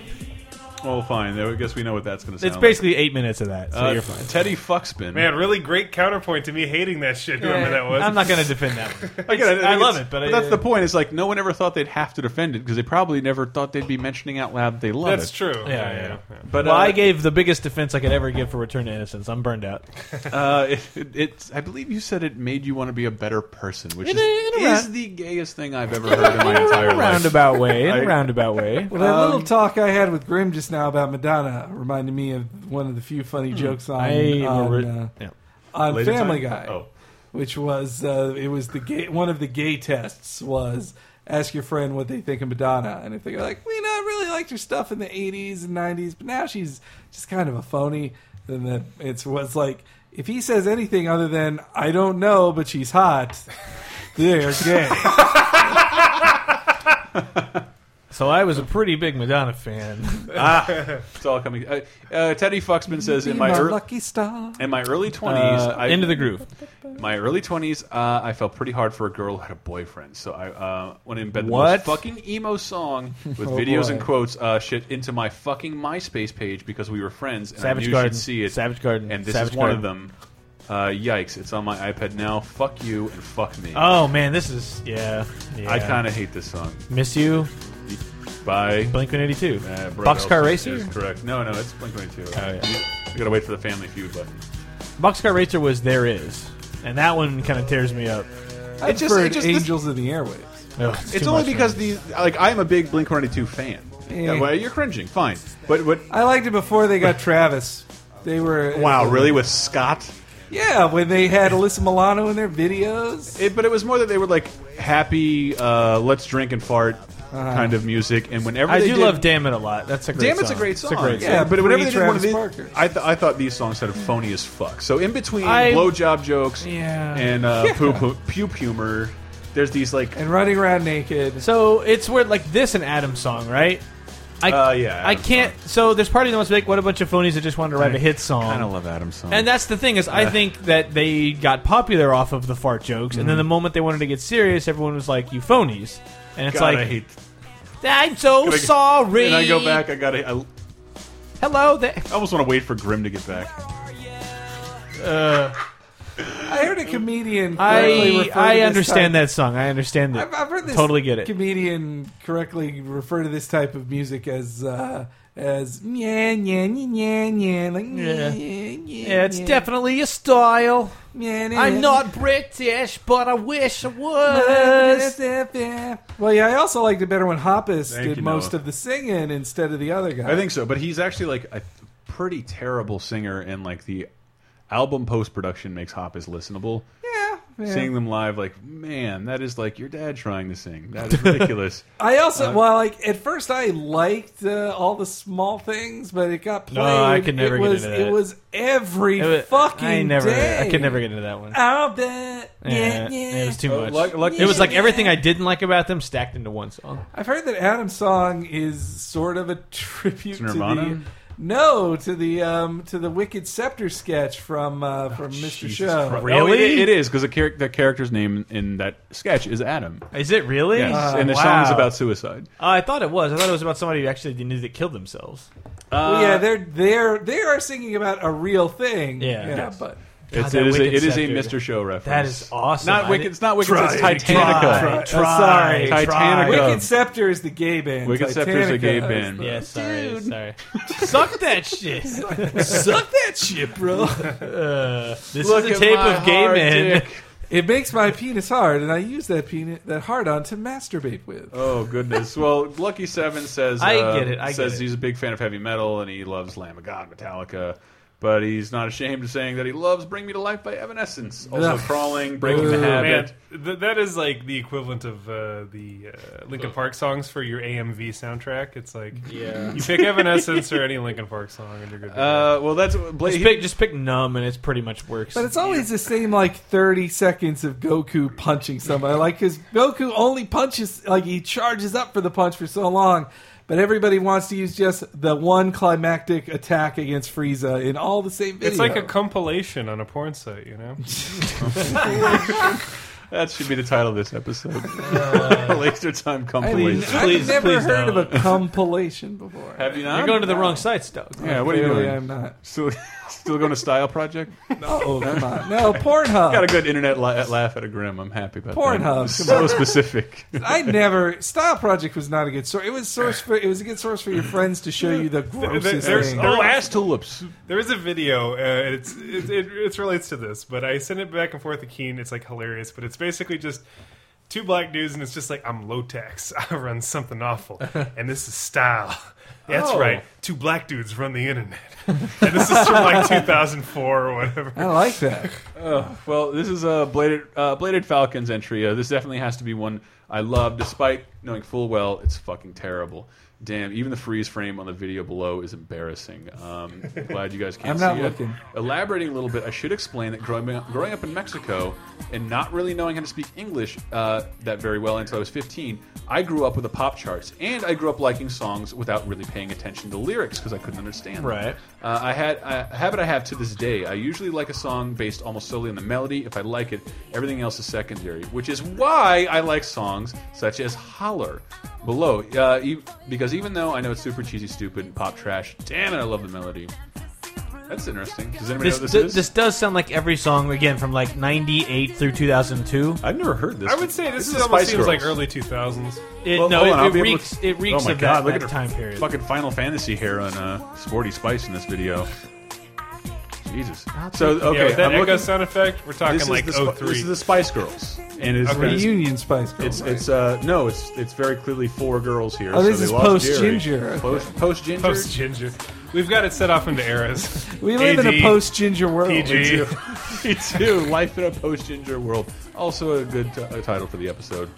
[SPEAKER 3] Well, fine. I guess we know what that's going to sound
[SPEAKER 4] It's basically eight minutes of that, so
[SPEAKER 3] like.
[SPEAKER 4] you're
[SPEAKER 3] Uh,
[SPEAKER 4] fine.
[SPEAKER 3] Teddy Fuckspin.
[SPEAKER 6] Man, really great counterpoint to me hating that shit, whoever that was.
[SPEAKER 4] I'm not going to
[SPEAKER 3] (laughs)
[SPEAKER 4] defend that one.
[SPEAKER 3] Again, think
[SPEAKER 4] I love
[SPEAKER 3] it's-
[SPEAKER 4] it, but I- uh,
[SPEAKER 3] that's the point. It's like no one ever thought they'd have to defend it because they probably never thought they'd be mentioning out loud that they love
[SPEAKER 6] That's
[SPEAKER 3] it.
[SPEAKER 6] true.
[SPEAKER 4] Yeah, yeah.
[SPEAKER 6] yeah.
[SPEAKER 3] But
[SPEAKER 4] Well,
[SPEAKER 3] uh,
[SPEAKER 4] I gave the biggest defense I could ever give for Return to Innocence. I'm burned out.
[SPEAKER 3] uh, it, it, it's. I believe you said it made you want to be a better person, which
[SPEAKER 4] In
[SPEAKER 3] is
[SPEAKER 4] a- in a
[SPEAKER 3] is
[SPEAKER 4] round-
[SPEAKER 3] the gayest thing I've ever heard in (laughs)
[SPEAKER 4] (laughs)
[SPEAKER 3] my entire life.
[SPEAKER 4] roundabout way. In
[SPEAKER 3] I-
[SPEAKER 4] a roundabout way.
[SPEAKER 5] Well, that little talk I had with Grim just now about Madonna reminded me of one of the few funny jokes on
[SPEAKER 4] Hmm. I
[SPEAKER 5] on,
[SPEAKER 4] re-
[SPEAKER 5] uh,
[SPEAKER 4] yeah.
[SPEAKER 5] on
[SPEAKER 3] Laser
[SPEAKER 5] Family
[SPEAKER 3] time?
[SPEAKER 5] Guy,
[SPEAKER 3] Oh.
[SPEAKER 5] which was uh, it was the gay, one of the gay tests was ask your friend what they think of Madonna, and if they go like, "We not really liked her stuff in the '80s and '90s, but now she's just kind of a phony," then that it's was like if he says anything other than "I don't know, but she's hot," (laughs)
[SPEAKER 3] (laughs)
[SPEAKER 5] they're gay.
[SPEAKER 4] So I was a pretty big Madonna fan.
[SPEAKER 3] (laughs) It's all coming. Uh, uh, Teddy Fuxman says in
[SPEAKER 5] Be
[SPEAKER 3] my ear-
[SPEAKER 5] lucky star.
[SPEAKER 3] in my early twenties,
[SPEAKER 4] Uh,
[SPEAKER 3] I
[SPEAKER 4] into the groove.
[SPEAKER 3] My early twenties, uh, I fell pretty hard for a girl who had a boyfriend. So I uh, went in bed the
[SPEAKER 4] What?
[SPEAKER 3] most fucking emo song
[SPEAKER 4] (laughs)
[SPEAKER 3] with
[SPEAKER 5] Oh,
[SPEAKER 3] videos
[SPEAKER 5] boy.
[SPEAKER 3] and quotes uh, shit into my fucking MySpace page because we were friends and
[SPEAKER 4] Savage
[SPEAKER 3] I knew
[SPEAKER 4] Garden.
[SPEAKER 3] she'd see it.
[SPEAKER 4] Savage Garden.
[SPEAKER 3] And this
[SPEAKER 4] Savage
[SPEAKER 3] is one of
[SPEAKER 4] Garden.
[SPEAKER 3] them. Uh, yikes! It's on my iPad now. Fuck you and fuck me.
[SPEAKER 4] Oh man, this is yeah. yeah.
[SPEAKER 3] I kind of hate this song.
[SPEAKER 4] miss you.
[SPEAKER 3] Bye.
[SPEAKER 4] Blink One Eighty Two.
[SPEAKER 3] Uh, Brett
[SPEAKER 4] Boxcar
[SPEAKER 3] Elson
[SPEAKER 4] Racer.
[SPEAKER 3] is correct. No, no, it's Blink Twenty Two.
[SPEAKER 4] Oh, yeah.
[SPEAKER 3] I gotta wait for the Family Feud button.
[SPEAKER 4] Boxcar Racer was there is, and that one kind of tears me up.
[SPEAKER 5] I
[SPEAKER 3] It just-
[SPEAKER 5] preferred
[SPEAKER 3] it just- this-
[SPEAKER 5] Angels of the Airwaves.
[SPEAKER 4] Ugh,
[SPEAKER 3] It's
[SPEAKER 4] too
[SPEAKER 3] only
[SPEAKER 4] much
[SPEAKER 3] because
[SPEAKER 4] for me.
[SPEAKER 3] these like I am a big Blink One Eighty Two fan.
[SPEAKER 5] Yeah.
[SPEAKER 3] That way, you're cringing. Fine, but what?
[SPEAKER 5] I liked it before they got Travis. They were
[SPEAKER 3] Wow, really? With Scott?
[SPEAKER 5] Yeah, when they had Alyssa Milano in their videos.
[SPEAKER 3] It, but it was more that they were like happy, uh, let's drink and fart kind of music. And whenever
[SPEAKER 4] Uh-huh. I
[SPEAKER 3] they
[SPEAKER 4] do
[SPEAKER 3] did-
[SPEAKER 4] love Damn It a lot. That's a great
[SPEAKER 3] Damn,
[SPEAKER 4] song.
[SPEAKER 3] it's a great song.
[SPEAKER 4] great
[SPEAKER 5] song.
[SPEAKER 3] yeah, but whenever they did one of
[SPEAKER 5] Travis
[SPEAKER 3] these,
[SPEAKER 5] Barker.
[SPEAKER 3] I, th- I thought these songs sounded phony as fuck. So in between
[SPEAKER 4] I-
[SPEAKER 3] blowjob jokes
[SPEAKER 4] Yeah.
[SPEAKER 3] and uh, poop, poop, puke humor. there's these like
[SPEAKER 5] and running around naked.
[SPEAKER 4] So it's where like this and Adam song, right? I,
[SPEAKER 3] Uh, yeah,
[SPEAKER 4] I
[SPEAKER 3] Adam
[SPEAKER 4] can't. So there's part of me that wants to make what a bunch of phonies that just wanted to write a hit song.
[SPEAKER 3] kind of love Adam's song.
[SPEAKER 4] And that's the thing is, I think that they got popular off of the fart jokes, and then the moment they wanted to get serious, everyone was like, "You phonies," and it's
[SPEAKER 3] God,
[SPEAKER 4] like,
[SPEAKER 3] I hate.
[SPEAKER 4] "I'm so
[SPEAKER 3] Can I-
[SPEAKER 4] sorry."
[SPEAKER 3] Can I go back? I gotta. I
[SPEAKER 4] Hello, there.
[SPEAKER 3] I almost want to wait for Grim to get back.
[SPEAKER 5] I heard a comedian. correctly
[SPEAKER 4] I
[SPEAKER 5] refer to
[SPEAKER 4] I
[SPEAKER 5] this
[SPEAKER 4] understand
[SPEAKER 5] type-
[SPEAKER 4] that song. I understand it.
[SPEAKER 5] I've, I've heard this
[SPEAKER 4] totally get it.
[SPEAKER 5] Comedian correctly refer to this type of music as uh, as yeah yeah yeah yeah like yeah yeah.
[SPEAKER 4] yeah, it's definitely a style.
[SPEAKER 5] yeah, yeah.
[SPEAKER 4] I'm
[SPEAKER 5] (laughs)
[SPEAKER 4] not British, but I wish I was.
[SPEAKER 5] Well, yeah, I also liked it better when Hoppus
[SPEAKER 3] Thank
[SPEAKER 5] did
[SPEAKER 3] you,
[SPEAKER 5] most
[SPEAKER 3] Noah.
[SPEAKER 5] of the singing instead of the other guy.
[SPEAKER 3] I think so, but he's actually like a pretty terrible singer, and like the album post production makes Hop is listenable.
[SPEAKER 5] yeah, yeah.
[SPEAKER 3] Seeing them live, like man, that is like your dad trying to sing. That
[SPEAKER 4] (laughs)
[SPEAKER 3] is ridiculous. Oh,
[SPEAKER 5] I
[SPEAKER 4] Uh,
[SPEAKER 5] also well, like at first I liked uh, all the small things, but it got played.
[SPEAKER 4] No, I could never
[SPEAKER 5] it
[SPEAKER 4] get
[SPEAKER 5] was,
[SPEAKER 4] into that.
[SPEAKER 5] It was every
[SPEAKER 4] It was-
[SPEAKER 5] fucking
[SPEAKER 4] I never.
[SPEAKER 5] day.
[SPEAKER 4] I could never get into that one.
[SPEAKER 5] I'll bet. Yeah, yeah.
[SPEAKER 4] It was too much.
[SPEAKER 3] Uh, luck- luck-
[SPEAKER 4] it was like everything I didn't like about them stacked into one song.
[SPEAKER 5] I've heard that Adam's song is sort of a (laughs) tribute
[SPEAKER 3] To
[SPEAKER 5] to,
[SPEAKER 3] Nirvana?
[SPEAKER 5] the no to the um to the Wicked Scepter sketch from
[SPEAKER 4] Oh,
[SPEAKER 5] uh, from Mr.
[SPEAKER 3] Jesus
[SPEAKER 5] Show.
[SPEAKER 3] Christ.
[SPEAKER 4] Really?
[SPEAKER 3] No, it, it is because the, char the character's name in that sketch is Adam.
[SPEAKER 4] Is it really?
[SPEAKER 3] Yes,
[SPEAKER 5] Uh,
[SPEAKER 3] and the
[SPEAKER 4] uh, wow.
[SPEAKER 3] song is about suicide.
[SPEAKER 4] Uh, I thought it was. I thought it was about somebody who actually knew that killed themselves. Oh, Uh,
[SPEAKER 5] Well, yeah, they're they're they are singing about a real thing.
[SPEAKER 4] Yeah.
[SPEAKER 5] yeah,
[SPEAKER 4] Yes.
[SPEAKER 5] but
[SPEAKER 3] It's,
[SPEAKER 4] that
[SPEAKER 3] it is a,
[SPEAKER 4] Wicked
[SPEAKER 3] it is a
[SPEAKER 4] Scepter.
[SPEAKER 3] Mr. Show reference.
[SPEAKER 4] That is awesome.
[SPEAKER 3] Not
[SPEAKER 4] I
[SPEAKER 3] Wicked.
[SPEAKER 4] didn't-
[SPEAKER 3] It's not Wicked. It's Titanica.
[SPEAKER 4] Try, try,
[SPEAKER 5] sorry.
[SPEAKER 4] try.
[SPEAKER 3] Titanica.
[SPEAKER 5] Wicked Scepter is the gay band.
[SPEAKER 3] Wicked Scepter's a gay
[SPEAKER 5] Titanica is
[SPEAKER 3] band.
[SPEAKER 5] the-
[SPEAKER 4] Yeah, sorry, sorry. Suck that
[SPEAKER 3] (laughs)
[SPEAKER 4] shit.
[SPEAKER 5] (laughs) Suck that shit,
[SPEAKER 4] (laughs)
[SPEAKER 5] bro.
[SPEAKER 4] This is a tape of gay men. (laughs)
[SPEAKER 5] it makes my penis hard, and I use that penis that hard on to masturbate with.
[SPEAKER 3] Oh goodness! Well, Lucky Seven says
[SPEAKER 4] I
[SPEAKER 3] uh,
[SPEAKER 4] get it, I get
[SPEAKER 3] says
[SPEAKER 4] it.
[SPEAKER 3] he's a big fan of heavy metal and he loves Lamb of God, Metallica, but he's not ashamed of saying that he loves Bring Me to Life by Evanescence. Also,
[SPEAKER 5] Ugh.
[SPEAKER 3] Crawling, Breaking the
[SPEAKER 5] Ooh.
[SPEAKER 3] Habit.
[SPEAKER 6] Man, th- that is like the equivalent of uh, the uh, Linkin Park songs for your AMV soundtrack. It's like
[SPEAKER 4] Yeah.
[SPEAKER 6] you pick Evanescence or any Linkin Park song, and you're good. To go.
[SPEAKER 3] Uh, well, that's Blake.
[SPEAKER 4] Just pick, just pick numb, and it's pretty much works.
[SPEAKER 5] But it's always the same, like thirty seconds of Goku punching somebody, like because Goku only punches, like he charges up for the punch for so long. But everybody wants to use just the one climactic attack against Frieza in all the same video.
[SPEAKER 6] it's like a compilation on a porn site, you know.
[SPEAKER 3] that should be the title of this episode. (laughs) Laser time
[SPEAKER 5] Uh, I mean,
[SPEAKER 3] compilation.
[SPEAKER 4] Please-
[SPEAKER 5] I've never
[SPEAKER 4] please
[SPEAKER 5] heard
[SPEAKER 4] don't.
[SPEAKER 5] of a compilation before.
[SPEAKER 3] Have you not?
[SPEAKER 4] You're going to the wrong sites, dog.
[SPEAKER 3] yeah. What are you
[SPEAKER 5] Clearly
[SPEAKER 3] doing?
[SPEAKER 5] I'm not.
[SPEAKER 3] Still, still going to Style
[SPEAKER 5] (laughs)
[SPEAKER 3] Project?
[SPEAKER 5] Oh come on,
[SPEAKER 3] (laughs)
[SPEAKER 5] no Pornhub.
[SPEAKER 3] Got a good internet la- laugh at a grim. I'm happy about that.
[SPEAKER 5] Pornhub, come
[SPEAKER 3] So
[SPEAKER 5] (laughs)
[SPEAKER 3] specific.
[SPEAKER 5] I never Style Project was not a good source. It was source for it was a good source for your friends to show you the grossest
[SPEAKER 6] there's-
[SPEAKER 5] thing.
[SPEAKER 3] oh, ass tulips.
[SPEAKER 6] There is a video. Uh, and it's it, it, it relates to this, but I sent it back and forth to Keen. It's like hilarious, but it's basically just two black dudes, and it's just like I'm low tax. (laughs) I run something awful, and this is style. That's
[SPEAKER 4] Oh.
[SPEAKER 6] right. Two black dudes run the internet, (laughs) and this is from like 2004 or whatever.
[SPEAKER 5] I like that.
[SPEAKER 3] Well, this is a bladed uh, bladed Falcons entry. Uh, this definitely has to be one I love, despite knowing full well it's fucking terrible. Damn, even the freeze frame on the video below is embarrassing. Um, glad you guys can't
[SPEAKER 5] I'm not
[SPEAKER 3] see
[SPEAKER 5] looking.
[SPEAKER 3] it. Elaborating a little bit, I should explain that growing up, growing up in Mexico and not really knowing how to speak English uh, that very well until I was 15, I grew up with the pop charts, and I grew up liking songs without really paying attention to lyrics because I couldn't understand them.
[SPEAKER 4] Right.
[SPEAKER 3] Uh, I had a habit I have to this day. I usually like a song based almost solely on the melody. If I like it, everything else is secondary, which is why I like songs such as "Holler" below, uh, e because even though I know it's super cheesy, stupid, and pop trash, damn it, I love the melody. That's interesting. Does anybody
[SPEAKER 4] This,
[SPEAKER 3] know what
[SPEAKER 4] d-
[SPEAKER 3] this is?
[SPEAKER 4] this does sound like every song again from like '98 through 2002.
[SPEAKER 3] I've never heard this.
[SPEAKER 6] I would say this,
[SPEAKER 3] is
[SPEAKER 6] is almost
[SPEAKER 3] Spice
[SPEAKER 6] seems like
[SPEAKER 3] Girls.
[SPEAKER 6] early 2000s.
[SPEAKER 4] It,
[SPEAKER 3] Well,
[SPEAKER 4] no,
[SPEAKER 3] hold on, I'll
[SPEAKER 4] it,
[SPEAKER 3] be
[SPEAKER 4] it
[SPEAKER 3] able to-
[SPEAKER 4] reeks. It reeks
[SPEAKER 3] oh my
[SPEAKER 4] of
[SPEAKER 3] God,
[SPEAKER 4] that,
[SPEAKER 3] look at
[SPEAKER 4] that
[SPEAKER 3] her
[SPEAKER 4] time period.
[SPEAKER 3] Fucking Final Fantasy hair on uh, Sporty Spice in this video. Jesus. So
[SPEAKER 6] Yeah,
[SPEAKER 3] okay,
[SPEAKER 6] with that
[SPEAKER 3] I'm
[SPEAKER 6] echo
[SPEAKER 3] looking.
[SPEAKER 6] sound effect, we're talking
[SPEAKER 3] this,
[SPEAKER 6] like
[SPEAKER 3] is the, Sp-
[SPEAKER 6] 03.
[SPEAKER 3] this is the Spice Girls, and it's,
[SPEAKER 6] Okay.
[SPEAKER 3] it's
[SPEAKER 5] Reunion Spice
[SPEAKER 3] It's
[SPEAKER 5] Girls.
[SPEAKER 3] it's uh no, it's it's very clearly four girls here.
[SPEAKER 5] Oh, this
[SPEAKER 3] so
[SPEAKER 5] is
[SPEAKER 3] they lost
[SPEAKER 5] post-Ginger.
[SPEAKER 3] Jerry.
[SPEAKER 5] Okay.
[SPEAKER 3] Post post ginger.
[SPEAKER 6] Post
[SPEAKER 3] (laughs)
[SPEAKER 6] Ginger. We've got it set off into eras.
[SPEAKER 5] we live in
[SPEAKER 6] AD,
[SPEAKER 5] a post Ginger world.
[SPEAKER 3] Oh,
[SPEAKER 6] PG.
[SPEAKER 3] Me too. Life in a post ginger world. Also a good t- a title for the episode.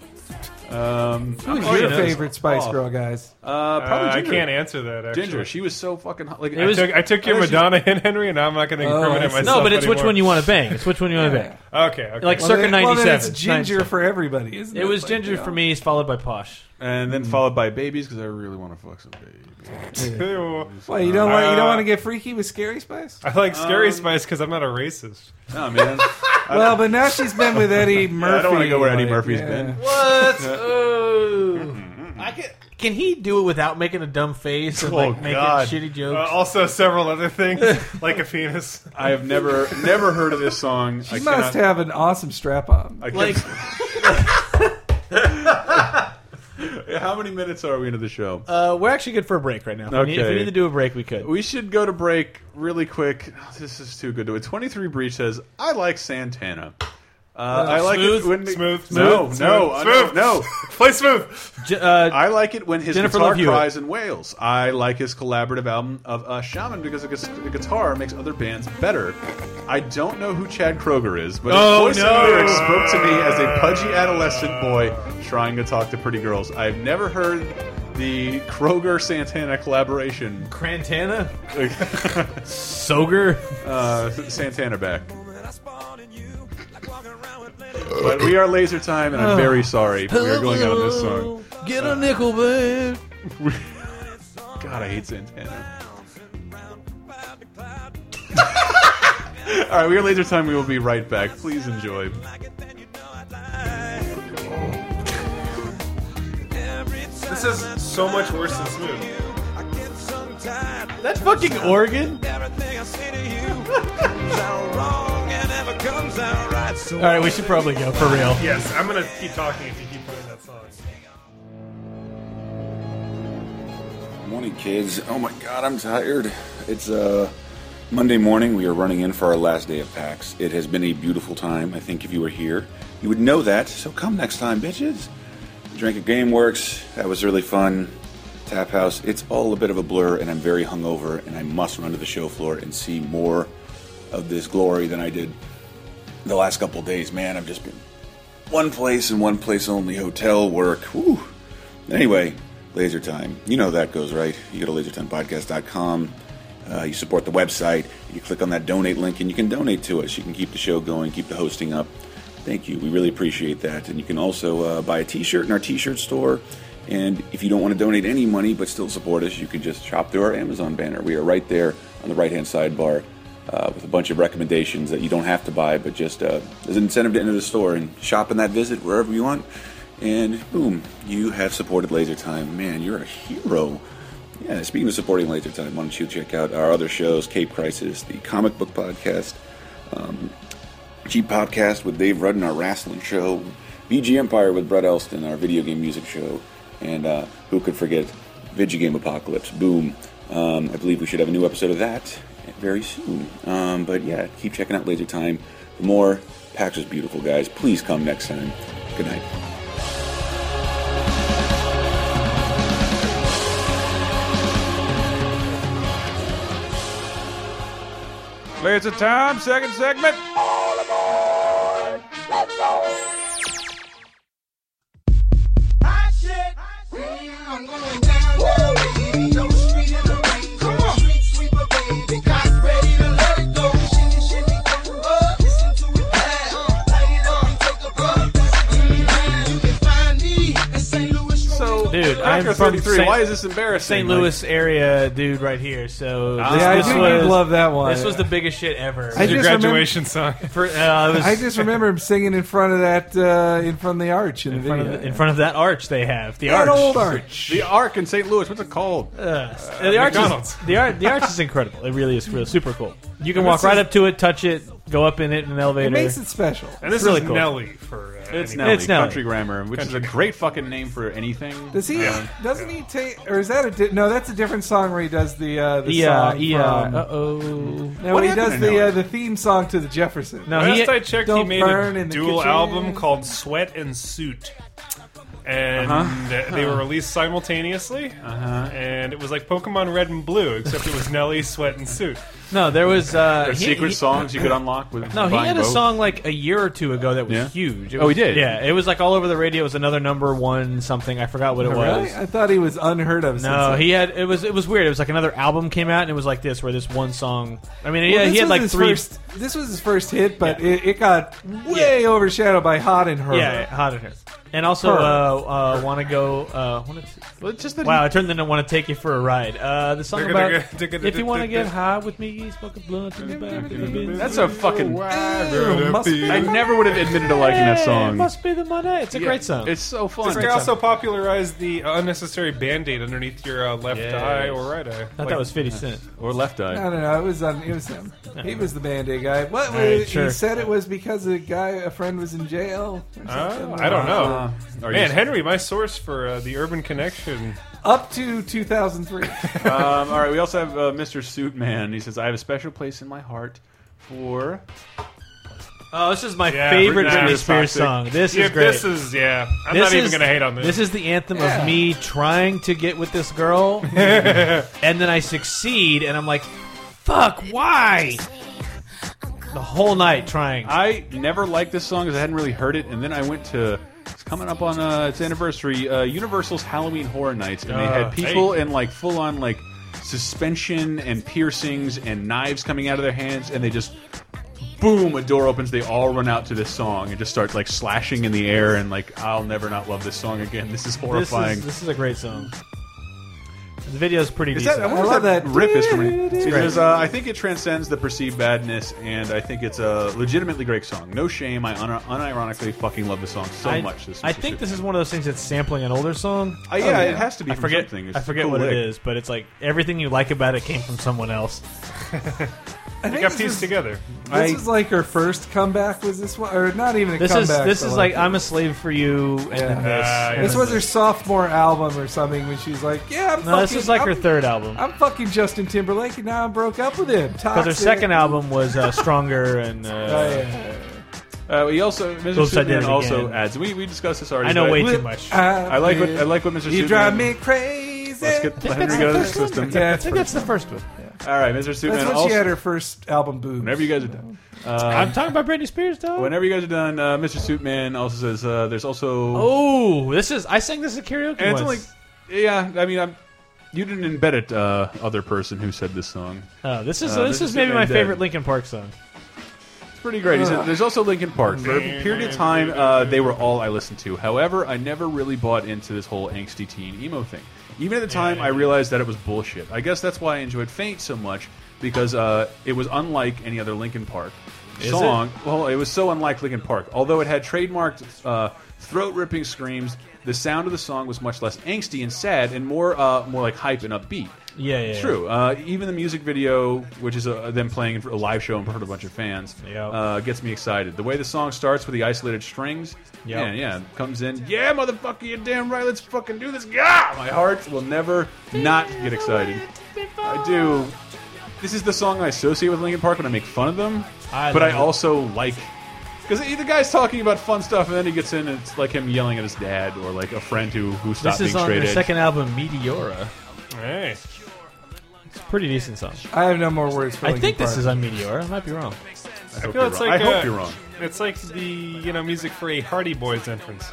[SPEAKER 3] Um,
[SPEAKER 5] Who's
[SPEAKER 3] oh,
[SPEAKER 5] your
[SPEAKER 3] yeah,
[SPEAKER 5] favorite Spice
[SPEAKER 3] off.
[SPEAKER 5] Girl, guys?
[SPEAKER 3] Uh,
[SPEAKER 6] Uh,
[SPEAKER 3] probably
[SPEAKER 6] I
[SPEAKER 3] Ginger.
[SPEAKER 6] can't answer that. Actually.
[SPEAKER 3] Ginger, she was so fucking hot. Like,
[SPEAKER 4] It was- Oh,
[SPEAKER 6] I took, I took your
[SPEAKER 3] I actually-
[SPEAKER 6] Madonna and Henry, and I'm not going to
[SPEAKER 5] I
[SPEAKER 6] incriminate
[SPEAKER 5] see.
[SPEAKER 6] myself.
[SPEAKER 4] No, but it's which
[SPEAKER 6] anymore.
[SPEAKER 4] one you want to bang. It's which one you want to bang.
[SPEAKER 6] Okay, okay.
[SPEAKER 4] Like,
[SPEAKER 5] Well,
[SPEAKER 4] circa
[SPEAKER 5] then- well, then
[SPEAKER 4] 97.
[SPEAKER 5] it's ginger
[SPEAKER 4] 97.
[SPEAKER 5] for everybody, isn't it?
[SPEAKER 4] It was
[SPEAKER 5] Like,
[SPEAKER 4] ginger
[SPEAKER 5] you know.
[SPEAKER 4] for me, followed by posh.
[SPEAKER 3] and
[SPEAKER 6] Mm.
[SPEAKER 3] then followed by babies because I really want to fuck some babies.
[SPEAKER 6] Ew.
[SPEAKER 5] Well, you don't want you
[SPEAKER 6] Uh,
[SPEAKER 5] don't want to get freaky with Scary Spice.
[SPEAKER 6] I like Scary
[SPEAKER 3] Um,
[SPEAKER 6] Spice because I'm not a racist.
[SPEAKER 3] No man, (laughs)
[SPEAKER 5] Well, but now she's been with Eddie Murphy.
[SPEAKER 3] I don't want to go where Eddie
[SPEAKER 5] like,
[SPEAKER 3] Murphy's
[SPEAKER 5] yeah.
[SPEAKER 3] been.
[SPEAKER 4] What? I can, can he do it without making a dumb face and
[SPEAKER 3] Oh,
[SPEAKER 4] like making
[SPEAKER 3] God.
[SPEAKER 4] shitty
[SPEAKER 6] Uh,
[SPEAKER 4] jokes?
[SPEAKER 6] also, several
[SPEAKER 4] (laughs)
[SPEAKER 6] other things like a penis.
[SPEAKER 3] I have never never heard of this song. I
[SPEAKER 5] She
[SPEAKER 3] cannot-
[SPEAKER 5] must have an awesome strap on.
[SPEAKER 3] I
[SPEAKER 4] like,
[SPEAKER 3] can't- (laughs) how many minutes are we into the show?
[SPEAKER 4] uh, we're actually good for a break right now. If we need- If we
[SPEAKER 3] Okay.
[SPEAKER 4] need to do a break, we could.
[SPEAKER 3] We should go to break really quick. This is too good to it. Twenty three breach says I like Santana. Uh, I like
[SPEAKER 4] smooth,
[SPEAKER 3] it when the-
[SPEAKER 6] smooth,
[SPEAKER 3] No,
[SPEAKER 6] smooth,
[SPEAKER 3] no,
[SPEAKER 6] smooth,
[SPEAKER 3] no,
[SPEAKER 6] smooth.
[SPEAKER 3] no.
[SPEAKER 6] Play smooth.
[SPEAKER 4] J- uh,
[SPEAKER 3] I like it when his
[SPEAKER 4] Jennifer
[SPEAKER 3] guitar
[SPEAKER 4] Love Hewitt.
[SPEAKER 3] cries in Wales. I like his collaborative album of uh, Shaman because the gus- the guitar makes other bands better. I don't know who Chad Kroger is, but his
[SPEAKER 6] Oh,
[SPEAKER 3] voice
[SPEAKER 6] no.
[SPEAKER 3] and lyrics spoke to me as a pudgy adolescent boy trying to talk to pretty girls. I've never heard the Kroger Santana collaboration.
[SPEAKER 4] Crantana, Soger.
[SPEAKER 3] uh, Santana back. But we are laser time, and I'm very sorry. but We are going out on this song.
[SPEAKER 4] Get a nickel, babe.
[SPEAKER 3] God, I hate
[SPEAKER 4] (laughs)
[SPEAKER 3] Santana. All right, we are laser time. We will be right back. Please enjoy.
[SPEAKER 6] This is so much worse than smooth.
[SPEAKER 4] That's fucking Oregon. All right, we should probably go for real.
[SPEAKER 6] Yes, I'm going to keep talking if you keep playing that song.
[SPEAKER 9] Morning, kids. Oh my god, I'm tired. It's uh, Monday morning. We are running in for our last day of PAX. It has been a beautiful time. I think if you were here, you would know that. So come next time, bitches. Drank at GameWorks. That was really fun. Tap House. It's all a bit of a blur, and I'm very hungover, and I must run to the show floor and see more of this glory than I did the last couple days. Man, I've just been one place and one place only. Hotel work. Whew. Anyway, Laser Time. You know how that goes, right? You go to lasertimepodcast.com. Uh, you support the website. You click on that donate link, and you can donate to us. You can keep the show going, keep the hosting up. Thank you. We really appreciate that. And you can also uh, buy a T-shirt in our T-shirt store. And if you don't want to donate any money but still support us, you can just shop through our Amazon banner. We are right there on the right-hand sidebar uh, with a bunch of recommendations that you don't have to buy, but just uh, as an incentive to enter the store and shop in that visit wherever you want. And boom, you have supported Laser Time. Man, you're a hero. Yeah, speaking of supporting Laser Time, why don't you check out our other shows, Cape Crisis, the comic book podcast, Cheap Podcast with Dave Rudden, our wrestling show, VG Empire with Brett Elston, our video game music show, and uh, who could forget Video Game Apocalypse? Boom. Um, I believe we should have a new episode of that very soon. Um, but yeah, keep checking out Laser Time for more. PAX is beautiful, guys. Please come next time. Good night.
[SPEAKER 3] Laser time, second segment. So,
[SPEAKER 4] Dude,
[SPEAKER 3] Cracker
[SPEAKER 4] I'm from
[SPEAKER 3] 33.
[SPEAKER 4] Saint-
[SPEAKER 3] Why is this embarrassing?
[SPEAKER 4] St. Louis area dude right here. So
[SPEAKER 3] Ah,
[SPEAKER 4] this,
[SPEAKER 5] Yeah, I
[SPEAKER 4] this
[SPEAKER 5] do
[SPEAKER 4] was,
[SPEAKER 5] love that one.
[SPEAKER 4] This was the biggest shit ever.
[SPEAKER 5] I
[SPEAKER 6] Your
[SPEAKER 5] just remember-
[SPEAKER 6] graduation song.
[SPEAKER 4] For- uh, it was
[SPEAKER 5] I just remember him singing in front of that, uh, in front of the arch in,
[SPEAKER 4] in
[SPEAKER 5] the
[SPEAKER 4] front,
[SPEAKER 5] video.
[SPEAKER 4] of the- in front of that arch they have the
[SPEAKER 5] that
[SPEAKER 4] arch.
[SPEAKER 5] old arch.
[SPEAKER 3] The Ark in St. Louis. What's it called?
[SPEAKER 4] Uh, the arch
[SPEAKER 6] McDonald's.
[SPEAKER 4] is, the, ar- the arch is incredible. It really is really super cool. You can walk right up to it, touch it, go up in it in an elevator.
[SPEAKER 5] It makes it special.
[SPEAKER 6] And this
[SPEAKER 4] Really
[SPEAKER 6] is
[SPEAKER 4] cool.
[SPEAKER 6] Nelly for. Uh,
[SPEAKER 3] It's
[SPEAKER 6] anybody.
[SPEAKER 3] Nelly,
[SPEAKER 4] It's Nelly.
[SPEAKER 3] Country Grammar, which is a great fucking name for anything.
[SPEAKER 5] Does he?
[SPEAKER 6] Yeah.
[SPEAKER 5] Doesn't he take? Or is that a? Di- no, that's a different song where he does the uh, the
[SPEAKER 4] yeah,
[SPEAKER 5] song
[SPEAKER 4] yeah.
[SPEAKER 5] from-
[SPEAKER 4] Uh oh.
[SPEAKER 5] No,
[SPEAKER 3] What
[SPEAKER 5] he
[SPEAKER 3] happened
[SPEAKER 5] does
[SPEAKER 3] to
[SPEAKER 5] the
[SPEAKER 3] Nelly?
[SPEAKER 5] uh, the theme song to the Jefferson.
[SPEAKER 4] No,
[SPEAKER 6] Last
[SPEAKER 4] he,
[SPEAKER 6] I checked, he
[SPEAKER 5] Don't
[SPEAKER 6] made
[SPEAKER 5] burn
[SPEAKER 6] a
[SPEAKER 5] in the
[SPEAKER 6] dual
[SPEAKER 5] kitchen.
[SPEAKER 6] album called Sweat and Suit. and
[SPEAKER 3] Uh-huh.
[SPEAKER 6] they were released simultaneously. And it was like Pokemon Red and Blue, except it was Nelly Sweat and Suit.
[SPEAKER 4] No, there was uh,
[SPEAKER 3] There's
[SPEAKER 4] he-
[SPEAKER 3] secret
[SPEAKER 4] he-
[SPEAKER 3] songs you could unlock with.
[SPEAKER 4] No, he
[SPEAKER 3] buying
[SPEAKER 4] had a
[SPEAKER 3] both.
[SPEAKER 4] song like a year or two ago that was
[SPEAKER 3] Yeah?
[SPEAKER 4] huge. It
[SPEAKER 3] Oh,
[SPEAKER 4] was-
[SPEAKER 3] he did?
[SPEAKER 4] Yeah, it was like all over the radio. It was another number one something. I forgot what it was.
[SPEAKER 5] Oh, Really? I thought he was unheard of. since
[SPEAKER 4] No,
[SPEAKER 5] then.
[SPEAKER 4] he had it was it was weird. It was like another album came out and it was like this, where this one song. I mean,
[SPEAKER 5] Well,
[SPEAKER 4] yeah, he
[SPEAKER 5] this
[SPEAKER 4] had
[SPEAKER 5] was
[SPEAKER 4] like
[SPEAKER 5] his
[SPEAKER 4] three.
[SPEAKER 5] First, this was his first hit, but it, it got way overshadowed by Hot and Her.
[SPEAKER 4] yeah, hot in here. And also, uh,
[SPEAKER 5] Her.
[SPEAKER 4] uh, want to go? Uh, wanna t-
[SPEAKER 3] Well, it's just that
[SPEAKER 4] wow, I turned into want to take you for a ride. Uh, the song
[SPEAKER 6] Digga,
[SPEAKER 4] about
[SPEAKER 6] digga, digga,
[SPEAKER 4] if you want to
[SPEAKER 6] digga,
[SPEAKER 4] get
[SPEAKER 6] digga.
[SPEAKER 4] high with me, smoke a blunt in the back. of the
[SPEAKER 3] he-
[SPEAKER 4] Benz.
[SPEAKER 3] that's a fucking.
[SPEAKER 5] Ew, must be-
[SPEAKER 3] I never would have admitted to liking that
[SPEAKER 4] Hey,
[SPEAKER 3] song.
[SPEAKER 4] must be the money. It's a great song.
[SPEAKER 3] It's so fun.
[SPEAKER 6] This guy also popularized the unnecessary band aid underneath your uh, left eye or right eye.
[SPEAKER 4] I thought that was Fifty Cent.
[SPEAKER 3] or left eye.
[SPEAKER 5] I don't know. It was on. It was him. He was the band aid guy. What?
[SPEAKER 4] right,
[SPEAKER 5] He
[SPEAKER 4] sure.
[SPEAKER 5] said it was because a guy, a friend, was in jail. or
[SPEAKER 6] Oh,
[SPEAKER 5] something.
[SPEAKER 6] I don't know.
[SPEAKER 3] Uh, are
[SPEAKER 6] Man,
[SPEAKER 3] you-
[SPEAKER 6] Henry, my source for uh, the Urban Connection.
[SPEAKER 5] Up
[SPEAKER 4] (laughs)
[SPEAKER 5] to 2003.
[SPEAKER 3] Um, all right, we also have uh, Mr. Suitman. He says, "I have a special place in my heart for."
[SPEAKER 4] Oh, this is my
[SPEAKER 6] Yeah,
[SPEAKER 4] favorite
[SPEAKER 6] nah,
[SPEAKER 4] Britney
[SPEAKER 6] it's
[SPEAKER 4] Spears
[SPEAKER 3] toxic.
[SPEAKER 4] song. This
[SPEAKER 6] yeah,
[SPEAKER 4] is great.
[SPEAKER 6] this is yeah. I'm not even gonna hate on this.
[SPEAKER 4] This is the anthem of me trying to get with this girl, and then I succeed, and I'm like, "Fuck, why?" The whole night trying.
[SPEAKER 3] I never liked this song because I hadn't really heard it, and then I went to. It's coming up on uh, its anniversary. Uh, Universal's Halloween Horror Nights, and they
[SPEAKER 4] Uh,
[SPEAKER 3] had people in like full on like suspension and piercings and knives coming out of their hands, and they just boom, a door opens. They all run out to this song and just start like slashing in the air, and like I'll never not love this song again. This is
[SPEAKER 4] this
[SPEAKER 3] horrifying.
[SPEAKER 4] is this is a great song. The video's pretty
[SPEAKER 3] Is
[SPEAKER 4] decent.
[SPEAKER 3] that, I wonder
[SPEAKER 5] I
[SPEAKER 3] if
[SPEAKER 5] love
[SPEAKER 3] that,
[SPEAKER 5] that.
[SPEAKER 3] riff is from it. It
[SPEAKER 4] great.
[SPEAKER 3] says, uh, I think it transcends the perceived badness, and I think it's a legitimately great song. No shame, I un unironically fucking love the song so
[SPEAKER 4] I,
[SPEAKER 3] much. This
[SPEAKER 4] I think this is one of those things that's sampling an older song.
[SPEAKER 3] Uh, yeah, it has to be.
[SPEAKER 4] I
[SPEAKER 3] from
[SPEAKER 4] forget.
[SPEAKER 3] Something. It's
[SPEAKER 4] I
[SPEAKER 3] a
[SPEAKER 4] forget
[SPEAKER 3] cool
[SPEAKER 4] what it
[SPEAKER 3] lick.
[SPEAKER 4] is, but it's like everything you like about it came from someone else.
[SPEAKER 5] I think
[SPEAKER 6] got
[SPEAKER 5] this
[SPEAKER 6] pieced
[SPEAKER 5] is,
[SPEAKER 6] together.
[SPEAKER 5] This is like her first comeback. Was this one, or not even a
[SPEAKER 4] This is
[SPEAKER 5] comeback?
[SPEAKER 4] this
[SPEAKER 5] but
[SPEAKER 4] is like I'm a slave for you, and then this.
[SPEAKER 6] Uh,
[SPEAKER 4] and
[SPEAKER 5] This
[SPEAKER 4] then
[SPEAKER 5] was her sophomore album or something when she's like, yeah, I'm
[SPEAKER 4] No, this
[SPEAKER 5] fucking-
[SPEAKER 4] is like
[SPEAKER 5] I'm,
[SPEAKER 4] her third album.
[SPEAKER 5] I'm fucking Justin Timberlake, and now I broke up with him.
[SPEAKER 4] Because
[SPEAKER 5] Because
[SPEAKER 4] her second album was uh, stronger (laughs) and uh,
[SPEAKER 5] Oh, yeah.
[SPEAKER 3] Uh, he also Mr.
[SPEAKER 4] Oops, I did
[SPEAKER 3] Superman
[SPEAKER 4] it
[SPEAKER 3] also
[SPEAKER 4] again.
[SPEAKER 3] adds. We we discussed this already.
[SPEAKER 4] I know
[SPEAKER 3] but
[SPEAKER 4] way too much. I
[SPEAKER 5] I,
[SPEAKER 3] I like what I like what Mr.
[SPEAKER 5] You
[SPEAKER 3] Superman-
[SPEAKER 5] drive me crazy.
[SPEAKER 3] Let's get
[SPEAKER 4] think
[SPEAKER 3] Henry
[SPEAKER 4] that's
[SPEAKER 3] go to
[SPEAKER 4] the
[SPEAKER 3] the
[SPEAKER 4] first one.
[SPEAKER 3] system.
[SPEAKER 5] (laughs) Yeah,
[SPEAKER 4] I think that's the first one.
[SPEAKER 3] All right, Mr. Suitman.
[SPEAKER 5] That's when
[SPEAKER 3] also,
[SPEAKER 5] she had her first album, Boobs.
[SPEAKER 3] whenever you guys are done,
[SPEAKER 4] I'm talking about Britney Spears, though.
[SPEAKER 3] whenever you guys are done, uh, Mr. Suitman also says uh, there's also
[SPEAKER 4] oh, this is. I sang this at karaoke
[SPEAKER 3] and it's only
[SPEAKER 4] once.
[SPEAKER 3] yeah. I mean, I'm, you didn't embed it. Uh, other person who said this song.
[SPEAKER 4] oh, this is
[SPEAKER 3] uh,
[SPEAKER 4] this,
[SPEAKER 3] this
[SPEAKER 4] is
[SPEAKER 3] is
[SPEAKER 4] maybe
[SPEAKER 3] Superman
[SPEAKER 4] my
[SPEAKER 3] Dead.
[SPEAKER 4] favorite Linkin Park song.
[SPEAKER 3] pretty great. He said, There's also Linkin Park. For a period of time, uh, they were all I listened to. However, I never really bought into this whole angsty teen emo thing. Even at the time, I realized that it was bullshit. I guess that's why I enjoyed Faint so much because uh, it was unlike any other Linkin Park song. Well, it was so unlike Linkin Park. Although it had trademarked uh, throat ripping screams, the sound of the song was much less angsty and sad, and more uh, more like hype and upbeat.
[SPEAKER 4] Yeah, yeah.
[SPEAKER 3] It's True. Uh, even the music video, which is uh, them playing a live show in front of a bunch of fans,
[SPEAKER 4] Yeah.
[SPEAKER 3] uh, gets me excited. The way the song starts with the isolated strings, yeah,
[SPEAKER 4] Yeah.
[SPEAKER 3] yeah, comes in, yeah, motherfucker, you're damn right, let's fucking do this. Yeah, my heart will never not get excited. I do. This is the song I associate with Linkin Park when I make fun of them,
[SPEAKER 4] I
[SPEAKER 3] but I
[SPEAKER 4] love it.
[SPEAKER 3] also like. Because the guy's talking about fun stuff, and then he gets in, and it's like him yelling at his dad or like a friend who who stopped
[SPEAKER 4] This is
[SPEAKER 3] being
[SPEAKER 4] on
[SPEAKER 3] straight
[SPEAKER 4] their
[SPEAKER 3] edge.
[SPEAKER 4] second album, Meteora.
[SPEAKER 6] Hey.
[SPEAKER 4] It's a pretty decent song.
[SPEAKER 5] I have no more words for
[SPEAKER 4] I
[SPEAKER 5] Linkin
[SPEAKER 4] think this
[SPEAKER 5] Park.
[SPEAKER 4] is on Meteora. I might be wrong.
[SPEAKER 3] I hope,
[SPEAKER 6] feel
[SPEAKER 3] you're,
[SPEAKER 6] it's
[SPEAKER 3] wrong.
[SPEAKER 6] like,
[SPEAKER 3] I hope
[SPEAKER 6] uh,
[SPEAKER 3] you're wrong.
[SPEAKER 6] It's like the you know music for a Hardy Boys entrance.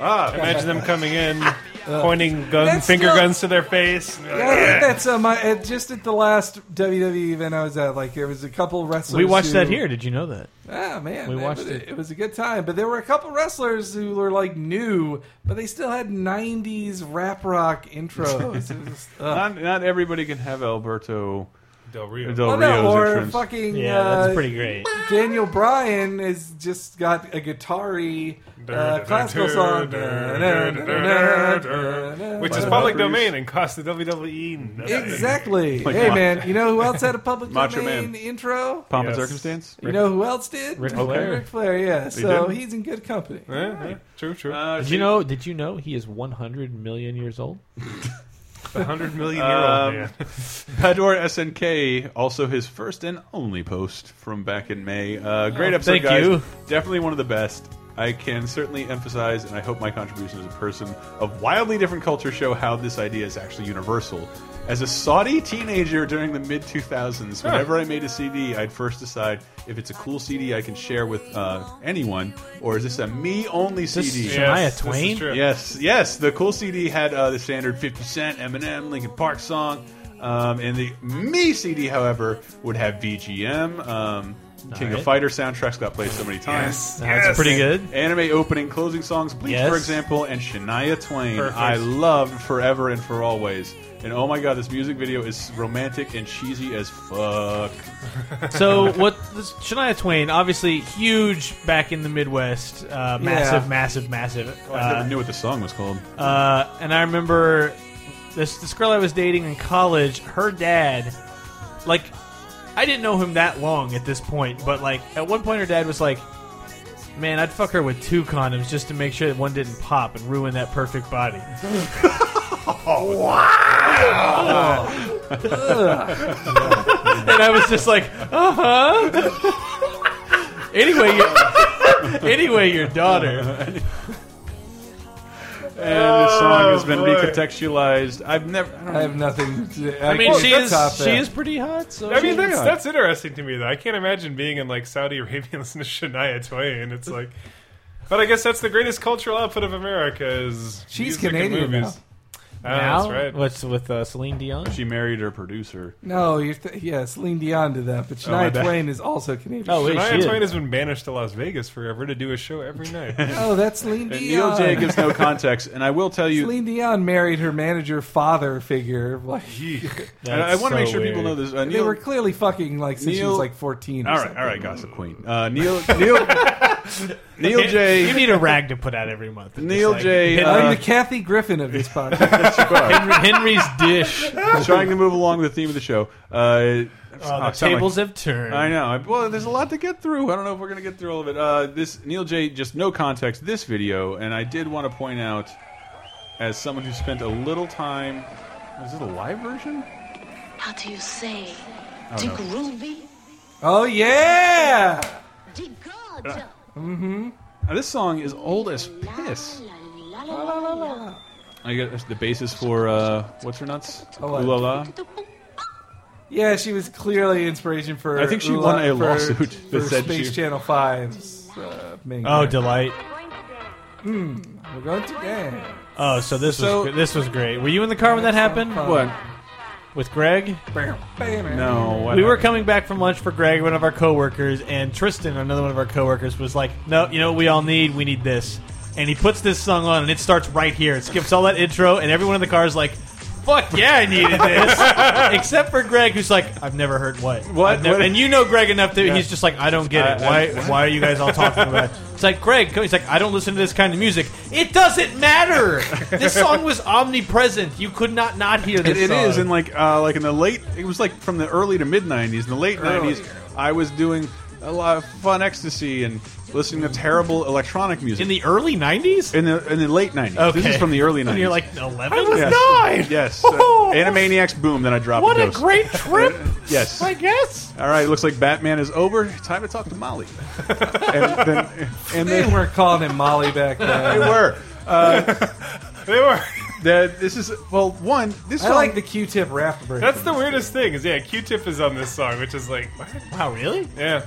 [SPEAKER 3] Ah,
[SPEAKER 6] Imagine them coming in, pointing gun,
[SPEAKER 5] That's
[SPEAKER 6] finger
[SPEAKER 5] not-
[SPEAKER 6] guns to their face. and,
[SPEAKER 5] Yeah, I
[SPEAKER 6] like,
[SPEAKER 5] think (laughs) that's uh, my. At, just at the last WWE event I was at, like there was a couple wrestlers.
[SPEAKER 4] We watched
[SPEAKER 5] who-
[SPEAKER 4] that here. Did you know that?
[SPEAKER 5] Ah man,
[SPEAKER 4] We
[SPEAKER 5] that
[SPEAKER 4] watched
[SPEAKER 5] was-
[SPEAKER 4] it.
[SPEAKER 5] It was a good time, but there were a couple wrestlers who were like new, but they still had '90s rap rock intros. It
[SPEAKER 3] (laughs)
[SPEAKER 5] was, uh,
[SPEAKER 3] Not, not everybody can have Alberto
[SPEAKER 6] Del Rio.
[SPEAKER 3] Del
[SPEAKER 5] oh,
[SPEAKER 3] Rio's
[SPEAKER 5] no, or
[SPEAKER 3] entrance.
[SPEAKER 5] fucking
[SPEAKER 4] Yeah,
[SPEAKER 5] uh,
[SPEAKER 4] that's pretty great.
[SPEAKER 5] Daniel Bryan has just got a guitar-y uh, classical song,
[SPEAKER 6] Which is
[SPEAKER 3] Like
[SPEAKER 6] public
[SPEAKER 3] Humphreys.
[SPEAKER 6] domain and costs the E WWE. nothing.
[SPEAKER 5] Exactly.
[SPEAKER 3] Like
[SPEAKER 5] hey
[SPEAKER 3] Ma-
[SPEAKER 5] man, you know who else had a public
[SPEAKER 3] Macho
[SPEAKER 5] domain
[SPEAKER 3] Man.
[SPEAKER 5] intro?
[SPEAKER 3] Pomp and
[SPEAKER 6] Yes.
[SPEAKER 3] circumstance.
[SPEAKER 5] You know who else did?
[SPEAKER 4] Ric Flair.
[SPEAKER 5] Ric Flair, yeah. So
[SPEAKER 3] did?
[SPEAKER 5] he's in good company.
[SPEAKER 6] Yeah, yeah, True, true.
[SPEAKER 3] Uh,
[SPEAKER 4] Did you know? Did you know he is 100 million years old?
[SPEAKER 6] the hundred million year old
[SPEAKER 3] Um,
[SPEAKER 6] man.
[SPEAKER 3] Pador SNK also his first and only post from back in May. Uh, great episode,
[SPEAKER 4] thank
[SPEAKER 3] guys.
[SPEAKER 4] you.
[SPEAKER 3] Definitely one of the best. I can certainly emphasize, and I hope my contribution as a person of wildly different cultures show how this idea is actually universal. As a Saudi teenager during the mid 2000s, whenever I made a CD, I'd first decide if it's a cool CD I can share with uh, anyone, or is this a me only
[SPEAKER 4] This
[SPEAKER 3] CD?
[SPEAKER 4] Shania
[SPEAKER 6] Yes, this is
[SPEAKER 4] Twain?
[SPEAKER 6] true.
[SPEAKER 3] Yes, yes. The cool CD had uh, the standard 50 Cent, Eminem, Linkin Park song. Um, and the me CD, however, would have VGM. Um, King of
[SPEAKER 4] right.
[SPEAKER 3] Fighter soundtracks got played so many times.
[SPEAKER 4] That's pretty good.
[SPEAKER 3] Anime opening, closing songs, Bleach,
[SPEAKER 4] Yes.
[SPEAKER 3] for example, and Shania Twain.
[SPEAKER 6] Perfect.
[SPEAKER 3] I loved Forever and For Always. And oh my god, this music video is romantic and cheesy as fuck.
[SPEAKER 4] So what? This, Shania Twain, obviously huge back in the Midwest, uh, massive,
[SPEAKER 5] Yeah.
[SPEAKER 4] massive, massive,
[SPEAKER 3] Oh, I
[SPEAKER 4] uh,
[SPEAKER 3] never knew what the song was called.
[SPEAKER 4] uh, and I remember this this girl I was dating in college. Her dad, like, I didn't know him that long at this point, but like at one point, her dad was like, "Man, I'd fuck her with two condoms just to make sure that one didn't pop and ruin that perfect body." and I was just like, uh huh. anyway, your, anyway, your daughter.
[SPEAKER 3] and this song has been
[SPEAKER 6] boy.
[SPEAKER 3] recontextualized. I've never. I don't
[SPEAKER 5] I have nothing. To,
[SPEAKER 4] I mean,
[SPEAKER 5] can't
[SPEAKER 4] she is
[SPEAKER 5] top
[SPEAKER 4] she
[SPEAKER 5] that.
[SPEAKER 4] is pretty hot. So
[SPEAKER 6] I mean,
[SPEAKER 4] she-
[SPEAKER 6] that's, that's interesting to me, though. I can't imagine being in like Saudi Arabia (laughs) and listening to Shania Twain. It's like, but I guess that's the greatest cultural output of America is
[SPEAKER 5] She's
[SPEAKER 6] music and
[SPEAKER 5] Canadian
[SPEAKER 6] movies. Ah,
[SPEAKER 4] now
[SPEAKER 6] that's right.
[SPEAKER 4] what's with uh, Celine Dion?
[SPEAKER 3] She married her producer.
[SPEAKER 5] No, you're th- yeah, Celine Dion did that, but
[SPEAKER 3] my
[SPEAKER 5] Shania
[SPEAKER 3] bad.
[SPEAKER 5] Twain is also Canadian.
[SPEAKER 4] Oh, wait, she
[SPEAKER 6] Shania
[SPEAKER 4] is.
[SPEAKER 6] Twain has been banished to Las Vegas forever to do a show every
[SPEAKER 5] (laughs)
[SPEAKER 6] night.
[SPEAKER 5] Oh, that's Celine
[SPEAKER 3] And Neil J
[SPEAKER 5] Dion.
[SPEAKER 3] gives no context, and I will tell you.
[SPEAKER 5] Celine Dion married her manager father figure. Like
[SPEAKER 3] I, I want to make sure people know this. Uh,
[SPEAKER 5] they
[SPEAKER 3] Neil,
[SPEAKER 5] were clearly fucking like since she
[SPEAKER 3] Neil-
[SPEAKER 5] was like fourteen. Or
[SPEAKER 3] all right,
[SPEAKER 5] something.
[SPEAKER 3] all right, gossip queen. Uh, Neil,
[SPEAKER 4] (laughs)
[SPEAKER 3] Neil, Neil J.
[SPEAKER 4] You need a rag to put out every month. It's
[SPEAKER 3] Neil
[SPEAKER 4] like
[SPEAKER 3] J.
[SPEAKER 4] Henry-
[SPEAKER 5] I'm
[SPEAKER 3] Uh, (laughs)
[SPEAKER 5] the Kathy Griffin of this podcast. (laughs)
[SPEAKER 4] Henry- (laughs) Henry's dish.
[SPEAKER 3] trying to move along with the theme of the show. Uh,
[SPEAKER 4] Oh, the
[SPEAKER 3] I sound like-
[SPEAKER 4] tables have turned.
[SPEAKER 3] I know. I- Well, there's a lot to get through. I don't know if we're going to get through all of it. Uh, this Neil J. Just no context. This video, and I did want to point out, as someone who spent a little time, is it a live version?
[SPEAKER 10] How do you say? Dig Ruby?
[SPEAKER 5] oh yeah,
[SPEAKER 10] Dig Gordo?
[SPEAKER 3] Now, this song is old as Uh, piss.
[SPEAKER 10] La la la la la.
[SPEAKER 3] I guess the basis for uh, what's her nuts?
[SPEAKER 5] Oh, I-
[SPEAKER 3] Ooh la la.
[SPEAKER 5] yeah. She was clearly inspiration for.
[SPEAKER 3] I think she
[SPEAKER 5] Ula-
[SPEAKER 3] won a
[SPEAKER 5] for-
[SPEAKER 3] lawsuit
[SPEAKER 5] for
[SPEAKER 3] that said
[SPEAKER 5] Space
[SPEAKER 3] she-
[SPEAKER 5] Channel 5's uh, main
[SPEAKER 4] Oh,
[SPEAKER 5] grant.
[SPEAKER 4] delight.
[SPEAKER 5] we're going to dance.
[SPEAKER 4] Oh, so this
[SPEAKER 3] So-
[SPEAKER 4] was gr- this was great. Were you in the car when that happened?
[SPEAKER 3] What?
[SPEAKER 4] With Greg?
[SPEAKER 5] Bam, bam.
[SPEAKER 3] No. What
[SPEAKER 4] We were
[SPEAKER 3] happened?
[SPEAKER 4] coming back from lunch for Greg, one of our coworkers, and Tristan, another one of our coworkers, was like, "No, you know what we all need? We need this." And he puts this song on, and it starts right here. It skips all that intro, and everyone in the car is like, "Fuck yeah, I
[SPEAKER 3] (laughs)
[SPEAKER 4] needed this," except for Greg, who's like, "I've never heard what
[SPEAKER 3] What?
[SPEAKER 4] I've never-"
[SPEAKER 3] What?
[SPEAKER 4] And you know Greg enough that he's just like, "I don't get it.
[SPEAKER 3] I-
[SPEAKER 4] Why? why are you guys all talking about?" it? It's like Greg. He's like, "I don't listen to this kind of music. It doesn't matter. This song was omnipresent. You could not not hear this.
[SPEAKER 3] It, it
[SPEAKER 4] song.
[SPEAKER 3] is in like uh, like in the late. It was like from the early to mid '90s. In the late '90s, I was doing a lot of fun ecstasy and listening to terrible electronic music.
[SPEAKER 4] in the early '90s."
[SPEAKER 3] in the in the late '90s.
[SPEAKER 4] Okay.
[SPEAKER 3] This is from the
[SPEAKER 4] (laughs)
[SPEAKER 3] early '90s.
[SPEAKER 4] When you're like 11?
[SPEAKER 3] yes.
[SPEAKER 4] (laughs)
[SPEAKER 3] Yes. Uh, Animaniacs boom. Then I dropped.
[SPEAKER 4] What a
[SPEAKER 3] Ghost.
[SPEAKER 4] great
[SPEAKER 3] (laughs)
[SPEAKER 4] trip,
[SPEAKER 3] Yes.
[SPEAKER 4] I guess.
[SPEAKER 3] All right. Looks like Batman is over. Time to talk to Molly. (laughs) and then and
[SPEAKER 5] They
[SPEAKER 3] then
[SPEAKER 5] weren't calling him Molly back
[SPEAKER 3] they
[SPEAKER 5] then.
[SPEAKER 3] were.
[SPEAKER 6] they were. (laughs)
[SPEAKER 3] The, this is well one. This
[SPEAKER 5] I
[SPEAKER 3] song-
[SPEAKER 5] like the Q-tip rap version.
[SPEAKER 6] That's the weirdest thing is yeah, Q-Tip is on this song, which is like, what?
[SPEAKER 4] Wow, really?
[SPEAKER 6] yeah,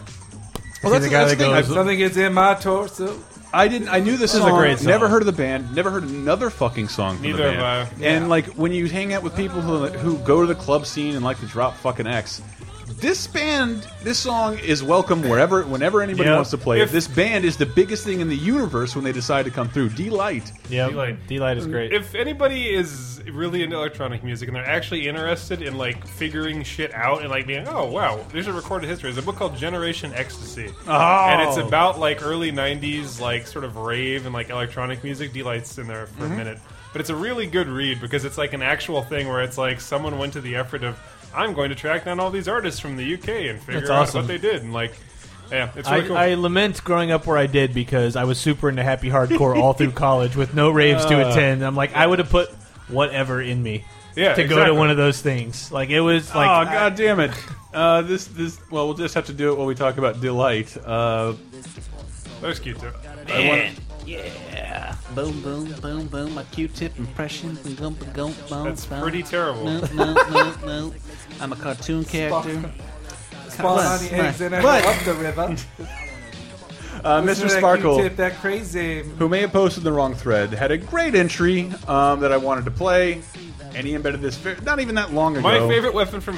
[SPEAKER 3] well, that's,
[SPEAKER 4] the guy
[SPEAKER 3] that's
[SPEAKER 4] that
[SPEAKER 3] the thing.
[SPEAKER 4] goes-
[SPEAKER 3] I've-
[SPEAKER 5] Something gets in my torso.
[SPEAKER 3] I didn't. I knew this,
[SPEAKER 4] This is a
[SPEAKER 3] song.
[SPEAKER 4] great song.
[SPEAKER 3] Never heard of the band. Never heard another fucking song. From
[SPEAKER 6] Neither
[SPEAKER 3] the
[SPEAKER 6] have
[SPEAKER 3] band. And like when you hang out with people who who go to the club scene and like to drop fucking X. This band, this song is welcome wherever, whenever anybody
[SPEAKER 4] Yeah.
[SPEAKER 3] wants to play. it.
[SPEAKER 6] If-
[SPEAKER 3] this band is the biggest thing in the universe when they decide to come through. Delight.
[SPEAKER 4] Yeah,
[SPEAKER 6] D-Light.
[SPEAKER 4] D-Light is great.
[SPEAKER 6] If anybody is really into electronic music and they're actually interested in like figuring shit out and like being, oh wow, there's a recorded history. There's a book called Generation Ecstasy, oh. and it's about like early '90s like sort of rave and like electronic music. Delight's in there
[SPEAKER 4] Mm-hmm.
[SPEAKER 6] for a minute, but it's a really good read because it's like an actual thing where it's like someone went to the effort of, I'm going to track down all these artists from the UK and figure
[SPEAKER 4] That's
[SPEAKER 6] out
[SPEAKER 4] awesome.
[SPEAKER 6] what they did and like. Yeah, it's really
[SPEAKER 4] I,
[SPEAKER 6] cool.
[SPEAKER 4] I lament growing up where I did because I was super into happy hardcore all
[SPEAKER 3] (laughs)
[SPEAKER 4] through college with no raves
[SPEAKER 3] Uh,
[SPEAKER 4] to attend. I'm like, I would have put whatever in me
[SPEAKER 6] Yeah,
[SPEAKER 4] to go
[SPEAKER 6] exactly.
[SPEAKER 4] to one of those things. Like, it was like,
[SPEAKER 3] oh god damn
[SPEAKER 4] uh,
[SPEAKER 3] it! Uh, this this well, we'll just have to do it while we talk about delight. Uh,
[SPEAKER 6] That was cute too.
[SPEAKER 11] Yeah. Boom, boom, boom, boom. My Q-tip impression. Boom, boom, boom, boom.
[SPEAKER 6] That's pretty terrible.
[SPEAKER 11] No, no, no, no. I'm a cartoon character.
[SPEAKER 5] Spawn on the eggs and I
[SPEAKER 3] What?
[SPEAKER 5] love the river.
[SPEAKER 3] Uh, Mr. Sparkle,
[SPEAKER 5] Tip that crazy.
[SPEAKER 3] who may have posted the wrong thread, had a great entry um, that I wanted to play, and he embedded this ver- not even that long ago.
[SPEAKER 6] My favorite weapon from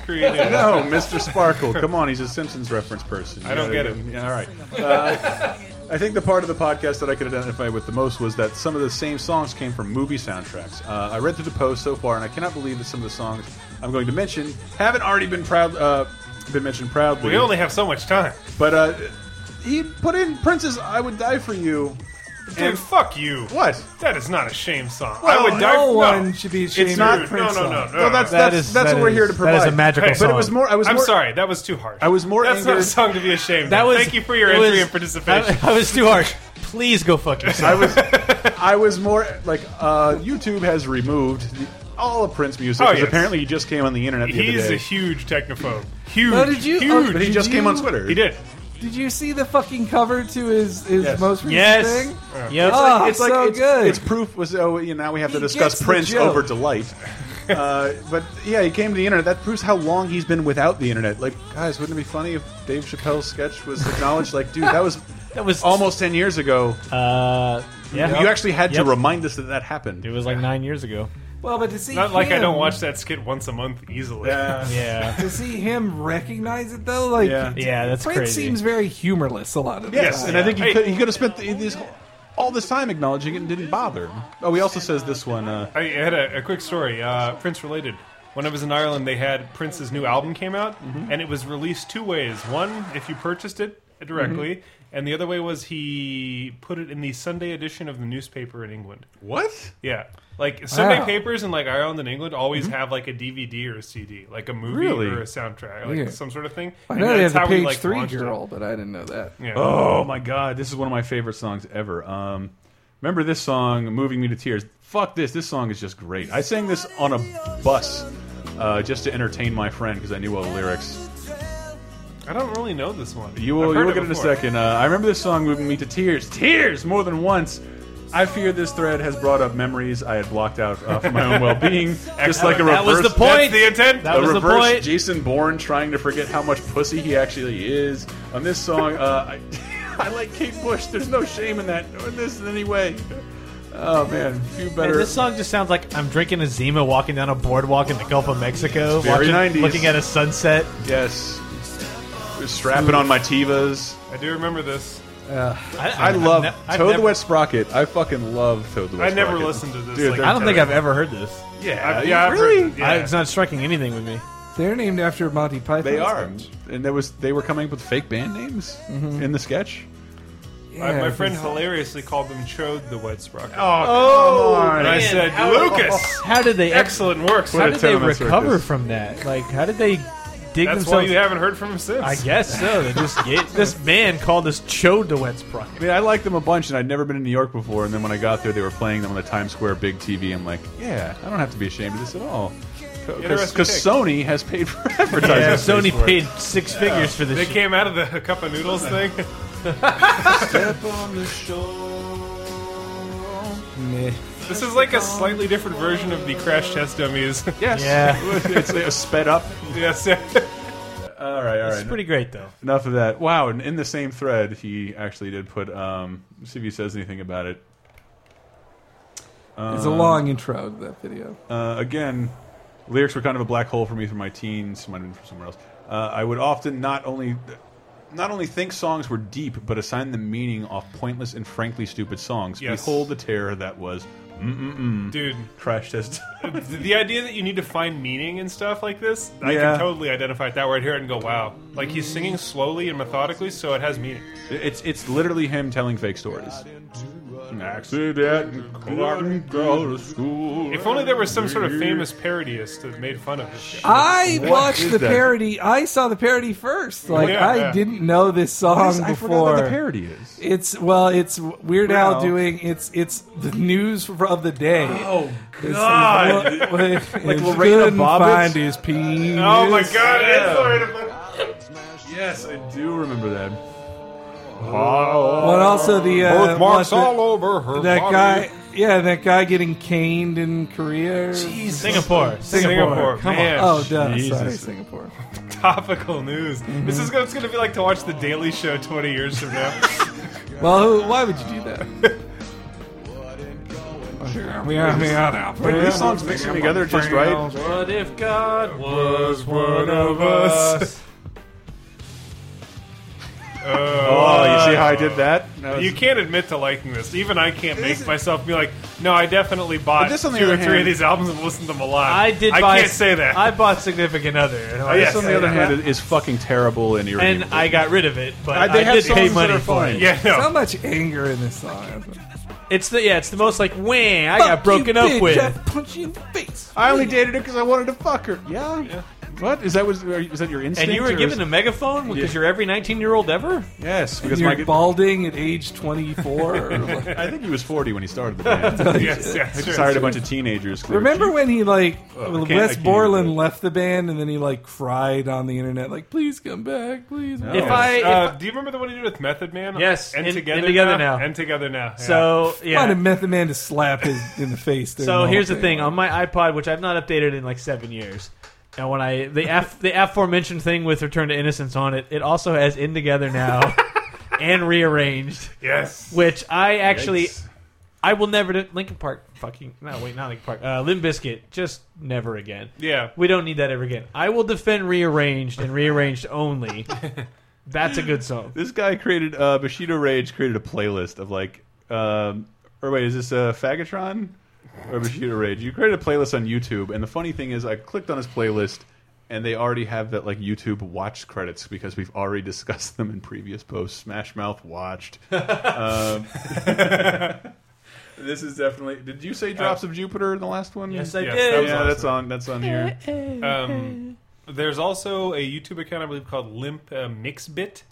[SPEAKER 4] (laughs)
[SPEAKER 6] Creed. Is,
[SPEAKER 3] (laughs)
[SPEAKER 6] (laughs)
[SPEAKER 3] No, Mr. Sparkle. Come on, he's a Simpsons reference person.
[SPEAKER 6] I don't
[SPEAKER 3] Yeah,
[SPEAKER 6] get it.
[SPEAKER 3] yeah, all right. Uh, I think the part of the podcast that I could identify with the most was that some of the same songs came from movie soundtracks. Uh, I read through the post so far, and I cannot believe that some of the songs I'm going to mention haven't already been proud uh, been mentioned proudly.
[SPEAKER 6] We only have so much time.
[SPEAKER 3] but uh, he put in Prince's "I Would Die for You."
[SPEAKER 6] Dude, fuck you.
[SPEAKER 3] What?
[SPEAKER 6] That is not a shame song.
[SPEAKER 3] Well,
[SPEAKER 6] I would die.
[SPEAKER 5] no
[SPEAKER 6] for-
[SPEAKER 5] one should be ashamed
[SPEAKER 6] It's not
[SPEAKER 5] of
[SPEAKER 6] no,
[SPEAKER 5] Prince
[SPEAKER 6] no, no,
[SPEAKER 5] song.
[SPEAKER 6] no,
[SPEAKER 3] No, that's
[SPEAKER 4] That
[SPEAKER 3] that's,
[SPEAKER 4] is-
[SPEAKER 3] that's
[SPEAKER 4] that
[SPEAKER 3] what we're
[SPEAKER 4] is-
[SPEAKER 3] here to
[SPEAKER 4] that
[SPEAKER 3] provide.
[SPEAKER 4] is a magical
[SPEAKER 3] But it was
[SPEAKER 4] song.
[SPEAKER 3] more. I was.
[SPEAKER 6] I'm
[SPEAKER 3] more,
[SPEAKER 6] sorry, that was too harsh.
[SPEAKER 3] I was more
[SPEAKER 6] That's not a
[SPEAKER 3] angered-
[SPEAKER 6] song to be ashamed. of.
[SPEAKER 4] That was.
[SPEAKER 6] Thank you for your
[SPEAKER 4] it
[SPEAKER 6] entry
[SPEAKER 4] was-
[SPEAKER 6] and participation.
[SPEAKER 4] (laughs) I, I was too harsh. Please go fuck yourself.
[SPEAKER 3] I was, I was more like uh, YouTube has removed the, all of Prince music
[SPEAKER 6] Oh,
[SPEAKER 3] because
[SPEAKER 6] yes.
[SPEAKER 3] apparently he just came on the internet the
[SPEAKER 6] He's
[SPEAKER 3] other
[SPEAKER 6] a
[SPEAKER 3] day.
[SPEAKER 6] huge technophobe. Huge.
[SPEAKER 5] No, did you-
[SPEAKER 6] Huge.
[SPEAKER 3] but he just came on
[SPEAKER 5] you-
[SPEAKER 3] Twitter.
[SPEAKER 6] he did.
[SPEAKER 5] Did you see the fucking cover to his, his
[SPEAKER 3] Yes.
[SPEAKER 5] most recent
[SPEAKER 4] yes.
[SPEAKER 5] thing?
[SPEAKER 4] Yep.
[SPEAKER 5] Oh,
[SPEAKER 3] It's like
[SPEAKER 5] so
[SPEAKER 3] it's,
[SPEAKER 5] good.
[SPEAKER 3] it's proof was oh you know, now we have to
[SPEAKER 5] He
[SPEAKER 3] discuss
[SPEAKER 5] gets the
[SPEAKER 3] Prince
[SPEAKER 5] joke.
[SPEAKER 3] over delight. Uh, but yeah, he came to the internet. That proves how long he's been without the internet. Like, guys, wouldn't it be funny if Dave Chappelle's sketch was acknowledged? like, dude, that was
[SPEAKER 4] that was
[SPEAKER 3] almost ten years ago.
[SPEAKER 4] Uh, yeah.
[SPEAKER 3] You actually had
[SPEAKER 4] Yep.
[SPEAKER 3] to remind us that that happened.
[SPEAKER 4] It was like nine years ago.
[SPEAKER 5] well, but to see
[SPEAKER 6] Not like I
[SPEAKER 5] him-
[SPEAKER 6] don't watch that skit once a month easily.
[SPEAKER 4] Yeah.
[SPEAKER 5] to see him recognize it though, like
[SPEAKER 3] Yeah.
[SPEAKER 4] Yeah, that's
[SPEAKER 5] Prince
[SPEAKER 4] crazy.
[SPEAKER 5] seems very humorless a lot of the
[SPEAKER 3] Yes,
[SPEAKER 5] time.
[SPEAKER 3] and I think he
[SPEAKER 6] Hey.
[SPEAKER 3] could he could have spent the, this, all this time acknowledging it and didn't bother. Oh, he also says this one. Uh,
[SPEAKER 6] I had a, a quick story, uh, Prince related. When I was in Ireland, they had Prince's new album came out, and it was released two ways. One, if you purchased it directly, and the other way was he put it in the Sunday edition of the newspaper in England.
[SPEAKER 3] what?
[SPEAKER 6] Yeah, like Sunday
[SPEAKER 5] Wow.
[SPEAKER 6] papers in like Ireland and England always have like a DVD or a CD, like a movie
[SPEAKER 3] Really?
[SPEAKER 6] or a soundtrack, like
[SPEAKER 5] Weird.
[SPEAKER 6] some sort of thing.
[SPEAKER 5] I
[SPEAKER 6] And
[SPEAKER 5] know they
[SPEAKER 6] that's
[SPEAKER 5] have the
[SPEAKER 6] how we,
[SPEAKER 5] page
[SPEAKER 6] like,
[SPEAKER 5] three
[SPEAKER 6] launched it.
[SPEAKER 5] girl, but I didn't know that.
[SPEAKER 6] Yeah.
[SPEAKER 3] Oh my god, this is one of my favorite songs ever. Um, remember this song, moving me to tears. Fuck this, this song is just great. I sang this on a bus uh, just to entertain my friend because I knew all the lyrics.
[SPEAKER 6] I don't really know this one.
[SPEAKER 3] You will,
[SPEAKER 6] I've
[SPEAKER 3] you
[SPEAKER 6] heard
[SPEAKER 3] will get it in a
[SPEAKER 6] before.
[SPEAKER 3] second. Uh, I remember this song moving me to tears, tears more than once. I fear this thread has brought up memories I had blocked out uh, for my own well-being, just like a
[SPEAKER 4] That was
[SPEAKER 3] reverse.
[SPEAKER 4] the point.
[SPEAKER 6] That's the intent.
[SPEAKER 4] That
[SPEAKER 3] a
[SPEAKER 4] was the
[SPEAKER 3] reverse
[SPEAKER 4] point.
[SPEAKER 3] Jason Bourne trying to forget how much pussy he actually is. On this song, uh, I, (laughs) I like Kate Bush. There's no shame in that, or this in any way. Oh man, few
[SPEAKER 4] Man,
[SPEAKER 3] better.
[SPEAKER 4] this song just sounds like I'm drinking a Zima, walking down a boardwalk in the Gulf of Mexico,
[SPEAKER 3] Very
[SPEAKER 4] watching-
[SPEAKER 3] 90s.
[SPEAKER 4] looking at a sunset.
[SPEAKER 3] yes, We're strapping on my tivas.
[SPEAKER 6] I do remember this.
[SPEAKER 3] I love
[SPEAKER 4] I've ne- I've
[SPEAKER 3] Toad
[SPEAKER 4] never-
[SPEAKER 3] the Wet Sprocket. I fucking love Toad the Wet.
[SPEAKER 6] I never
[SPEAKER 3] Sprocket.
[SPEAKER 6] listened to this,
[SPEAKER 3] Dude,
[SPEAKER 6] like,
[SPEAKER 3] they're
[SPEAKER 4] I don't think
[SPEAKER 3] terrible.
[SPEAKER 4] I've ever heard this.
[SPEAKER 3] Yeah,
[SPEAKER 6] I've- yeah, I've heard-
[SPEAKER 3] really?
[SPEAKER 6] yeah.
[SPEAKER 4] I, it's not striking anything with me.
[SPEAKER 5] They're named after Monty Python.
[SPEAKER 3] They are, and there was they were coming up with fake band names
[SPEAKER 4] Mm-hmm.
[SPEAKER 3] in the sketch.
[SPEAKER 6] My- my friend hilariously called them Chode the Wet Sprocket.
[SPEAKER 3] Oh,
[SPEAKER 6] and I said, Lucas,
[SPEAKER 4] How did they? Ex-
[SPEAKER 6] excellent works.
[SPEAKER 4] how did they
[SPEAKER 3] tenement circus.
[SPEAKER 4] recover from that? Like, how did they dig
[SPEAKER 6] That's why
[SPEAKER 4] themselves?
[SPEAKER 6] you haven't heard from him since.
[SPEAKER 4] I guess so. They
[SPEAKER 3] (laughs)
[SPEAKER 4] just get this man called us Chode DeWett's
[SPEAKER 3] I
[SPEAKER 4] Prime.
[SPEAKER 3] mean, I liked them a bunch, and I'd never been in New York before. And then when I got there, they were playing them on the Times Square big TV. I'm like, yeah, I don't have to be ashamed of this at all, because
[SPEAKER 6] Interesting pick.
[SPEAKER 3] Sony has paid for (laughs) advertising.
[SPEAKER 4] Yeah, Sony
[SPEAKER 3] space for it.
[SPEAKER 4] paid six figures for this.
[SPEAKER 6] They
[SPEAKER 4] shit.
[SPEAKER 6] came out of the cup of noodles thing.
[SPEAKER 3] Step on the shore.
[SPEAKER 6] This is like a slightly different version of the crash test dummies.
[SPEAKER 3] Yes,
[SPEAKER 4] Yeah.
[SPEAKER 3] it's uh, sped up.
[SPEAKER 6] (laughs) yes.
[SPEAKER 3] All right, all right.
[SPEAKER 4] It's pretty great though.
[SPEAKER 3] Enough of that. Wow, and in the same thread, he actually did put. Um, let's see if he says anything about it.
[SPEAKER 5] It's
[SPEAKER 3] Um,
[SPEAKER 5] a long intro to that video.
[SPEAKER 3] Uh, again, lyrics were kind of a black hole for me from my teens. Might have been from somewhere else. Uh, I would often not only not only think songs were deep, but assign them meaning off pointless and frankly stupid songs.
[SPEAKER 6] Yes.
[SPEAKER 3] Behold the terror that was
[SPEAKER 6] Dude,
[SPEAKER 3] crash test.
[SPEAKER 6] (laughs) the idea that you need to find meaning and stuff like this, I
[SPEAKER 3] Yeah.
[SPEAKER 6] can totally identify with that where I hear it and go, wow. Like he's singing slowly and methodically, so it has meaning.
[SPEAKER 3] it's it's literally him telling fake stories. An accident, couldn't go to school.
[SPEAKER 6] If only there was some sort of famous parodist that made fun of this. guy.
[SPEAKER 5] I
[SPEAKER 3] What
[SPEAKER 5] watched
[SPEAKER 3] is
[SPEAKER 5] the
[SPEAKER 3] that?
[SPEAKER 5] parody. I saw the parody first. Like
[SPEAKER 6] Yeah,
[SPEAKER 5] I
[SPEAKER 6] yeah.
[SPEAKER 5] didn't know this song
[SPEAKER 3] I forgot
[SPEAKER 5] before.
[SPEAKER 3] what the parody is.
[SPEAKER 5] It's well, it's Weird
[SPEAKER 3] Wow.
[SPEAKER 5] Al doing it's it's the news of the day. Oh
[SPEAKER 3] God.
[SPEAKER 5] like
[SPEAKER 3] Lorena Bobbitt?
[SPEAKER 5] Find his penis.
[SPEAKER 6] Oh my god, it's already
[SPEAKER 3] Yes, I do remember that.
[SPEAKER 5] But also the uh,
[SPEAKER 6] Birthmarks
[SPEAKER 5] what the-
[SPEAKER 6] all over her
[SPEAKER 5] That
[SPEAKER 6] body.
[SPEAKER 5] guy, yeah, that guy getting caned in Korea. Jesus.
[SPEAKER 4] Singapore.
[SPEAKER 6] Singapore,
[SPEAKER 5] Come
[SPEAKER 6] man.
[SPEAKER 5] on. Oh, duh, sorry, Mhm.
[SPEAKER 6] Jesus.
[SPEAKER 5] Singapore.
[SPEAKER 6] Topical news. This is what it's going to be like to watch The Daily Show 20 years from now.
[SPEAKER 5] Well, who, why would you do
[SPEAKER 4] (laughs)
[SPEAKER 5] that? we are we are now.
[SPEAKER 3] Wait, are these songs mixing together just right?
[SPEAKER 4] What if God was
[SPEAKER 6] one of (laughs) us?
[SPEAKER 3] Oh, you see how I did that? That was-
[SPEAKER 6] You can't admit to liking this. Even I can't make myself be like, no, I definitely bought
[SPEAKER 3] But this
[SPEAKER 6] two
[SPEAKER 3] on the
[SPEAKER 6] or
[SPEAKER 3] other
[SPEAKER 6] three of
[SPEAKER 3] hand-
[SPEAKER 6] these albums and listened to them a lot.
[SPEAKER 4] I did.
[SPEAKER 6] I
[SPEAKER 4] buy,
[SPEAKER 6] can't say that.
[SPEAKER 4] I bought significant other. And, I-
[SPEAKER 6] yes,
[SPEAKER 3] This, on the
[SPEAKER 6] yeah,
[SPEAKER 3] other
[SPEAKER 6] yeah.
[SPEAKER 3] hand, is fucking terrible and
[SPEAKER 4] and
[SPEAKER 3] irredeemable.
[SPEAKER 4] I got rid of it, but
[SPEAKER 3] Uh, they
[SPEAKER 4] I
[SPEAKER 3] have
[SPEAKER 4] did
[SPEAKER 3] songs
[SPEAKER 4] pay
[SPEAKER 3] that
[SPEAKER 4] money
[SPEAKER 3] are
[SPEAKER 4] for
[SPEAKER 3] fine.
[SPEAKER 4] it.
[SPEAKER 6] (laughs) yeah,
[SPEAKER 5] So
[SPEAKER 6] no.
[SPEAKER 5] much anger in this song.
[SPEAKER 4] It's the yeah, it's the most like wah. I got broken up with.
[SPEAKER 5] punch you in the face.
[SPEAKER 3] I only dated her because I wanted to fuck her. Yeah. What is that? Was are you- is that your instinct?
[SPEAKER 4] And you were
[SPEAKER 3] or
[SPEAKER 4] given
[SPEAKER 3] is-
[SPEAKER 4] a megaphone because you're every 19 year old ever. (laughs)
[SPEAKER 3] yes because
[SPEAKER 5] You're
[SPEAKER 3] my
[SPEAKER 5] balding at age 24. or like-
[SPEAKER 3] I think he was forty when he started the band.
[SPEAKER 6] (laughs)
[SPEAKER 4] (laughs)
[SPEAKER 6] yes, yes,
[SPEAKER 3] He
[SPEAKER 6] sure, Uh,
[SPEAKER 3] just hired a
[SPEAKER 6] sure.
[SPEAKER 3] bunch of teenagers. 'cause they were
[SPEAKER 5] (laughs) Remember
[SPEAKER 3] cheap.
[SPEAKER 5] when he like
[SPEAKER 4] Oh,
[SPEAKER 3] I can't- I
[SPEAKER 5] Wes
[SPEAKER 3] can't
[SPEAKER 5] Borland
[SPEAKER 3] even-
[SPEAKER 5] left the band and then he like cried on the internet like please come back please.
[SPEAKER 3] No.
[SPEAKER 4] If I if,
[SPEAKER 6] Uh, do you remember the one he did with Method Man?
[SPEAKER 4] Yes,
[SPEAKER 6] and
[SPEAKER 4] In-
[SPEAKER 6] together,
[SPEAKER 4] In Together Now.
[SPEAKER 6] and together now. yeah.
[SPEAKER 4] so yeah.
[SPEAKER 5] Wanted Method Man to slap his in the face. during
[SPEAKER 4] So
[SPEAKER 5] whole
[SPEAKER 4] here's the thing: on my iPod, which I've not updated in like seven years, and when I the af- the aforementioned thing with Return to Innocence on it, it also has In Together Now and Rearranged,
[SPEAKER 6] yes,
[SPEAKER 4] which I actually
[SPEAKER 6] Yikes.
[SPEAKER 4] I will never do. Lincoln Park, fucking no, wait, not Lincoln Park. Uh, Limp Bizkit, just never again.
[SPEAKER 6] yeah.
[SPEAKER 4] We don't need that ever again. I will defend Rearranged and Rearranged only. That's a good song.
[SPEAKER 3] this guy created uh, Bushido Rage created a playlist of like, um, or wait, is this uh, Fagatron or Bushido Rage? You created a playlist on YouTube, and the funny thing is, I clicked on his playlist, and they already have that like YouTube watch credits because we've already (laughs) discussed them in previous posts. Smash Mouth (laughs) watched. um, this is definitely. Did you say Drops of Jupiter in the last one?
[SPEAKER 4] Yes, I
[SPEAKER 6] Yes,
[SPEAKER 4] did.
[SPEAKER 6] that was
[SPEAKER 3] yeah, that's on. That's on here.
[SPEAKER 6] Um, there's also a YouTube account I believe called Limp uh, Mixbit.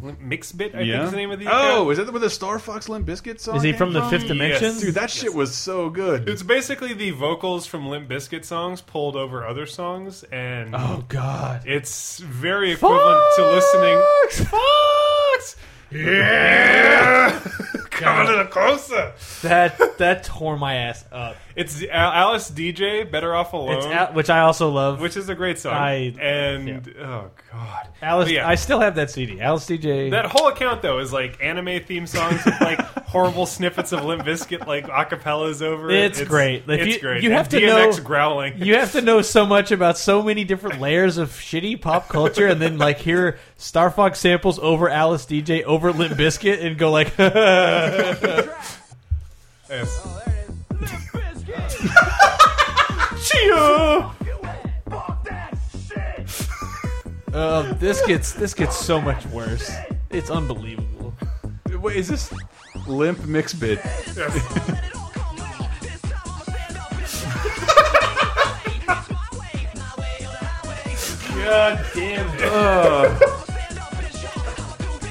[SPEAKER 6] Limp Mixbit, I think
[SPEAKER 3] yeah.
[SPEAKER 6] is the name of the
[SPEAKER 3] oh,
[SPEAKER 6] account.
[SPEAKER 3] is that where the Star Fox Limp Bizkit song?
[SPEAKER 4] Is he
[SPEAKER 3] came
[SPEAKER 4] from the Fifth Dimension?
[SPEAKER 6] Yes.
[SPEAKER 3] Dude, that shit was so good.
[SPEAKER 6] It's basically the vocals from Limp Bizkit songs pulled over other songs, and
[SPEAKER 4] Oh God.
[SPEAKER 6] it's very equivalent to listening.
[SPEAKER 4] Fox!
[SPEAKER 6] Yeah, (laughs) come a little closer.
[SPEAKER 4] That that tore my ass up.
[SPEAKER 6] It's Al- Alice DJ, "Better Off Alone,"
[SPEAKER 4] It's Al- which I also love.
[SPEAKER 6] which is a great song.
[SPEAKER 4] I-
[SPEAKER 6] and oh god,
[SPEAKER 4] Alice,
[SPEAKER 6] But yeah.
[SPEAKER 4] I still have that CD. Alice DJ.
[SPEAKER 6] That whole account though is like anime theme songs
[SPEAKER 4] (laughs)
[SPEAKER 6] with like horrible snippets of Limp Bizkit like acapellas over it.
[SPEAKER 4] It's great. If
[SPEAKER 6] it's
[SPEAKER 4] you-
[SPEAKER 6] great.
[SPEAKER 4] you
[SPEAKER 6] And
[SPEAKER 4] have to
[SPEAKER 6] DMX
[SPEAKER 4] know-
[SPEAKER 6] growling.
[SPEAKER 4] you have to know so much about so many different layers of shitty pop culture, and then like hear Star Fox samples over Alice DJ over Limp Biscuit, and go like, (laughs) "Uh,
[SPEAKER 6] Yes.
[SPEAKER 4] oh, this gets this gets so much worse. It's unbelievable.
[SPEAKER 3] Wait, is this Limp Mix Bit?
[SPEAKER 6] God damn it.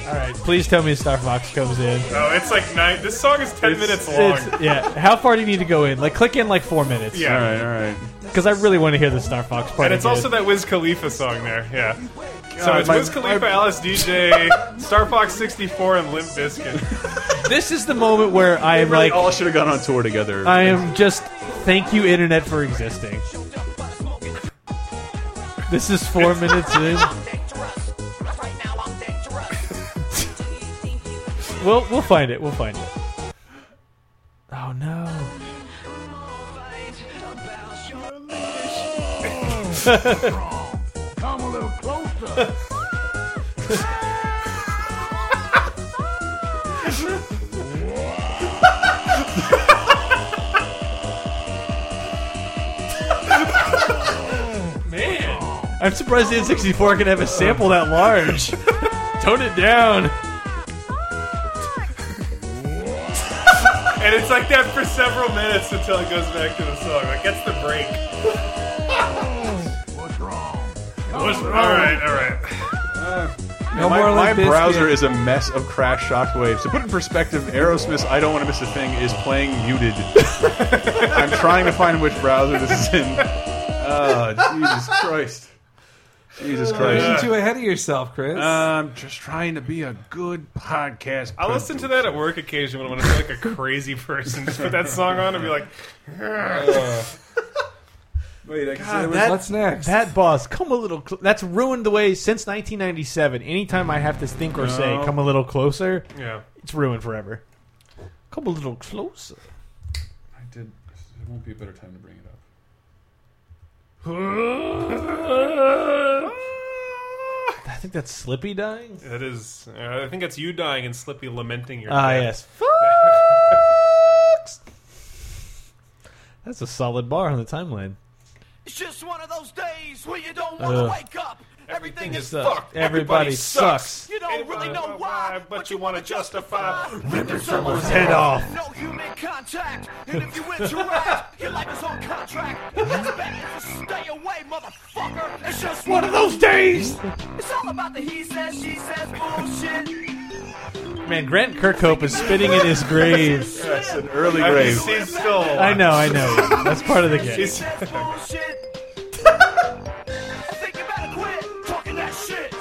[SPEAKER 4] All right, please tell me Star Fox comes in.
[SPEAKER 6] Oh, it's like nine. This song is ten minutes
[SPEAKER 4] (laughs)
[SPEAKER 6] long.
[SPEAKER 4] It's, yeah, how far do you need to go in? Like, click in like four minutes.
[SPEAKER 6] yeah.
[SPEAKER 3] All right, all right.
[SPEAKER 4] because I really want to hear the Star Fox part.
[SPEAKER 6] And it's
[SPEAKER 4] again.
[SPEAKER 6] also that Wiz Khalifa song there, yeah. So it's
[SPEAKER 3] Uh, my-
[SPEAKER 6] Wiz Khalifa, Alice
[SPEAKER 3] (laughs)
[SPEAKER 6] DJ, Star Fox 64, and Limp Bizkit.
[SPEAKER 4] this is the moment where I am
[SPEAKER 3] Really
[SPEAKER 4] like,
[SPEAKER 3] all should have gone on tour together.
[SPEAKER 4] I am just thank you internet for existing. This is four minutes in. We'll we'll find it. We'll find it. Oh no! I'm surprised the N64 can have a sample that (laughs) large. Tone it down.
[SPEAKER 6] And it's like that for several minutes until it goes back to the song. Like, that's the
[SPEAKER 3] (laughs)
[SPEAKER 6] break. What's wrong? Alright, alright.
[SPEAKER 5] no
[SPEAKER 3] my
[SPEAKER 5] more
[SPEAKER 3] my
[SPEAKER 5] Limp Bizkit.
[SPEAKER 3] browser is a mess of crash shockwaves. To put in perspective, Aerosmith, I Don't Want to Miss a Thing, is playing
[SPEAKER 6] (laughs)
[SPEAKER 3] muted. I'm trying to find which browser this is in. Oh, Jesus Ah, Christ. Jesus
[SPEAKER 5] Uh,
[SPEAKER 3] Christ.
[SPEAKER 5] Getting too ahead of yourself, Chris.
[SPEAKER 4] Uh,
[SPEAKER 3] I'm just trying to be a good podcast.
[SPEAKER 6] I listen to that at work occasionally when I feel like a crazy person. Just put that song on and be like,
[SPEAKER 5] Wait, I
[SPEAKER 4] God, that- That boss, come a little. Cl- that's ruined the way since 1997. Anytime I have to think or say,
[SPEAKER 6] No.
[SPEAKER 4] "Come a little closer,"
[SPEAKER 6] Yeah.
[SPEAKER 4] it's ruined forever. Come a little closer.
[SPEAKER 3] I did. There won't be a better time to bring it up.
[SPEAKER 6] "Ah."
[SPEAKER 4] I think that's Slippy dying.
[SPEAKER 6] That is, uh, I think it's you dying and Slippy lamenting your.
[SPEAKER 4] Ah,
[SPEAKER 6] death.
[SPEAKER 4] (laughs) yes. Fucks. That's a solid bar on the timeline.
[SPEAKER 7] It's just one of those days where you don't
[SPEAKER 4] wanna Ugh.
[SPEAKER 7] wake up. Everything
[SPEAKER 4] is sucks. fucked. Everybody Everybody sucks. sucks.
[SPEAKER 7] You don't really know why, but you want to justify
[SPEAKER 6] ripping
[SPEAKER 7] someone's
[SPEAKER 4] head off.
[SPEAKER 7] No human contact, and if you interact, (laughs) your life is on contract. And what's better is to stay away, motherfucker. It's just one of those days. It's all about the he says, she says bullshit.
[SPEAKER 4] Man, Grant Kirkhope is spitting in
[SPEAKER 5] (laughs)
[SPEAKER 4] his grave.
[SPEAKER 3] That's an early
[SPEAKER 6] I mean,
[SPEAKER 3] grave.
[SPEAKER 6] he's still.
[SPEAKER 4] I know, I know. That's part of the game.
[SPEAKER 6] He's-
[SPEAKER 7] (laughs) That's bullshit. I think you better quit talking that shit.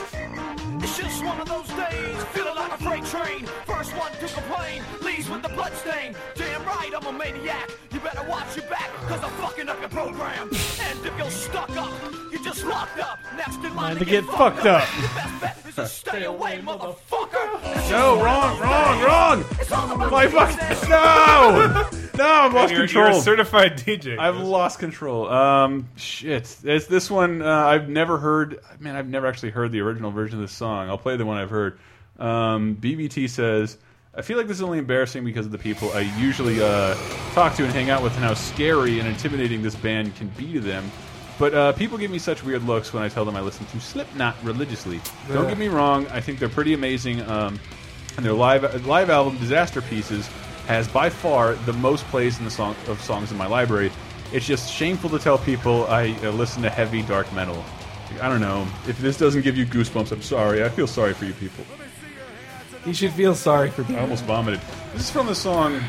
[SPEAKER 7] It's just one of those days, feeling like a freight train. First one to complain, leaves with the bloodstain. Damn right, I'm a maniac. You better watch your back, cause I'm fucking up your program. And if you're stuck up, you just locked up. Next in line to get fucked up. Your best bet is (laughs) to stay away, motherfucker. It's
[SPEAKER 3] No,
[SPEAKER 7] just one
[SPEAKER 3] wrong,
[SPEAKER 7] of those
[SPEAKER 3] wrong,
[SPEAKER 7] days.
[SPEAKER 3] wrong.
[SPEAKER 7] It's all about
[SPEAKER 3] My
[SPEAKER 7] the
[SPEAKER 3] fuck.
[SPEAKER 7] business.
[SPEAKER 6] (laughs)
[SPEAKER 3] No, no, I've lost
[SPEAKER 6] You're,
[SPEAKER 3] control.
[SPEAKER 6] you're a certified DJ.
[SPEAKER 3] I've lost control. Um, shit. This this one uh, I've never heard. Man, I've never actually heard the original version of this song. I'll play the one I've heard. Um, BBT says, "I feel like this is only embarrassing because of the people I usually uh, talk to and hang out with, and how scary and intimidating this band can be to them." But uh, people give me such weird looks when I tell them I listen to Slipknot religiously. Don't get me wrong; I think they're pretty amazing. Um, and their live live album Disaster Pieces has by far the most plays in the song of songs in my library. It's just shameful to tell people I uh, listen to heavy dark metal. I don't know if this doesn't give you goosebumps. I'm sorry. I feel sorry for you people.
[SPEAKER 5] (laughs) you should feel sorry for
[SPEAKER 3] I
[SPEAKER 5] me.
[SPEAKER 3] almost vomited. This is from the song.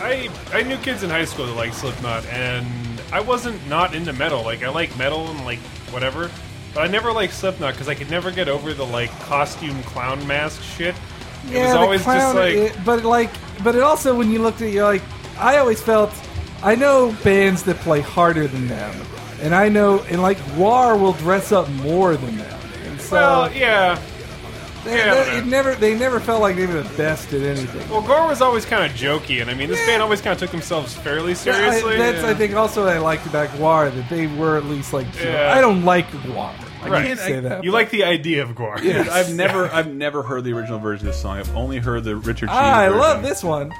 [SPEAKER 6] I I knew kids in high school that liked Slipknot, and I wasn't not into metal. Like I like metal and like whatever, but I never liked Slipknot because I could never get over the like costume clown mask shit. it was
[SPEAKER 5] the
[SPEAKER 6] always just
[SPEAKER 5] clown-
[SPEAKER 6] like
[SPEAKER 5] it- but like, but it also when you looked at it, you're like, I always felt, I know bands that play harder than them, and I know, and like War will dress up more than them. And so
[SPEAKER 6] well, yeah.
[SPEAKER 5] they,
[SPEAKER 6] yeah,
[SPEAKER 5] they-
[SPEAKER 6] whatever.
[SPEAKER 5] it never, they never felt like they were the best at anything.
[SPEAKER 6] Well, Gore was always kind of jokey, and I mean, this band always kind of took themselves fairly seriously.
[SPEAKER 5] I, that's
[SPEAKER 6] Yeah.
[SPEAKER 5] I think also what I liked about War that they were at least like,
[SPEAKER 6] Yeah.
[SPEAKER 5] I don't like War. I
[SPEAKER 6] Right.
[SPEAKER 5] can't say (laughs) that.
[SPEAKER 6] you like the idea of Gore.
[SPEAKER 3] Dude, I've never, I've never heard the original version of this song. I've only heard the Richard. Cheese
[SPEAKER 5] Ah, I
[SPEAKER 3] version.
[SPEAKER 5] love this one.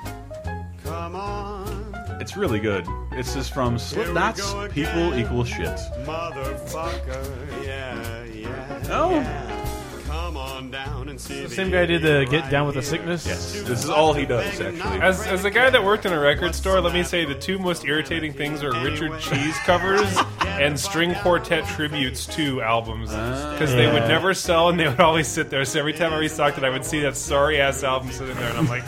[SPEAKER 3] It's really good. It's just from Slipknot's "People Equal Shit."
[SPEAKER 12] Motherfucker, yeah, yeah.
[SPEAKER 3] Oh.
[SPEAKER 12] Come on down and see
[SPEAKER 4] Same guy did the Get Down with the Sickness.
[SPEAKER 3] Yes, this is all he does actually.
[SPEAKER 6] As, as a guy that worked in a record store, let me say the two most irritating things are Richard Cheese covers and string quartet tributes to albums.
[SPEAKER 3] Ah.
[SPEAKER 6] Because they would never sell and they would always sit there. So every time I restocked it, I would see that sorry ass album sitting there and I'm like,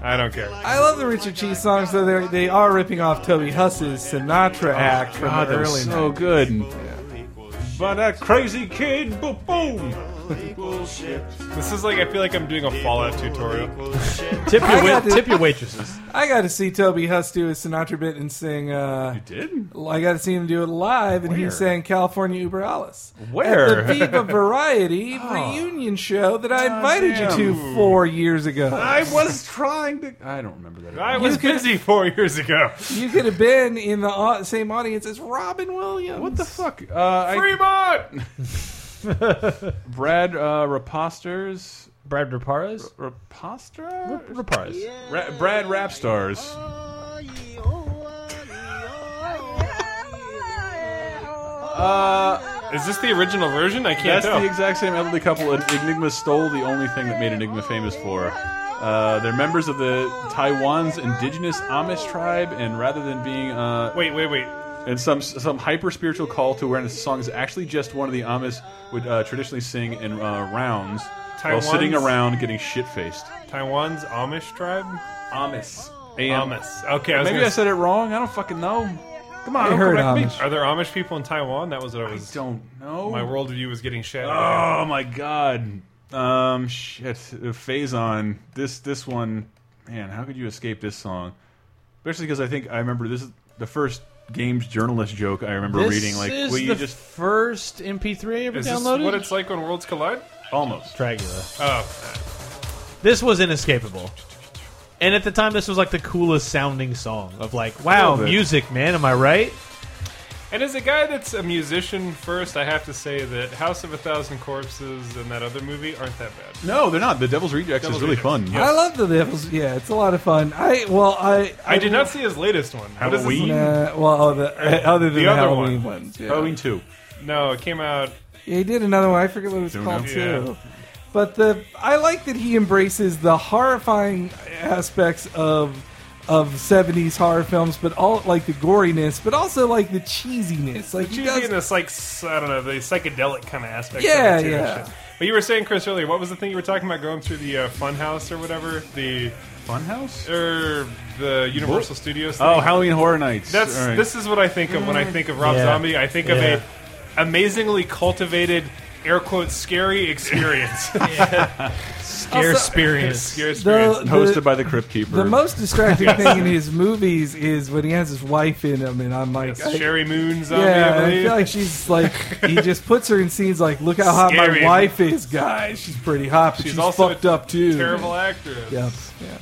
[SPEAKER 6] I don't care.
[SPEAKER 5] I love the Richard Cheese songs, though they're- they are ripping off Toby Huss's Sinatra act from
[SPEAKER 3] Oh, God,
[SPEAKER 5] the
[SPEAKER 3] that
[SPEAKER 5] early
[SPEAKER 3] was so
[SPEAKER 5] 90s.
[SPEAKER 3] good. But that crazy kid, boom, boom.
[SPEAKER 6] This is like, I feel like I'm doing a Fallout tutorial.
[SPEAKER 4] Tip your
[SPEAKER 5] I got
[SPEAKER 4] wait-
[SPEAKER 5] this.
[SPEAKER 4] tip
[SPEAKER 3] (laughs)
[SPEAKER 4] your waitresses.
[SPEAKER 5] I got to see Toby Huss do his Sinatra bit and sing. Uh,
[SPEAKER 3] Did
[SPEAKER 5] I got to see him do it live, and
[SPEAKER 3] Where?
[SPEAKER 5] he sang "California Uber Alice"
[SPEAKER 3] Where? Oh.
[SPEAKER 5] at the Viva Variety reunion show that I invited
[SPEAKER 3] damn.
[SPEAKER 5] you to four years ago.
[SPEAKER 3] I was trying to. (laughs) I don't remember that. at
[SPEAKER 6] I
[SPEAKER 3] all.
[SPEAKER 6] was
[SPEAKER 3] (laughs)
[SPEAKER 5] You could-
[SPEAKER 6] busy four years ago.
[SPEAKER 5] You could have been in the au- same audience as Robin Williams.
[SPEAKER 3] What the fuck? Uh, I,
[SPEAKER 6] Fremont!
[SPEAKER 3] Brad uh, Raposters.
[SPEAKER 4] Brad Raparez.
[SPEAKER 3] Rapostra?
[SPEAKER 4] Raparez.
[SPEAKER 3] Ra- Brad Rapstars. Uh,
[SPEAKER 6] Is this the original version? I can't
[SPEAKER 3] that's
[SPEAKER 6] tell.
[SPEAKER 3] the exact same elderly couple and Enigma stole the only thing that made Enigma famous for. Uh, they're members of the Taiwan's indigenous Amish tribe, and rather than being uh,
[SPEAKER 6] wait, wait, wait.
[SPEAKER 3] and some some hyper spiritual call to awareness. The song is actually just one of the Amish would uh, traditionally sing in uh, rounds while
[SPEAKER 6] Taiwan's-
[SPEAKER 3] sitting around getting shit faced.
[SPEAKER 6] Taiwan's Amish tribe?
[SPEAKER 3] Amish.
[SPEAKER 6] Amish. Okay, I was
[SPEAKER 3] Maybe
[SPEAKER 6] gonna
[SPEAKER 3] I said it wrong. I don't fucking know. Come on,
[SPEAKER 5] I
[SPEAKER 3] don't
[SPEAKER 5] heard
[SPEAKER 3] come back to me.
[SPEAKER 5] Amish.
[SPEAKER 6] Are there Amish people in Taiwan? That was what I was.
[SPEAKER 3] don't know.
[SPEAKER 6] My worldview was getting shattered.
[SPEAKER 3] Oh my god. Um shit. Phazon. This this one man, how could you escape this song? Especially because I think I remember this is the first games journalist joke I remember
[SPEAKER 4] This
[SPEAKER 3] reading. Like
[SPEAKER 4] is
[SPEAKER 3] will you
[SPEAKER 4] the
[SPEAKER 3] just
[SPEAKER 4] first MP3 I ever
[SPEAKER 6] Is this
[SPEAKER 4] downloaded?
[SPEAKER 6] what it's like when worlds collide?
[SPEAKER 3] almost
[SPEAKER 4] Dragula.
[SPEAKER 6] Oh,
[SPEAKER 4] This was inescapable. And at the time, this was like the coolest sounding song of like, wow,
[SPEAKER 3] bit.
[SPEAKER 4] music, man. Am I right?
[SPEAKER 6] and as a guy that's a musician first, I have to say that House of a Thousand Corpses and that other movie aren't that bad.
[SPEAKER 3] No, they're not. The Devil's Rejects
[SPEAKER 6] Devil's
[SPEAKER 3] is really
[SPEAKER 6] Rejects.
[SPEAKER 3] fun.
[SPEAKER 5] I love the Devils. Yeah, it's a lot of fun. I well, I
[SPEAKER 6] I did not see his latest one. How does this?
[SPEAKER 3] Halloween?
[SPEAKER 5] Uh, well, oh, the, uh, other than
[SPEAKER 6] The
[SPEAKER 5] the,
[SPEAKER 6] other
[SPEAKER 5] Halloween
[SPEAKER 6] one.
[SPEAKER 5] ones, yeah.
[SPEAKER 3] Halloween two.
[SPEAKER 6] No, it came out.
[SPEAKER 5] Yeah, he did another one. I forget what it was
[SPEAKER 3] Don't
[SPEAKER 5] called
[SPEAKER 3] know.
[SPEAKER 5] too. But the I like that he embraces the horrifying aspects of of seventies horror films, but all like the goriness, but also like the cheesiness. Like he
[SPEAKER 6] Cheesy
[SPEAKER 5] does,
[SPEAKER 6] in this like s- I don't know the psychedelic kind of aspect.
[SPEAKER 5] Yeah,
[SPEAKER 6] of it too,
[SPEAKER 5] yeah.
[SPEAKER 6] and shit. But you were saying, Chris, earlier, what was the thing you were talking about going through the uh, Funhouse or whatever the Er,
[SPEAKER 3] Funhouse?
[SPEAKER 6] or the Universal Studios? Thing?
[SPEAKER 3] Oh, Halloween Horror Nights.
[SPEAKER 6] That's
[SPEAKER 3] All right.
[SPEAKER 6] this is what I think of when I
[SPEAKER 5] Mm.
[SPEAKER 6] think of Rob
[SPEAKER 4] Yeah.
[SPEAKER 6] Zombie. I think of
[SPEAKER 4] Yeah.
[SPEAKER 6] a amazingly cultivated, air quotes, scary
[SPEAKER 3] (laughs)
[SPEAKER 6] experience.
[SPEAKER 4] Scare experience.
[SPEAKER 6] (laughs) scary experience.
[SPEAKER 5] the,
[SPEAKER 3] hosted
[SPEAKER 5] the,
[SPEAKER 3] by the Crypt Keeper.
[SPEAKER 5] the most distracting
[SPEAKER 3] (laughs)
[SPEAKER 5] thing in his movies is when he has his wife in him, and I'm like, I-
[SPEAKER 6] Sherry Moon Zombie,
[SPEAKER 5] yeah,
[SPEAKER 6] I
[SPEAKER 5] I,
[SPEAKER 6] believe.
[SPEAKER 5] feel like she's like
[SPEAKER 6] (laughs)
[SPEAKER 5] he just puts her in scenes like, look how hot my
[SPEAKER 6] Scary.
[SPEAKER 5] wife is, guys. She's pretty hot, but she's,
[SPEAKER 6] She's also
[SPEAKER 5] fucked
[SPEAKER 6] a
[SPEAKER 5] up too.
[SPEAKER 6] Terrible actor.
[SPEAKER 5] Yeah, yeah.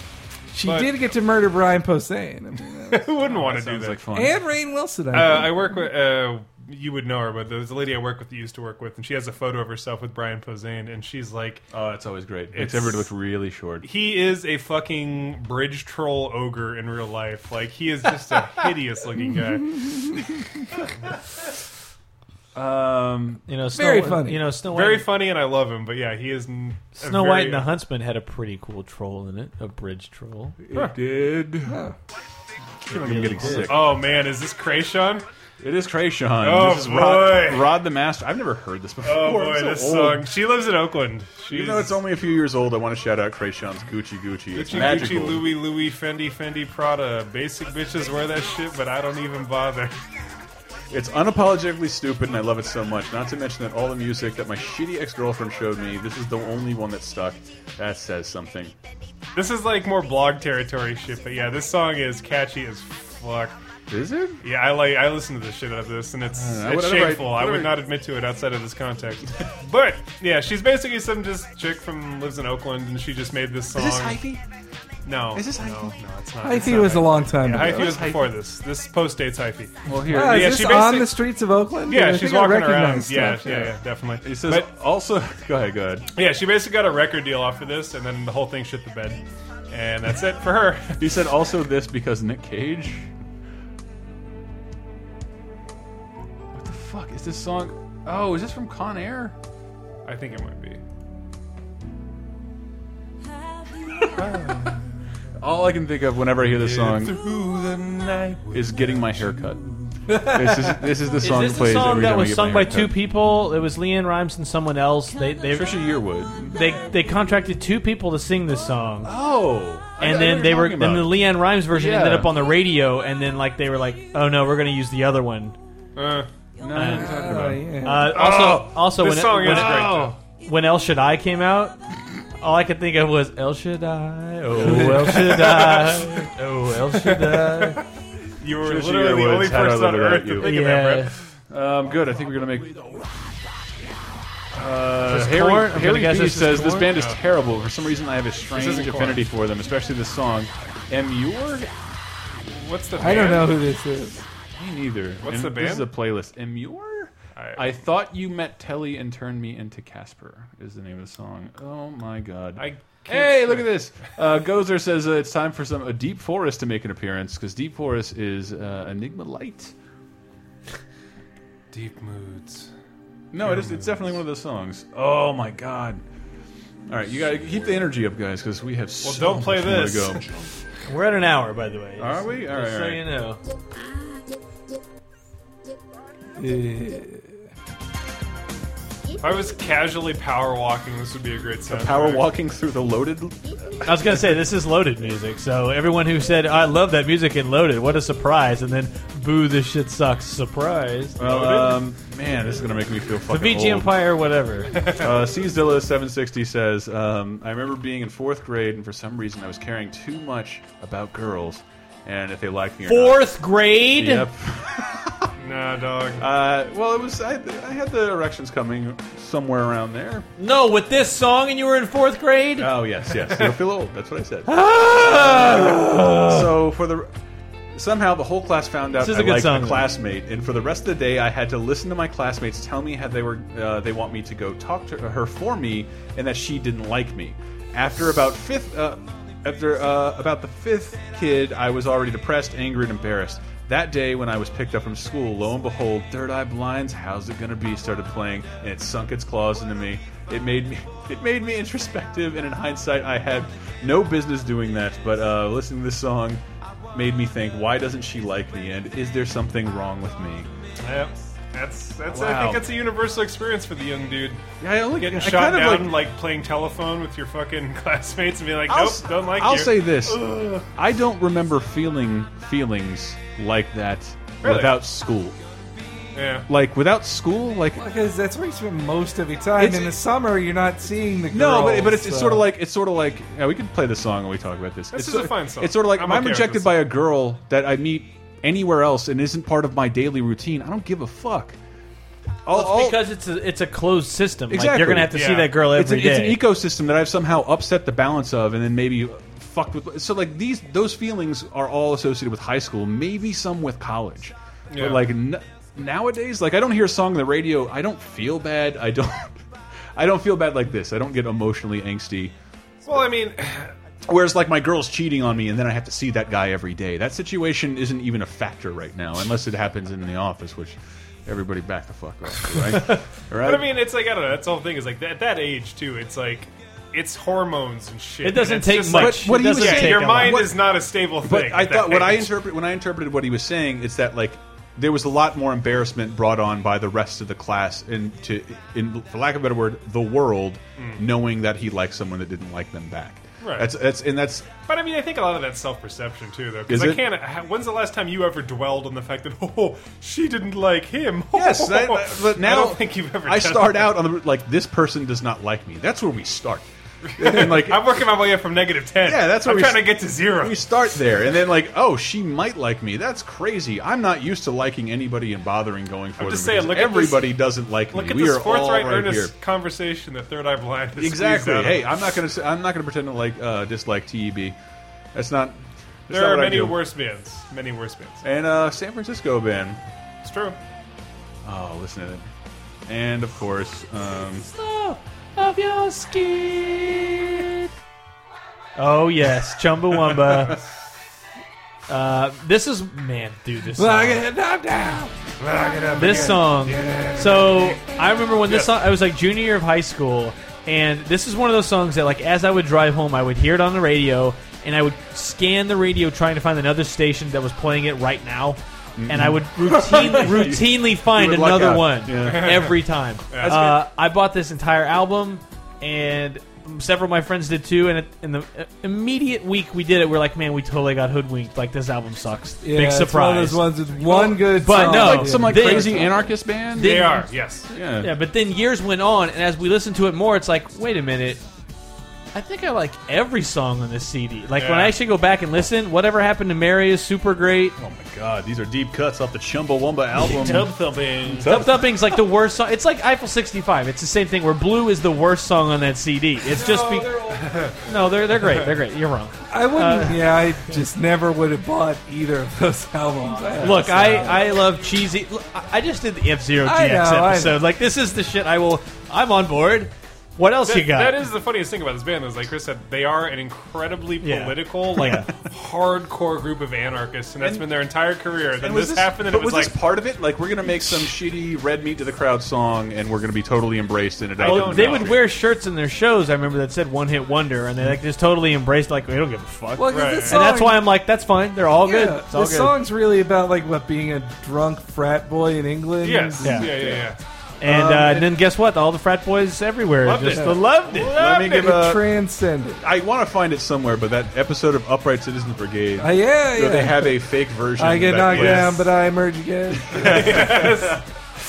[SPEAKER 5] She
[SPEAKER 6] But-
[SPEAKER 5] did get to murder Brian Posehn. I mean, that
[SPEAKER 6] (laughs)
[SPEAKER 5] was-
[SPEAKER 6] Who wouldn't want to do
[SPEAKER 3] sounds
[SPEAKER 6] that?
[SPEAKER 3] like fun.
[SPEAKER 5] and Rain Wilson. I
[SPEAKER 6] uh, I
[SPEAKER 5] think.
[SPEAKER 6] work with. Uh, you would know her, but there's a lady I work with, used to work with, and she has a photo of herself with Brian Posehn, and she's like,
[SPEAKER 3] oh, that's always great. It's,
[SPEAKER 6] It's-
[SPEAKER 3] ever looked really short.
[SPEAKER 6] he is a fucking bridge troll ogre in real life. Like he is just
[SPEAKER 5] (laughs)
[SPEAKER 6] a hideous looking guy.
[SPEAKER 3] Um,
[SPEAKER 4] You know, Snow,
[SPEAKER 5] Very funny.
[SPEAKER 4] You know, Snow White.
[SPEAKER 6] Very funny, and I love him, but yeah, he is n- a
[SPEAKER 4] Snow
[SPEAKER 6] very-
[SPEAKER 4] White and the Huntsman had a pretty cool troll in it, a bridge troll.
[SPEAKER 3] it did. I feel like I'm getting sick.
[SPEAKER 6] Oh man, is this Krayshawn?
[SPEAKER 3] It is Krayshawn.
[SPEAKER 6] Oh,
[SPEAKER 3] this is Rod,
[SPEAKER 6] boy.
[SPEAKER 3] Rod the Master. I've never heard this before.
[SPEAKER 6] Oh
[SPEAKER 3] I'm
[SPEAKER 6] boy,
[SPEAKER 3] so
[SPEAKER 6] this
[SPEAKER 3] old.
[SPEAKER 6] song. She lives in Oakland. She's
[SPEAKER 3] Even though it's only a few years old, I want to shout out Krayshawn's Gucci Gucci. It's
[SPEAKER 6] Gucci,
[SPEAKER 3] magical.
[SPEAKER 6] Gucci, Louis, Louis, Fendi, Fendi, Prada. Basic bitches wear that shit, but I don't even bother. (laughs)
[SPEAKER 3] It's unapologetically stupid, and I love it so much. Not to mention that all the music that my shitty ex-girlfriend showed me, this is the only one that stuck. That says something.
[SPEAKER 6] This is like more blog territory shit, but yeah, this song is catchy as fuck.
[SPEAKER 3] Is it?
[SPEAKER 6] Yeah, I like I listen to the shit out of this, and it's,
[SPEAKER 3] I
[SPEAKER 6] it's
[SPEAKER 3] would- I would-
[SPEAKER 6] shameful. I would not admit to it outside of this context. but yeah, she's basically some just chick from lives in Oakland, and she just made this song. No, is this no, no, it's not. it's
[SPEAKER 5] Hyphy
[SPEAKER 6] not
[SPEAKER 5] was a
[SPEAKER 6] Hyphy.
[SPEAKER 5] long time
[SPEAKER 6] Yeah,
[SPEAKER 5] ago.
[SPEAKER 6] Hyphy was before this. This post dates Hyphy.
[SPEAKER 3] Well, here.
[SPEAKER 5] Ah, is
[SPEAKER 6] yeah,
[SPEAKER 5] this
[SPEAKER 6] she
[SPEAKER 5] on
[SPEAKER 6] basic-
[SPEAKER 5] the streets of Oakland? I
[SPEAKER 6] Yeah, she's
[SPEAKER 5] think I
[SPEAKER 6] walking
[SPEAKER 5] recognize
[SPEAKER 6] around. Yeah,
[SPEAKER 5] stuff,
[SPEAKER 6] yeah, yeah, definitely.
[SPEAKER 3] He says
[SPEAKER 6] But-
[SPEAKER 3] also. (laughs) Go ahead. Go ahead.
[SPEAKER 6] yeah, she basically got a record deal off of this, and then the whole thing shit the bed, and that's it for her. (laughs)
[SPEAKER 3] He said also this because Nick Cage. What the fuck is this song? Oh, is this from Con Air?
[SPEAKER 6] I think it might be.
[SPEAKER 3] All I can think of whenever I hear this song is getting my hair (laughs) cut. this is this is the song
[SPEAKER 4] is
[SPEAKER 3] that
[SPEAKER 4] this the
[SPEAKER 3] plays
[SPEAKER 4] song
[SPEAKER 3] every
[SPEAKER 4] that
[SPEAKER 3] time I
[SPEAKER 4] was
[SPEAKER 3] get
[SPEAKER 4] sung
[SPEAKER 3] my
[SPEAKER 4] by
[SPEAKER 3] hair
[SPEAKER 4] two
[SPEAKER 3] cut.
[SPEAKER 4] people? It was Leanne Rhymes and someone else. They they
[SPEAKER 3] Trisha Yearwood.
[SPEAKER 4] they, they contracted two people to sing this song.
[SPEAKER 3] Oh, I
[SPEAKER 4] and
[SPEAKER 3] know
[SPEAKER 4] then
[SPEAKER 3] what
[SPEAKER 4] they
[SPEAKER 3] you're
[SPEAKER 4] were
[SPEAKER 3] talking
[SPEAKER 4] then the
[SPEAKER 3] about.
[SPEAKER 4] Leanne Rhymes version
[SPEAKER 3] Yeah.
[SPEAKER 4] ended up on the radio and then like they were like oh no we're gonna use the other one
[SPEAKER 6] Uh,
[SPEAKER 3] No, I know what you're talking
[SPEAKER 5] yeah.
[SPEAKER 3] about.
[SPEAKER 5] Oh, yeah.
[SPEAKER 4] uh, also also
[SPEAKER 6] this
[SPEAKER 4] when,
[SPEAKER 6] song
[SPEAKER 4] when,
[SPEAKER 6] is great. though.
[SPEAKER 4] when El Shaddai came out all I could think of was El Shaddai oh El Shaddai oh El Shaddai
[SPEAKER 6] You were
[SPEAKER 3] Trisha
[SPEAKER 6] literally the
[SPEAKER 3] Yearwood's
[SPEAKER 6] only
[SPEAKER 3] How to
[SPEAKER 6] person
[SPEAKER 3] Live
[SPEAKER 6] on
[SPEAKER 3] Without
[SPEAKER 6] earth
[SPEAKER 3] You.
[SPEAKER 6] to think of that, Brett.
[SPEAKER 4] yeah
[SPEAKER 3] Um, good. I think we're gonna make. Uh,
[SPEAKER 4] This
[SPEAKER 3] Harry,
[SPEAKER 4] corn? I'm gonna
[SPEAKER 3] Harry
[SPEAKER 4] guess
[SPEAKER 3] B
[SPEAKER 4] this is
[SPEAKER 3] says this
[SPEAKER 4] corn?
[SPEAKER 3] band is
[SPEAKER 6] Yeah.
[SPEAKER 3] terrible. For some reason, I have a strange
[SPEAKER 6] isn't corn.
[SPEAKER 3] affinity for them, especially this song. Emure?
[SPEAKER 6] What's the?
[SPEAKER 5] I don't
[SPEAKER 6] band?
[SPEAKER 5] know who this is.
[SPEAKER 3] Me neither.
[SPEAKER 6] What's
[SPEAKER 3] And
[SPEAKER 6] the
[SPEAKER 3] This is a
[SPEAKER 6] band?
[SPEAKER 3] playlist. Emure?
[SPEAKER 6] I,
[SPEAKER 3] I thought you met Telly and turned me into Casper is the name of the song. Oh my god.
[SPEAKER 6] I can't
[SPEAKER 3] hey,
[SPEAKER 6] say.
[SPEAKER 3] look at this. Uh, Gozer says uh, it's time for some a Deep Forest to make an appearance because Deep Forest is uh, Enigma Light.
[SPEAKER 6] Deep moods.
[SPEAKER 3] No, it is. It's definitely one of those songs. Oh my god! All right, you gotta keep the energy up, guys, because we have.
[SPEAKER 6] Well,
[SPEAKER 3] so
[SPEAKER 6] don't play
[SPEAKER 3] much more
[SPEAKER 6] this.
[SPEAKER 3] To go.
[SPEAKER 4] we're at an hour by the way
[SPEAKER 3] Are we? All right,
[SPEAKER 4] just so
[SPEAKER 3] all right.
[SPEAKER 4] you know
[SPEAKER 5] Yeah.
[SPEAKER 6] I was casually power walking, this would be a great sound.
[SPEAKER 3] Power walking through the loaded.
[SPEAKER 4] I was gonna say this is loaded music, so everyone who said I love that music in Loaded, what a surprise! And then, boo, this shit sucks. Surprise.
[SPEAKER 3] Well, um, man, this is gonna make me feel
[SPEAKER 4] the
[SPEAKER 3] fucking
[SPEAKER 4] VG
[SPEAKER 3] old.
[SPEAKER 4] Empire, whatever.
[SPEAKER 3] (laughs) uh, Czilla seven sixty says, um, I remember being in fourth grade, and for some reason I was caring too much about girls, and if they liked me or not.
[SPEAKER 4] Fourth grade.
[SPEAKER 3] Yep.
[SPEAKER 6] nah, dog.
[SPEAKER 3] Uh, well, it was I, I had the erections coming somewhere around there.
[SPEAKER 4] No, with this song, and you were in fourth grade.
[SPEAKER 3] Oh yes, yes. You'll feel old. That's what I said. so for the somehow the whole class found out
[SPEAKER 4] This is
[SPEAKER 3] I
[SPEAKER 4] a good
[SPEAKER 3] liked
[SPEAKER 4] song,
[SPEAKER 3] a
[SPEAKER 4] though.
[SPEAKER 3] classmate, and for the rest of the day I had to listen to my classmates tell me how they were uh, they want me to go talk to her for me, and that she didn't like me. After about fifth, uh, after uh, about the fifth kid, I was already depressed, angry, and embarrassed. That day, when I was picked up from school, lo and behold, Third Eye Blind's "How's It Gonna Be" started playing, and it sunk its claws into me. It made me, (laughs) it made me introspective, and in hindsight, I had no business doing that. But uh, listening to this song made me think, why doesn't she like me? And is there something wrong with me?
[SPEAKER 6] Yep. That's that's. I
[SPEAKER 3] Wow.
[SPEAKER 6] think that's a universal experience for the young dude.
[SPEAKER 3] Yeah, I only
[SPEAKER 6] getting
[SPEAKER 3] I
[SPEAKER 6] shot
[SPEAKER 3] kind of,
[SPEAKER 6] down,
[SPEAKER 3] like-
[SPEAKER 6] like, playing telephone with your fucking (laughs) classmates and being like,
[SPEAKER 3] I'll,
[SPEAKER 6] nope, don't like
[SPEAKER 3] I'll
[SPEAKER 6] you.
[SPEAKER 3] say this:
[SPEAKER 6] Ugh.
[SPEAKER 3] I don't remember feeling feelings like that
[SPEAKER 6] Really?
[SPEAKER 3] without school.
[SPEAKER 6] Yeah.
[SPEAKER 3] Like without school, like
[SPEAKER 5] Because that's where you spend most of your time.
[SPEAKER 3] It's-
[SPEAKER 5] in the summer, you're not seeing the girls.
[SPEAKER 3] No, but, but it's, it's
[SPEAKER 5] so-
[SPEAKER 3] sort of like it's sort of like yeah, we could play the song when we talk about this.
[SPEAKER 6] This
[SPEAKER 3] it's
[SPEAKER 6] is
[SPEAKER 3] sort-
[SPEAKER 6] a fine song.
[SPEAKER 3] It's sort of like
[SPEAKER 6] I'm
[SPEAKER 3] if I'm
[SPEAKER 6] okay with
[SPEAKER 3] rejected
[SPEAKER 6] this
[SPEAKER 3] by a girl that I meet anywhere else and isn't part of my daily routine. I don't give a fuck. All,
[SPEAKER 4] Well, it's because it's a it's a closed system. Like
[SPEAKER 3] Oh. Exactly.
[SPEAKER 4] you're gonna have to see
[SPEAKER 6] Yeah.
[SPEAKER 4] that girl
[SPEAKER 3] it's, an,
[SPEAKER 4] every day.
[SPEAKER 3] it's an ecosystem that I've somehow upset the balance of, and then maybe fucked with. So like these those feelings are all associated with high school, maybe some with college.
[SPEAKER 6] Yeah.
[SPEAKER 3] But like n nowadays, like I don't hear a song on the radio, I don't feel bad. I don't. (laughs) I don't feel bad like this. I don't get emotionally angsty.
[SPEAKER 6] Well, I mean, (laughs)
[SPEAKER 3] Whereas, like, my girl's cheating on me, and then I have to see that guy every day. That situation isn't even a factor right now, unless it happens in the office, which everybody back the fuck off, right? All right?
[SPEAKER 6] but I mean, it's like I don't know. That's the whole thing. Is like at that age too. It's like it's hormones and shit.
[SPEAKER 4] It doesn't
[SPEAKER 6] and it's
[SPEAKER 4] take
[SPEAKER 6] just
[SPEAKER 4] much.
[SPEAKER 6] Like,
[SPEAKER 3] But what
[SPEAKER 4] It
[SPEAKER 3] he was
[SPEAKER 4] doesn't
[SPEAKER 3] saying-
[SPEAKER 6] yeah,
[SPEAKER 4] take
[SPEAKER 6] your
[SPEAKER 4] a lot.
[SPEAKER 6] mind
[SPEAKER 3] What-
[SPEAKER 6] is not a stable thing.
[SPEAKER 3] But I
[SPEAKER 6] at
[SPEAKER 3] thought
[SPEAKER 6] that
[SPEAKER 3] what I
[SPEAKER 6] age.
[SPEAKER 3] interpret when I interpreted what he was saying it's that like there was a lot more embarrassment brought on by the rest of the class and to in for lack of a better word the world knowing that he liked someone that didn't like them back.
[SPEAKER 6] Hmm. Right.
[SPEAKER 3] That's that's and that's
[SPEAKER 6] But I mean, I think a lot of that's self perception too, though.
[SPEAKER 3] Is
[SPEAKER 6] Because I
[SPEAKER 3] it?
[SPEAKER 6] can't. ha- When's the last time you ever dwelled on the fact that (laughs) oh, she didn't like him? (laughs)
[SPEAKER 3] yes. that- that- but now
[SPEAKER 6] I don't think you've ever.
[SPEAKER 3] I
[SPEAKER 6] done
[SPEAKER 3] start
[SPEAKER 6] that.
[SPEAKER 3] out on the like this person does not like me. That's where we start. and like
[SPEAKER 6] (laughs) I'm working my way up from negative ten.
[SPEAKER 3] Yeah, that's what
[SPEAKER 6] I'm
[SPEAKER 3] we
[SPEAKER 6] trying
[SPEAKER 3] s-
[SPEAKER 6] to get to zero.
[SPEAKER 3] we start there and then like oh she might like me that's crazy i'm not used to liking anybody and bothering going for
[SPEAKER 6] I'm just
[SPEAKER 3] them
[SPEAKER 6] saying,
[SPEAKER 3] because
[SPEAKER 6] look at this-
[SPEAKER 3] everybody doesn't like
[SPEAKER 6] Look
[SPEAKER 3] me
[SPEAKER 6] at
[SPEAKER 3] we
[SPEAKER 6] this
[SPEAKER 3] are
[SPEAKER 6] fourth
[SPEAKER 3] all
[SPEAKER 6] right
[SPEAKER 3] right
[SPEAKER 6] earnest
[SPEAKER 3] here
[SPEAKER 6] conversation that Third Eye Blind. Has
[SPEAKER 3] exactly
[SPEAKER 6] squeezed out of
[SPEAKER 3] hey
[SPEAKER 6] us.
[SPEAKER 3] i'm not gonna say, i'm not gonna pretend to like uh, dislike teb that's not that's
[SPEAKER 6] there
[SPEAKER 3] not
[SPEAKER 6] are
[SPEAKER 3] what I
[SPEAKER 6] many
[SPEAKER 3] do.
[SPEAKER 6] worse bands. Many worse bands.
[SPEAKER 3] and uh san francisco band
[SPEAKER 6] It's true.
[SPEAKER 3] oh listen to it and of course um
[SPEAKER 4] of your skin. Oh yes, Chumbawamba. uh, this is man, dude. This song.
[SPEAKER 5] Lock it up now.
[SPEAKER 4] this song. So I remember when this song. I was like junior year of high school, and this is one of those songs that, like, as I would drive home, I would hear it on the radio, and I would scan the radio trying to find another station that was playing it right now. And I would routine, routinely find
[SPEAKER 3] would luck
[SPEAKER 4] another
[SPEAKER 3] out.
[SPEAKER 4] one
[SPEAKER 3] Yeah.
[SPEAKER 4] (laughs) every time. Uh, I bought this entire album, and several of my friends did too. And it- in the uh, immediate week we did it, we are like, "Man, we totally got hoodwinked. Like this album sucks.
[SPEAKER 5] Yeah,
[SPEAKER 4] Big
[SPEAKER 5] It's one of
[SPEAKER 4] surprise."
[SPEAKER 5] those ones with one good
[SPEAKER 4] but
[SPEAKER 5] song.
[SPEAKER 4] no,
[SPEAKER 5] dude.
[SPEAKER 4] like
[SPEAKER 3] some like
[SPEAKER 4] They-
[SPEAKER 3] crazy anarchist band
[SPEAKER 4] They-
[SPEAKER 6] They are. Yes.
[SPEAKER 3] yeah,
[SPEAKER 4] Yeah, but then years went on, and as we listened to it more, it's like, wait a minute. I think I like every song on this CD. Like when
[SPEAKER 6] Yeah.
[SPEAKER 4] I actually go back and listen, whatever happened to Mary is super great.
[SPEAKER 3] oh my god these are deep cuts off the chumbawamba album
[SPEAKER 6] thumping.
[SPEAKER 4] Thump Thumping's like the worst song. It's like Eiffel 65. It's the same thing where Blue is the worst song on that CD. It's just be- (laughs) no, they're they're great. They're great. You're wrong.
[SPEAKER 5] I
[SPEAKER 4] Uh,
[SPEAKER 5] wouldn't. yeah, I just never would have bought either of those (laughs) albums. I have
[SPEAKER 4] Look,
[SPEAKER 5] to
[SPEAKER 4] I,
[SPEAKER 5] say.
[SPEAKER 4] I love cheesy. look, I I just did the F Zero
[SPEAKER 5] I know,
[SPEAKER 4] GX
[SPEAKER 5] I know.
[SPEAKER 4] episode. Like this is the shit. I will. I'm on board. What else you
[SPEAKER 6] That-
[SPEAKER 4] got?
[SPEAKER 6] that is the funniest thing about this band is like Chris said, they are an incredibly
[SPEAKER 4] Yeah. (laughs)
[SPEAKER 6] political, like hardcore group of anarchists, and that's
[SPEAKER 3] And-
[SPEAKER 6] been their entire career. And then
[SPEAKER 3] was
[SPEAKER 6] this, happened, and
[SPEAKER 3] but
[SPEAKER 6] it was,
[SPEAKER 3] was
[SPEAKER 6] like
[SPEAKER 3] this part of it? Like, we're gonna make some shitty red meat to the crowd song, and we're gonna be totally embraced in it.
[SPEAKER 6] I
[SPEAKER 4] Well,
[SPEAKER 6] don't
[SPEAKER 4] they
[SPEAKER 6] know.
[SPEAKER 4] would wear shirts in their shows. I remember that said "One Hit Wonder," and they like just totally embraced like we don't give a fuck.
[SPEAKER 5] Well, 'cause
[SPEAKER 6] Right.
[SPEAKER 5] this
[SPEAKER 6] And
[SPEAKER 5] song,
[SPEAKER 4] and that's why I'm like, that's fine. They're all
[SPEAKER 5] Yeah,
[SPEAKER 4] good. It's all
[SPEAKER 5] the
[SPEAKER 4] good.
[SPEAKER 5] song's really about like what being a drunk frat boy in England.
[SPEAKER 6] yes,
[SPEAKER 5] Yeah.
[SPEAKER 6] yeah, yeah, yeah.
[SPEAKER 4] And,
[SPEAKER 5] Um,
[SPEAKER 4] uh, and then guess what? All the frat boys everywhere
[SPEAKER 3] Loved
[SPEAKER 4] just
[SPEAKER 3] it.
[SPEAKER 4] (laughs) loved it.
[SPEAKER 3] Let me give a.
[SPEAKER 5] transcended.
[SPEAKER 3] I want to find it somewhere, but that episode of Upright Citizen Brigade.
[SPEAKER 5] Uh, yeah,
[SPEAKER 3] where
[SPEAKER 5] yeah.
[SPEAKER 3] They have a fake version.
[SPEAKER 5] I get
[SPEAKER 3] that
[SPEAKER 5] knocked
[SPEAKER 3] plays-
[SPEAKER 5] down, but I emerge again. (laughs)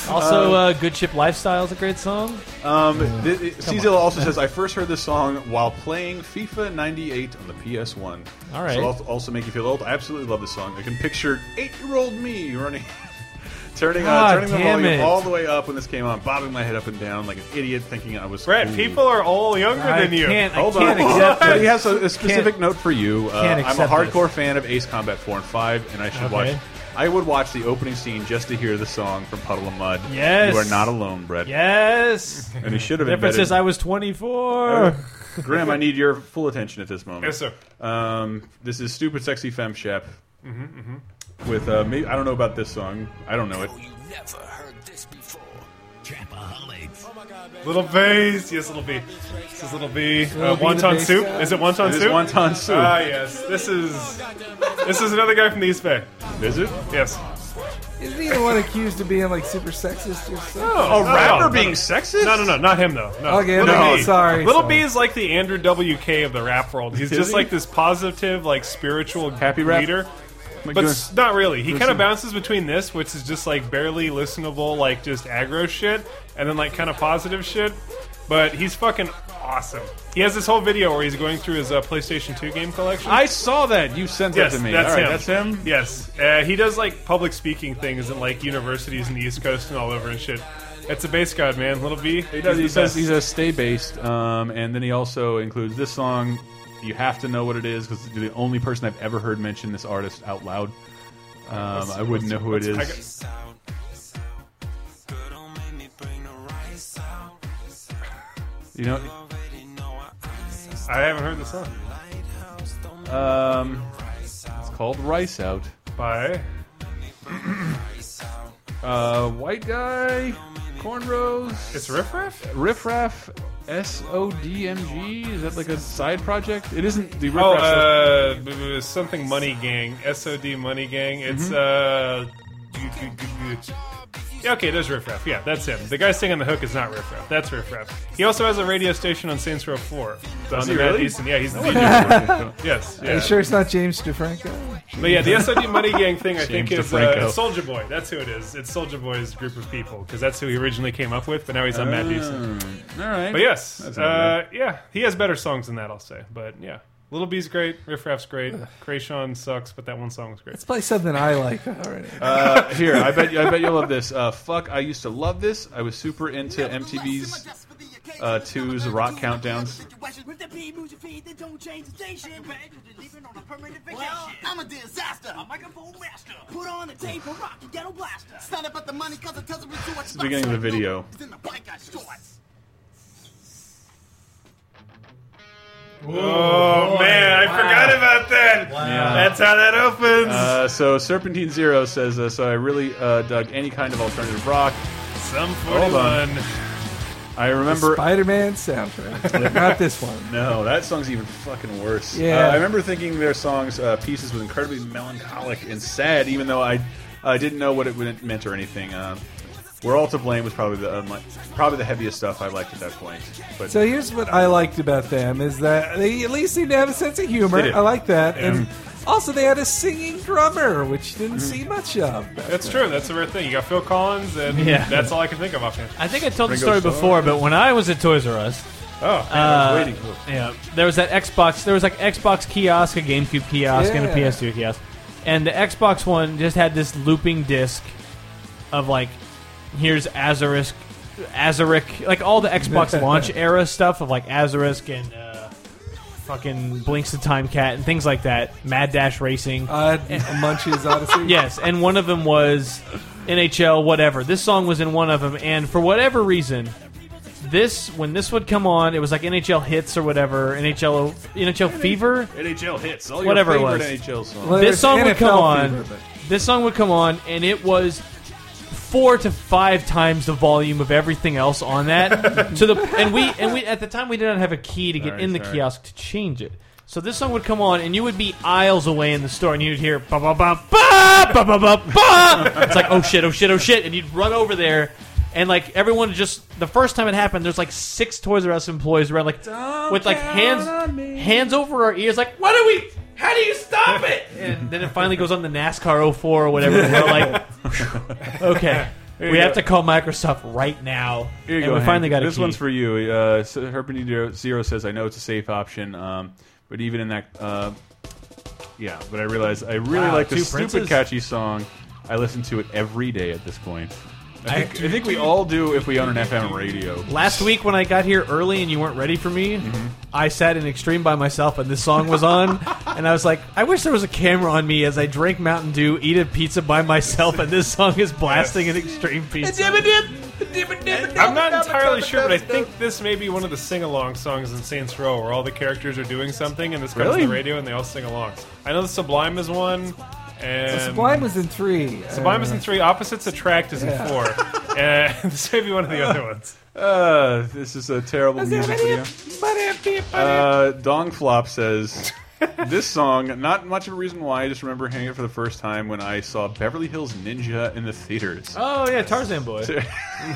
[SPEAKER 4] Also,
[SPEAKER 5] Um,
[SPEAKER 4] uh, Good Ship Lifestyle is a great song.
[SPEAKER 3] Um, th- it- Cecil also says, I first heard this song while playing FIFA 98 on the PS1.
[SPEAKER 4] All right.
[SPEAKER 3] So I'll also make you feel old. I absolutely love this song. I can picture eight-year-old me running, (laughs) turning, uh,
[SPEAKER 5] Ah,
[SPEAKER 4] God
[SPEAKER 3] turning the
[SPEAKER 4] damn
[SPEAKER 3] volume
[SPEAKER 4] it.
[SPEAKER 3] all the way up when this came on, bobbing my head up and down like an idiot, thinking I was
[SPEAKER 6] Brett,
[SPEAKER 3] cool.
[SPEAKER 6] people are all younger
[SPEAKER 4] I
[SPEAKER 6] than you.
[SPEAKER 4] can't- I
[SPEAKER 3] Hold
[SPEAKER 4] can't
[SPEAKER 3] on.
[SPEAKER 4] accept
[SPEAKER 3] But
[SPEAKER 4] this.
[SPEAKER 3] (laughs) he has a, a specific
[SPEAKER 4] Can't-
[SPEAKER 3] note for you. Uh,
[SPEAKER 4] can't
[SPEAKER 3] I'm a
[SPEAKER 4] accept this.
[SPEAKER 3] hardcore fan of Ace Combat 4 and 5, and I should
[SPEAKER 4] Okay.
[SPEAKER 3] watch. I would watch the opening scene just to hear the song from Puddle of Mud.
[SPEAKER 4] Yes.
[SPEAKER 3] You are not alone, Brett. (laughs)
[SPEAKER 4] Yes.
[SPEAKER 3] And he should have
[SPEAKER 4] The difference
[SPEAKER 3] embedded-
[SPEAKER 4] is I was 24.
[SPEAKER 3] Graham, I need your full attention at this moment.
[SPEAKER 6] Yes, sir.
[SPEAKER 3] Um, this is stupid, sexy femme chap.
[SPEAKER 6] Mm-hmm,
[SPEAKER 3] With uh, maybe, I don't know about this song. I don't know it.
[SPEAKER 7] Never heard this before. Trapaholics.
[SPEAKER 6] Little V's. Yes, Little B. This is Little B. Uh,
[SPEAKER 5] B the
[SPEAKER 6] wonton
[SPEAKER 5] bass
[SPEAKER 6] soup.
[SPEAKER 5] guy.
[SPEAKER 6] Is it wonton
[SPEAKER 3] It is
[SPEAKER 6] soup?
[SPEAKER 3] wonton soup.
[SPEAKER 6] Ah, yes. This is this is another guy from the East Bay.
[SPEAKER 3] Is it?
[SPEAKER 6] Yes.
[SPEAKER 5] Isn't he the one accused of being like super sexist or something?
[SPEAKER 6] Oh,
[SPEAKER 3] A rapper
[SPEAKER 6] no,
[SPEAKER 3] being
[SPEAKER 6] no.
[SPEAKER 3] sexist?
[SPEAKER 6] No, no, no, not him though. No.
[SPEAKER 5] Okay,
[SPEAKER 6] Little
[SPEAKER 5] no,
[SPEAKER 6] B.
[SPEAKER 5] sorry,
[SPEAKER 6] Little
[SPEAKER 5] sorry.
[SPEAKER 6] B is like the Andrew WK of the rap world. He's
[SPEAKER 3] Is
[SPEAKER 6] just
[SPEAKER 3] he?
[SPEAKER 6] like this positive, like spiritual
[SPEAKER 3] Happy rap?
[SPEAKER 6] leader.
[SPEAKER 3] Like,
[SPEAKER 6] But
[SPEAKER 3] uh,
[SPEAKER 6] s- not really. He kind
[SPEAKER 3] listen.
[SPEAKER 6] of bounces between this, which is just like barely listenable, like just aggro shit, and then like kind of positive shit. But he's fucking awesome. He has this whole video where he's going through his uh, PlayStation 2 game collection.
[SPEAKER 3] I saw that. You sent
[SPEAKER 6] Yes,
[SPEAKER 3] that to me.
[SPEAKER 6] that's
[SPEAKER 3] All right,
[SPEAKER 6] him.
[SPEAKER 3] that's him.
[SPEAKER 6] Yes, uh, he does like public speaking things in like universities in the East Coast and all over and shit. That's a bass god, man. Little B.
[SPEAKER 3] He, does, he
[SPEAKER 6] the
[SPEAKER 3] says
[SPEAKER 6] best.
[SPEAKER 3] he's a stay based, um, and then he also includes this song. You have to know what it is because it's the only person I've ever heard mention this artist out loud. Um, I wouldn't know who it
[SPEAKER 6] I
[SPEAKER 3] is.
[SPEAKER 6] got-
[SPEAKER 3] You know,
[SPEAKER 6] I haven't heard the song.
[SPEAKER 3] um, it's called Rice Out.
[SPEAKER 6] Bye.
[SPEAKER 3] Uh, white guy, cornrows.
[SPEAKER 6] It's Riff Raff?
[SPEAKER 3] Riff Raff S O D M G. Is that like a side project? It isn't the Riff
[SPEAKER 6] Oh,
[SPEAKER 3] Raff. Mm-hmm. stuff.
[SPEAKER 6] uh, b- b- something Money Gang. SOD Money Gang. It's, uh. g- g- g- g- Yeah, okay, there's Riff Raff. Yeah, that's him. The guy singing the hook is not Riff Raff. That's Riff Raff. He also has a radio station on Saints Row 4.
[SPEAKER 3] Does
[SPEAKER 6] on
[SPEAKER 3] he
[SPEAKER 6] the Mad
[SPEAKER 3] really?
[SPEAKER 6] Easton. Yeah, he's the
[SPEAKER 3] (laughs)
[SPEAKER 6] DJ.
[SPEAKER 3] Oh,
[SPEAKER 6] Yes.
[SPEAKER 5] Are
[SPEAKER 6] Yeah.
[SPEAKER 5] you sure it's not James DeFranco?
[SPEAKER 6] But yeah, the SOD Money Gang thing, I think,
[SPEAKER 3] James
[SPEAKER 6] is uh,
[SPEAKER 3] DeFranco.
[SPEAKER 6] it's Soldier Boy. That's who it is. It's Soldier Boy's group of people because that's who he originally came up with, but now he's on Mad Easton.
[SPEAKER 3] all right.
[SPEAKER 6] (laughs) But yes,
[SPEAKER 3] That's not
[SPEAKER 6] uh, yeah, he has better songs than that, I'll say. But yeah, Little B's great, Riff Raff's great, Krayshawn sucks, but that one song was great.
[SPEAKER 5] It's probably something I like already.
[SPEAKER 3] Uh, here, I bet you, I bet you'll love this. Uh, fuck, I used to love this. I was super into MTV's uh, twos rock countdowns.
[SPEAKER 7] With the bee music feed, they don't change the station. Well, I'm a disaster. A microphone master. Put on the tape and rock and ghetto blaster. Stand up at the money cause it doesn't resort. It's
[SPEAKER 3] the beginning of the video.
[SPEAKER 7] It's in the bike I shorts.
[SPEAKER 6] Oh man, I forgot about that. That's how that opens.
[SPEAKER 3] Uh, so Serpentine Zero says, uh, so I really uh, dug any kind of alternative rock.
[SPEAKER 6] Some
[SPEAKER 3] hold on.
[SPEAKER 6] forty-one.
[SPEAKER 3] I remember
[SPEAKER 5] Spider-Man soundtrack. Not this one.
[SPEAKER 3] No, that song's even fucking worse.
[SPEAKER 5] Yeah.
[SPEAKER 3] Uh, I remember thinking their songs uh, "Pieces" was incredibly melancholic and sad, even though I I didn't know what it would- meant or anything. Um, "We're All to Blame" was probably the um, probably the heaviest stuff I liked at that point. But
[SPEAKER 5] So here's what I liked about them is that they at least seemed to have a sense of humor.
[SPEAKER 3] They did.
[SPEAKER 5] I like that. And also they had a singing drummer, which you didn't
[SPEAKER 4] Mm-hmm.
[SPEAKER 5] see much of.
[SPEAKER 6] That's true. That's the rare thing. You got Phil Collins, and
[SPEAKER 4] Yeah.
[SPEAKER 6] that's all I can think of offhand.
[SPEAKER 4] I think I told
[SPEAKER 3] Ringo
[SPEAKER 4] the story
[SPEAKER 3] Starr.
[SPEAKER 4] before, but when I was at Toys R Us,
[SPEAKER 6] Oh, man, I was
[SPEAKER 4] Uh,
[SPEAKER 6] waiting.
[SPEAKER 4] Yeah, there was that Xbox. There was like Xbox kiosk, a GameCube kiosk, and a
[SPEAKER 5] Yeah.
[SPEAKER 4] PS2 kiosk. And the Xbox one just had this looping disc of like, here's Azerisk, Azeric, like all the Xbox launch era stuff of like Azerisk and uh, fucking Blinks the Time Cat and things like that. Mad Dash Racing.
[SPEAKER 5] Uh, Munch's
[SPEAKER 4] (laughs)
[SPEAKER 5] Odyssey.
[SPEAKER 4] Yes, and one of them was NHL, whatever. This song was in one of them, and for whatever reason, this when this would come on, it was like NHL hits or whatever, NHL NHL Fever.
[SPEAKER 3] NHL hits, all
[SPEAKER 4] Whatever it
[SPEAKER 3] your favorite
[SPEAKER 4] was.
[SPEAKER 3] NHL songs.
[SPEAKER 5] Well,
[SPEAKER 4] This
[SPEAKER 5] there's
[SPEAKER 4] song would
[SPEAKER 5] NFL
[SPEAKER 4] come on.
[SPEAKER 5] fever, but-
[SPEAKER 4] This song would come on, and it was four to five times the volume of everything else on that.
[SPEAKER 5] (laughs)
[SPEAKER 4] to the and we and we at the time we did not have a key to get
[SPEAKER 3] Sorry,
[SPEAKER 4] in the
[SPEAKER 3] sorry.
[SPEAKER 4] kiosk to change it. So this song would come on, and you would be aisles away in the store, and you'd hear ba ba ba ba ba ba ba ba. It's like oh shit, oh shit, oh shit, and you'd run over there. And like everyone just the first time it happened, there's like six Toys R Us employees around, like with like hands hands over our ears, like what do we? How do you stop it? And then it finally goes on the NASCAR 04 or whatever. and we're like, okay,
[SPEAKER 3] Here you
[SPEAKER 4] we
[SPEAKER 3] go.
[SPEAKER 4] have to call Microsoft right now.
[SPEAKER 3] Here you
[SPEAKER 4] and
[SPEAKER 3] go.
[SPEAKER 4] we finally
[SPEAKER 3] Hank.
[SPEAKER 4] got a
[SPEAKER 3] this
[SPEAKER 4] key.
[SPEAKER 3] one's for you. Uh, so Herpany Zero- Zero says, "I know it's a safe option, um, but even in that, uh, yeah. But I realize I really
[SPEAKER 4] Wow,
[SPEAKER 3] like
[SPEAKER 4] two
[SPEAKER 3] this stupid
[SPEAKER 4] princes?
[SPEAKER 3] catchy song. I listen to it every day at this point. I
[SPEAKER 4] I-
[SPEAKER 3] think, I think we all do if we own an FM radio.
[SPEAKER 4] Last week when I got here early and you weren't ready for me,
[SPEAKER 3] Mm-hmm.
[SPEAKER 4] I sat in extreme by myself and this song was on, (laughs) and I was like, I wish there was a camera on me as I drank Mountain Dew, eat a pizza by myself, and this song is blasting an extreme pizza.
[SPEAKER 6] I'm not entirely sure, but I think this may be one of the sing-along songs in Saints Row, where all the characters are doing something, and this comes
[SPEAKER 5] Really?
[SPEAKER 6] on the radio, and they all sing along. I know the Sublime is one, and
[SPEAKER 5] Uh, Sublime was in three. Uh,
[SPEAKER 6] Sublime is in three. Opposites attract is in
[SPEAKER 5] yeah.
[SPEAKER 6] four.
[SPEAKER 4] (laughs)
[SPEAKER 6] Uh, this may be one of the other ones.
[SPEAKER 3] Uh, this is a terrible music video. Uh, Dong Flop says this song. Not much of a reason why. I just remember hearing it for the first time when I saw Beverly Hills Ninja in the theaters.
[SPEAKER 4] Oh yeah, Tarzan boy.
[SPEAKER 6] (laughs)
[SPEAKER 3] really?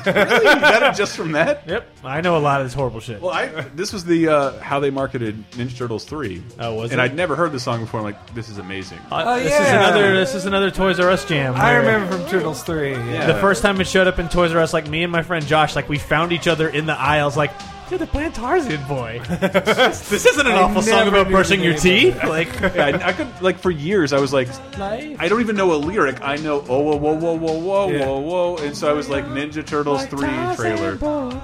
[SPEAKER 3] You got it just from that?
[SPEAKER 4] Yep. I know a lot of this horrible shit.
[SPEAKER 3] Well, I this was the uh, how they marketed Ninja Turtles three. Oh,
[SPEAKER 4] was
[SPEAKER 3] and
[SPEAKER 4] it?
[SPEAKER 3] I'd never heard the song before. I'm like, this is amazing.
[SPEAKER 4] Uh, this is another. This is another Toys R Us jam.
[SPEAKER 5] oh, I
[SPEAKER 4] where-
[SPEAKER 5] remember from Turtles three. Yeah.
[SPEAKER 4] The first time it showed up in Toys R Us, like me and my friend Josh, like we found each other in the aisles, like, dude, the plant Tarzan boy. this isn't an
[SPEAKER 3] I
[SPEAKER 4] awful song
[SPEAKER 3] never
[SPEAKER 4] about
[SPEAKER 3] knew
[SPEAKER 4] brushing
[SPEAKER 3] the
[SPEAKER 4] your
[SPEAKER 3] name
[SPEAKER 4] teeth.
[SPEAKER 3] of it.
[SPEAKER 4] Like,
[SPEAKER 3] (laughs) yeah, I, I could like for years I was like,
[SPEAKER 4] Life.
[SPEAKER 3] I don't even know a lyric. I know oh whoa whoa whoa whoa whoa whoa whoa, and so I was like Ninja Turtles three trailer.
[SPEAKER 6] I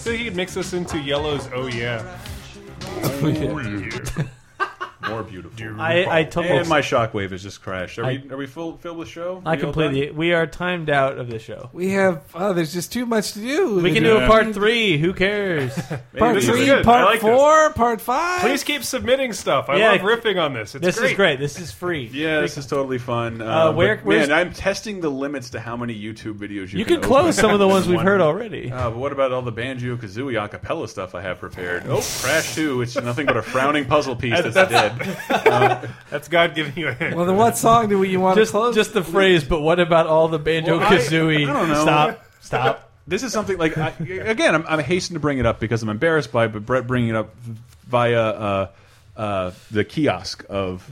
[SPEAKER 6] feel like you could mix this into Yellow's Oh Yeah.
[SPEAKER 3] Hmm. (laughs) More beautiful.
[SPEAKER 4] I- I totally-
[SPEAKER 3] and my shockwave has just crashed. Are
[SPEAKER 4] I-
[SPEAKER 3] we are we full filled with show?
[SPEAKER 4] I
[SPEAKER 3] We all
[SPEAKER 4] completely. We are timed out of the show.
[SPEAKER 5] We have. Oh, there's just too much to do.
[SPEAKER 4] We can do a part three. Who cares?
[SPEAKER 5] Part
[SPEAKER 6] This is
[SPEAKER 5] three,
[SPEAKER 6] good. I
[SPEAKER 5] part
[SPEAKER 6] like this.
[SPEAKER 5] four, part five.
[SPEAKER 6] Please keep submitting stuff. I
[SPEAKER 4] Yeah.
[SPEAKER 6] love riffing on this. It's
[SPEAKER 4] this
[SPEAKER 6] great.
[SPEAKER 4] is great. This is free.
[SPEAKER 3] Yeah, this is totally fun.
[SPEAKER 4] Uh,
[SPEAKER 3] Uh,
[SPEAKER 4] where-
[SPEAKER 3] but,
[SPEAKER 4] where's-
[SPEAKER 3] man, I'm testing the limits to how many YouTube videos you,
[SPEAKER 4] You can
[SPEAKER 3] open.
[SPEAKER 4] close some of the ones we've heard already.
[SPEAKER 3] Uh, but what about all the banjo kazooie acapella stuff I have prepared? Oh, Crash Two! It's nothing but a frowning puzzle piece that's, dead.
[SPEAKER 6] That's God giving you a hint.
[SPEAKER 5] Well, then what song do we, you want
[SPEAKER 4] Just,
[SPEAKER 5] to close?
[SPEAKER 4] just the phrase. But what about all the banjo kazooie?
[SPEAKER 3] I don't know.
[SPEAKER 4] Stop. Stop.
[SPEAKER 3] Uh, This is something like I, again. I'm, I'm hastened to bring it up because I'm embarrassed by, it, but Brett bringing it up via uh, uh, the kiosk of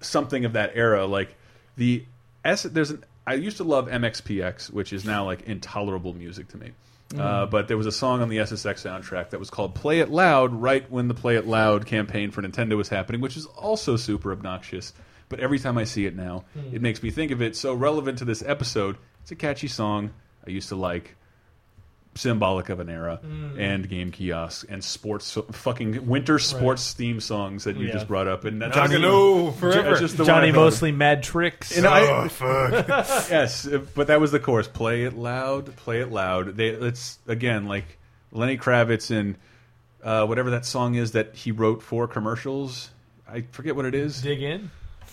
[SPEAKER 3] something of that era. Like the S. There's an. I used to love MXPX, which is now like intolerable music to me. Uh, but there was a song on the SSX soundtrack that was called "Play It Loud" right when the "Play It Loud" campaign for Nintendo was happening, which is also super obnoxious. But every time I see it now, it makes me think of it. So relevant to this episode, it's a catchy song I used to like symbolic of an era and game kiosks and sports fucking winter sports theme songs that you
[SPEAKER 4] Yeah.
[SPEAKER 3] just brought up and that's
[SPEAKER 6] Tagalo forever. Oh,
[SPEAKER 3] That's just (laughs) the
[SPEAKER 4] Johnny
[SPEAKER 3] one I thought of.
[SPEAKER 4] mostly Oh. mad tricks.
[SPEAKER 3] And I-
[SPEAKER 6] fuck.
[SPEAKER 3] yes uh, but that was the chorus play it loud play it loud they it's again like lenny kravitz and uh, whatever that song is that he wrote for commercials i forget what it is
[SPEAKER 4] Dig in.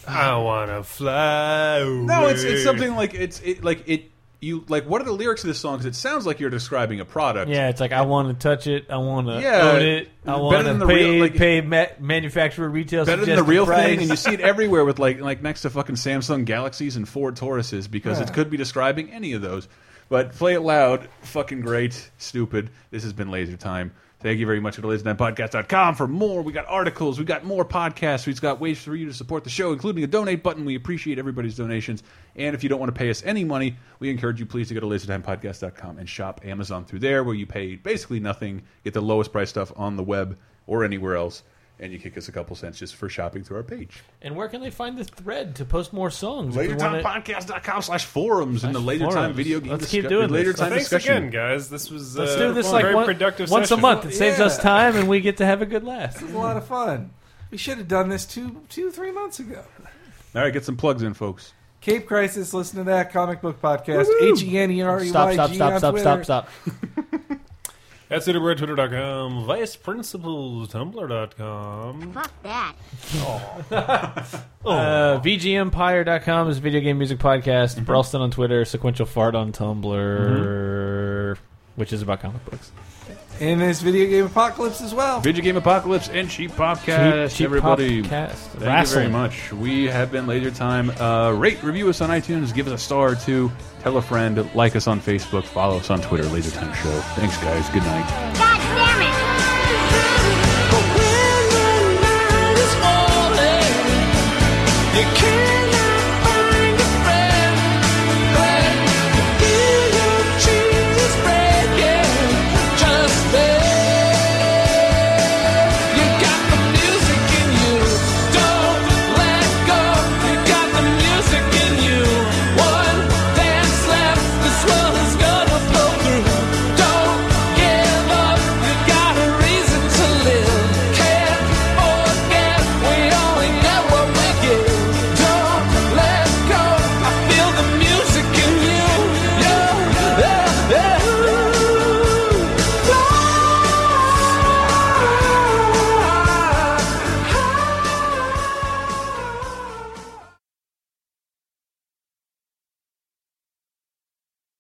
[SPEAKER 6] I wanna fly. Away.
[SPEAKER 3] No, it's it's something like it's it, like it you like what are the lyrics of this song? Because it sounds like you're describing a product.
[SPEAKER 4] Yeah, it's like I want to touch it, I want to
[SPEAKER 3] Yeah,
[SPEAKER 4] own it, I
[SPEAKER 3] better
[SPEAKER 4] want
[SPEAKER 3] than
[SPEAKER 4] to
[SPEAKER 3] the
[SPEAKER 4] pay
[SPEAKER 3] real- like-
[SPEAKER 4] pay ma- manufacturer retail
[SPEAKER 3] better than the
[SPEAKER 4] suggested
[SPEAKER 3] real
[SPEAKER 4] price.
[SPEAKER 3] thing, and you see it everywhere with like like next to fucking Samsung Galaxies and Ford Tauruses because it could be describing any of those. But play it loud, fucking great, stupid. This has been Laser Time. Thank you very much at lasernetpodcast.com for more. We got articles, we got more podcasts, we've got ways for you to support the show, including a donate button. We appreciate everybody's donations. And if you don't want to pay us any money, we encourage you please to go to lasertimepodcast.com and shop Amazon through there, where you pay basically nothing, get the lowest price stuff on the web or anywhere else and you kick us a couple cents just for shopping through our page.
[SPEAKER 4] And where can they find the thread to post more songs? if we wanna-
[SPEAKER 3] LaterTimePodcast.com slash forums and the later time
[SPEAKER 4] forums.
[SPEAKER 3] video game
[SPEAKER 4] Let's keep
[SPEAKER 3] discu-
[SPEAKER 4] doing
[SPEAKER 3] later
[SPEAKER 4] this.
[SPEAKER 3] time
[SPEAKER 6] Thanks
[SPEAKER 3] discussion.
[SPEAKER 6] again, guys. This was
[SPEAKER 4] Let's
[SPEAKER 6] uh,
[SPEAKER 4] do this like
[SPEAKER 6] very
[SPEAKER 4] one-
[SPEAKER 6] productive
[SPEAKER 4] once a
[SPEAKER 6] session.
[SPEAKER 4] month. It saves
[SPEAKER 5] Yeah.
[SPEAKER 4] us time, and we get to have a good laugh.
[SPEAKER 5] It was a lot of fun. We should have done this two, two, three months ago.
[SPEAKER 3] All right, get some plugs in, folks.
[SPEAKER 5] Cape Crisis, listen to that comic book podcast.
[SPEAKER 3] Woo-hoo.
[SPEAKER 5] H E N E R E
[SPEAKER 4] Stop!
[SPEAKER 5] Y
[SPEAKER 4] Stop!
[SPEAKER 5] G
[SPEAKER 4] Stop!
[SPEAKER 5] on
[SPEAKER 4] Stop!
[SPEAKER 5] Twitter.
[SPEAKER 4] Stop! Stop!
[SPEAKER 6] That's it. We're at twitter.com, viceprinciples.tumblr.com.
[SPEAKER 13] Fuck that.
[SPEAKER 4] Uh, VGEmpire.com is a video game music podcast.
[SPEAKER 3] Mm-hmm.
[SPEAKER 4] Brelston
[SPEAKER 3] Mm-hmm.
[SPEAKER 4] on Twitter. Sequential fart on Tumblr, which is about comic books.
[SPEAKER 5] in this video game apocalypse as well.
[SPEAKER 3] Video Game Apocalypse and Cheap Popcast,
[SPEAKER 5] Cheap- Cheap
[SPEAKER 3] everybody.
[SPEAKER 5] Popcast.
[SPEAKER 3] Thank you
[SPEAKER 5] Wrestling.
[SPEAKER 3] very much. We have been Laser Time. Uh, rate, review us on iTunes, give us a star or two, tell a friend, like us on Facebook, follow us on Twitter, Laser Time Show. Thanks, guys. Good night.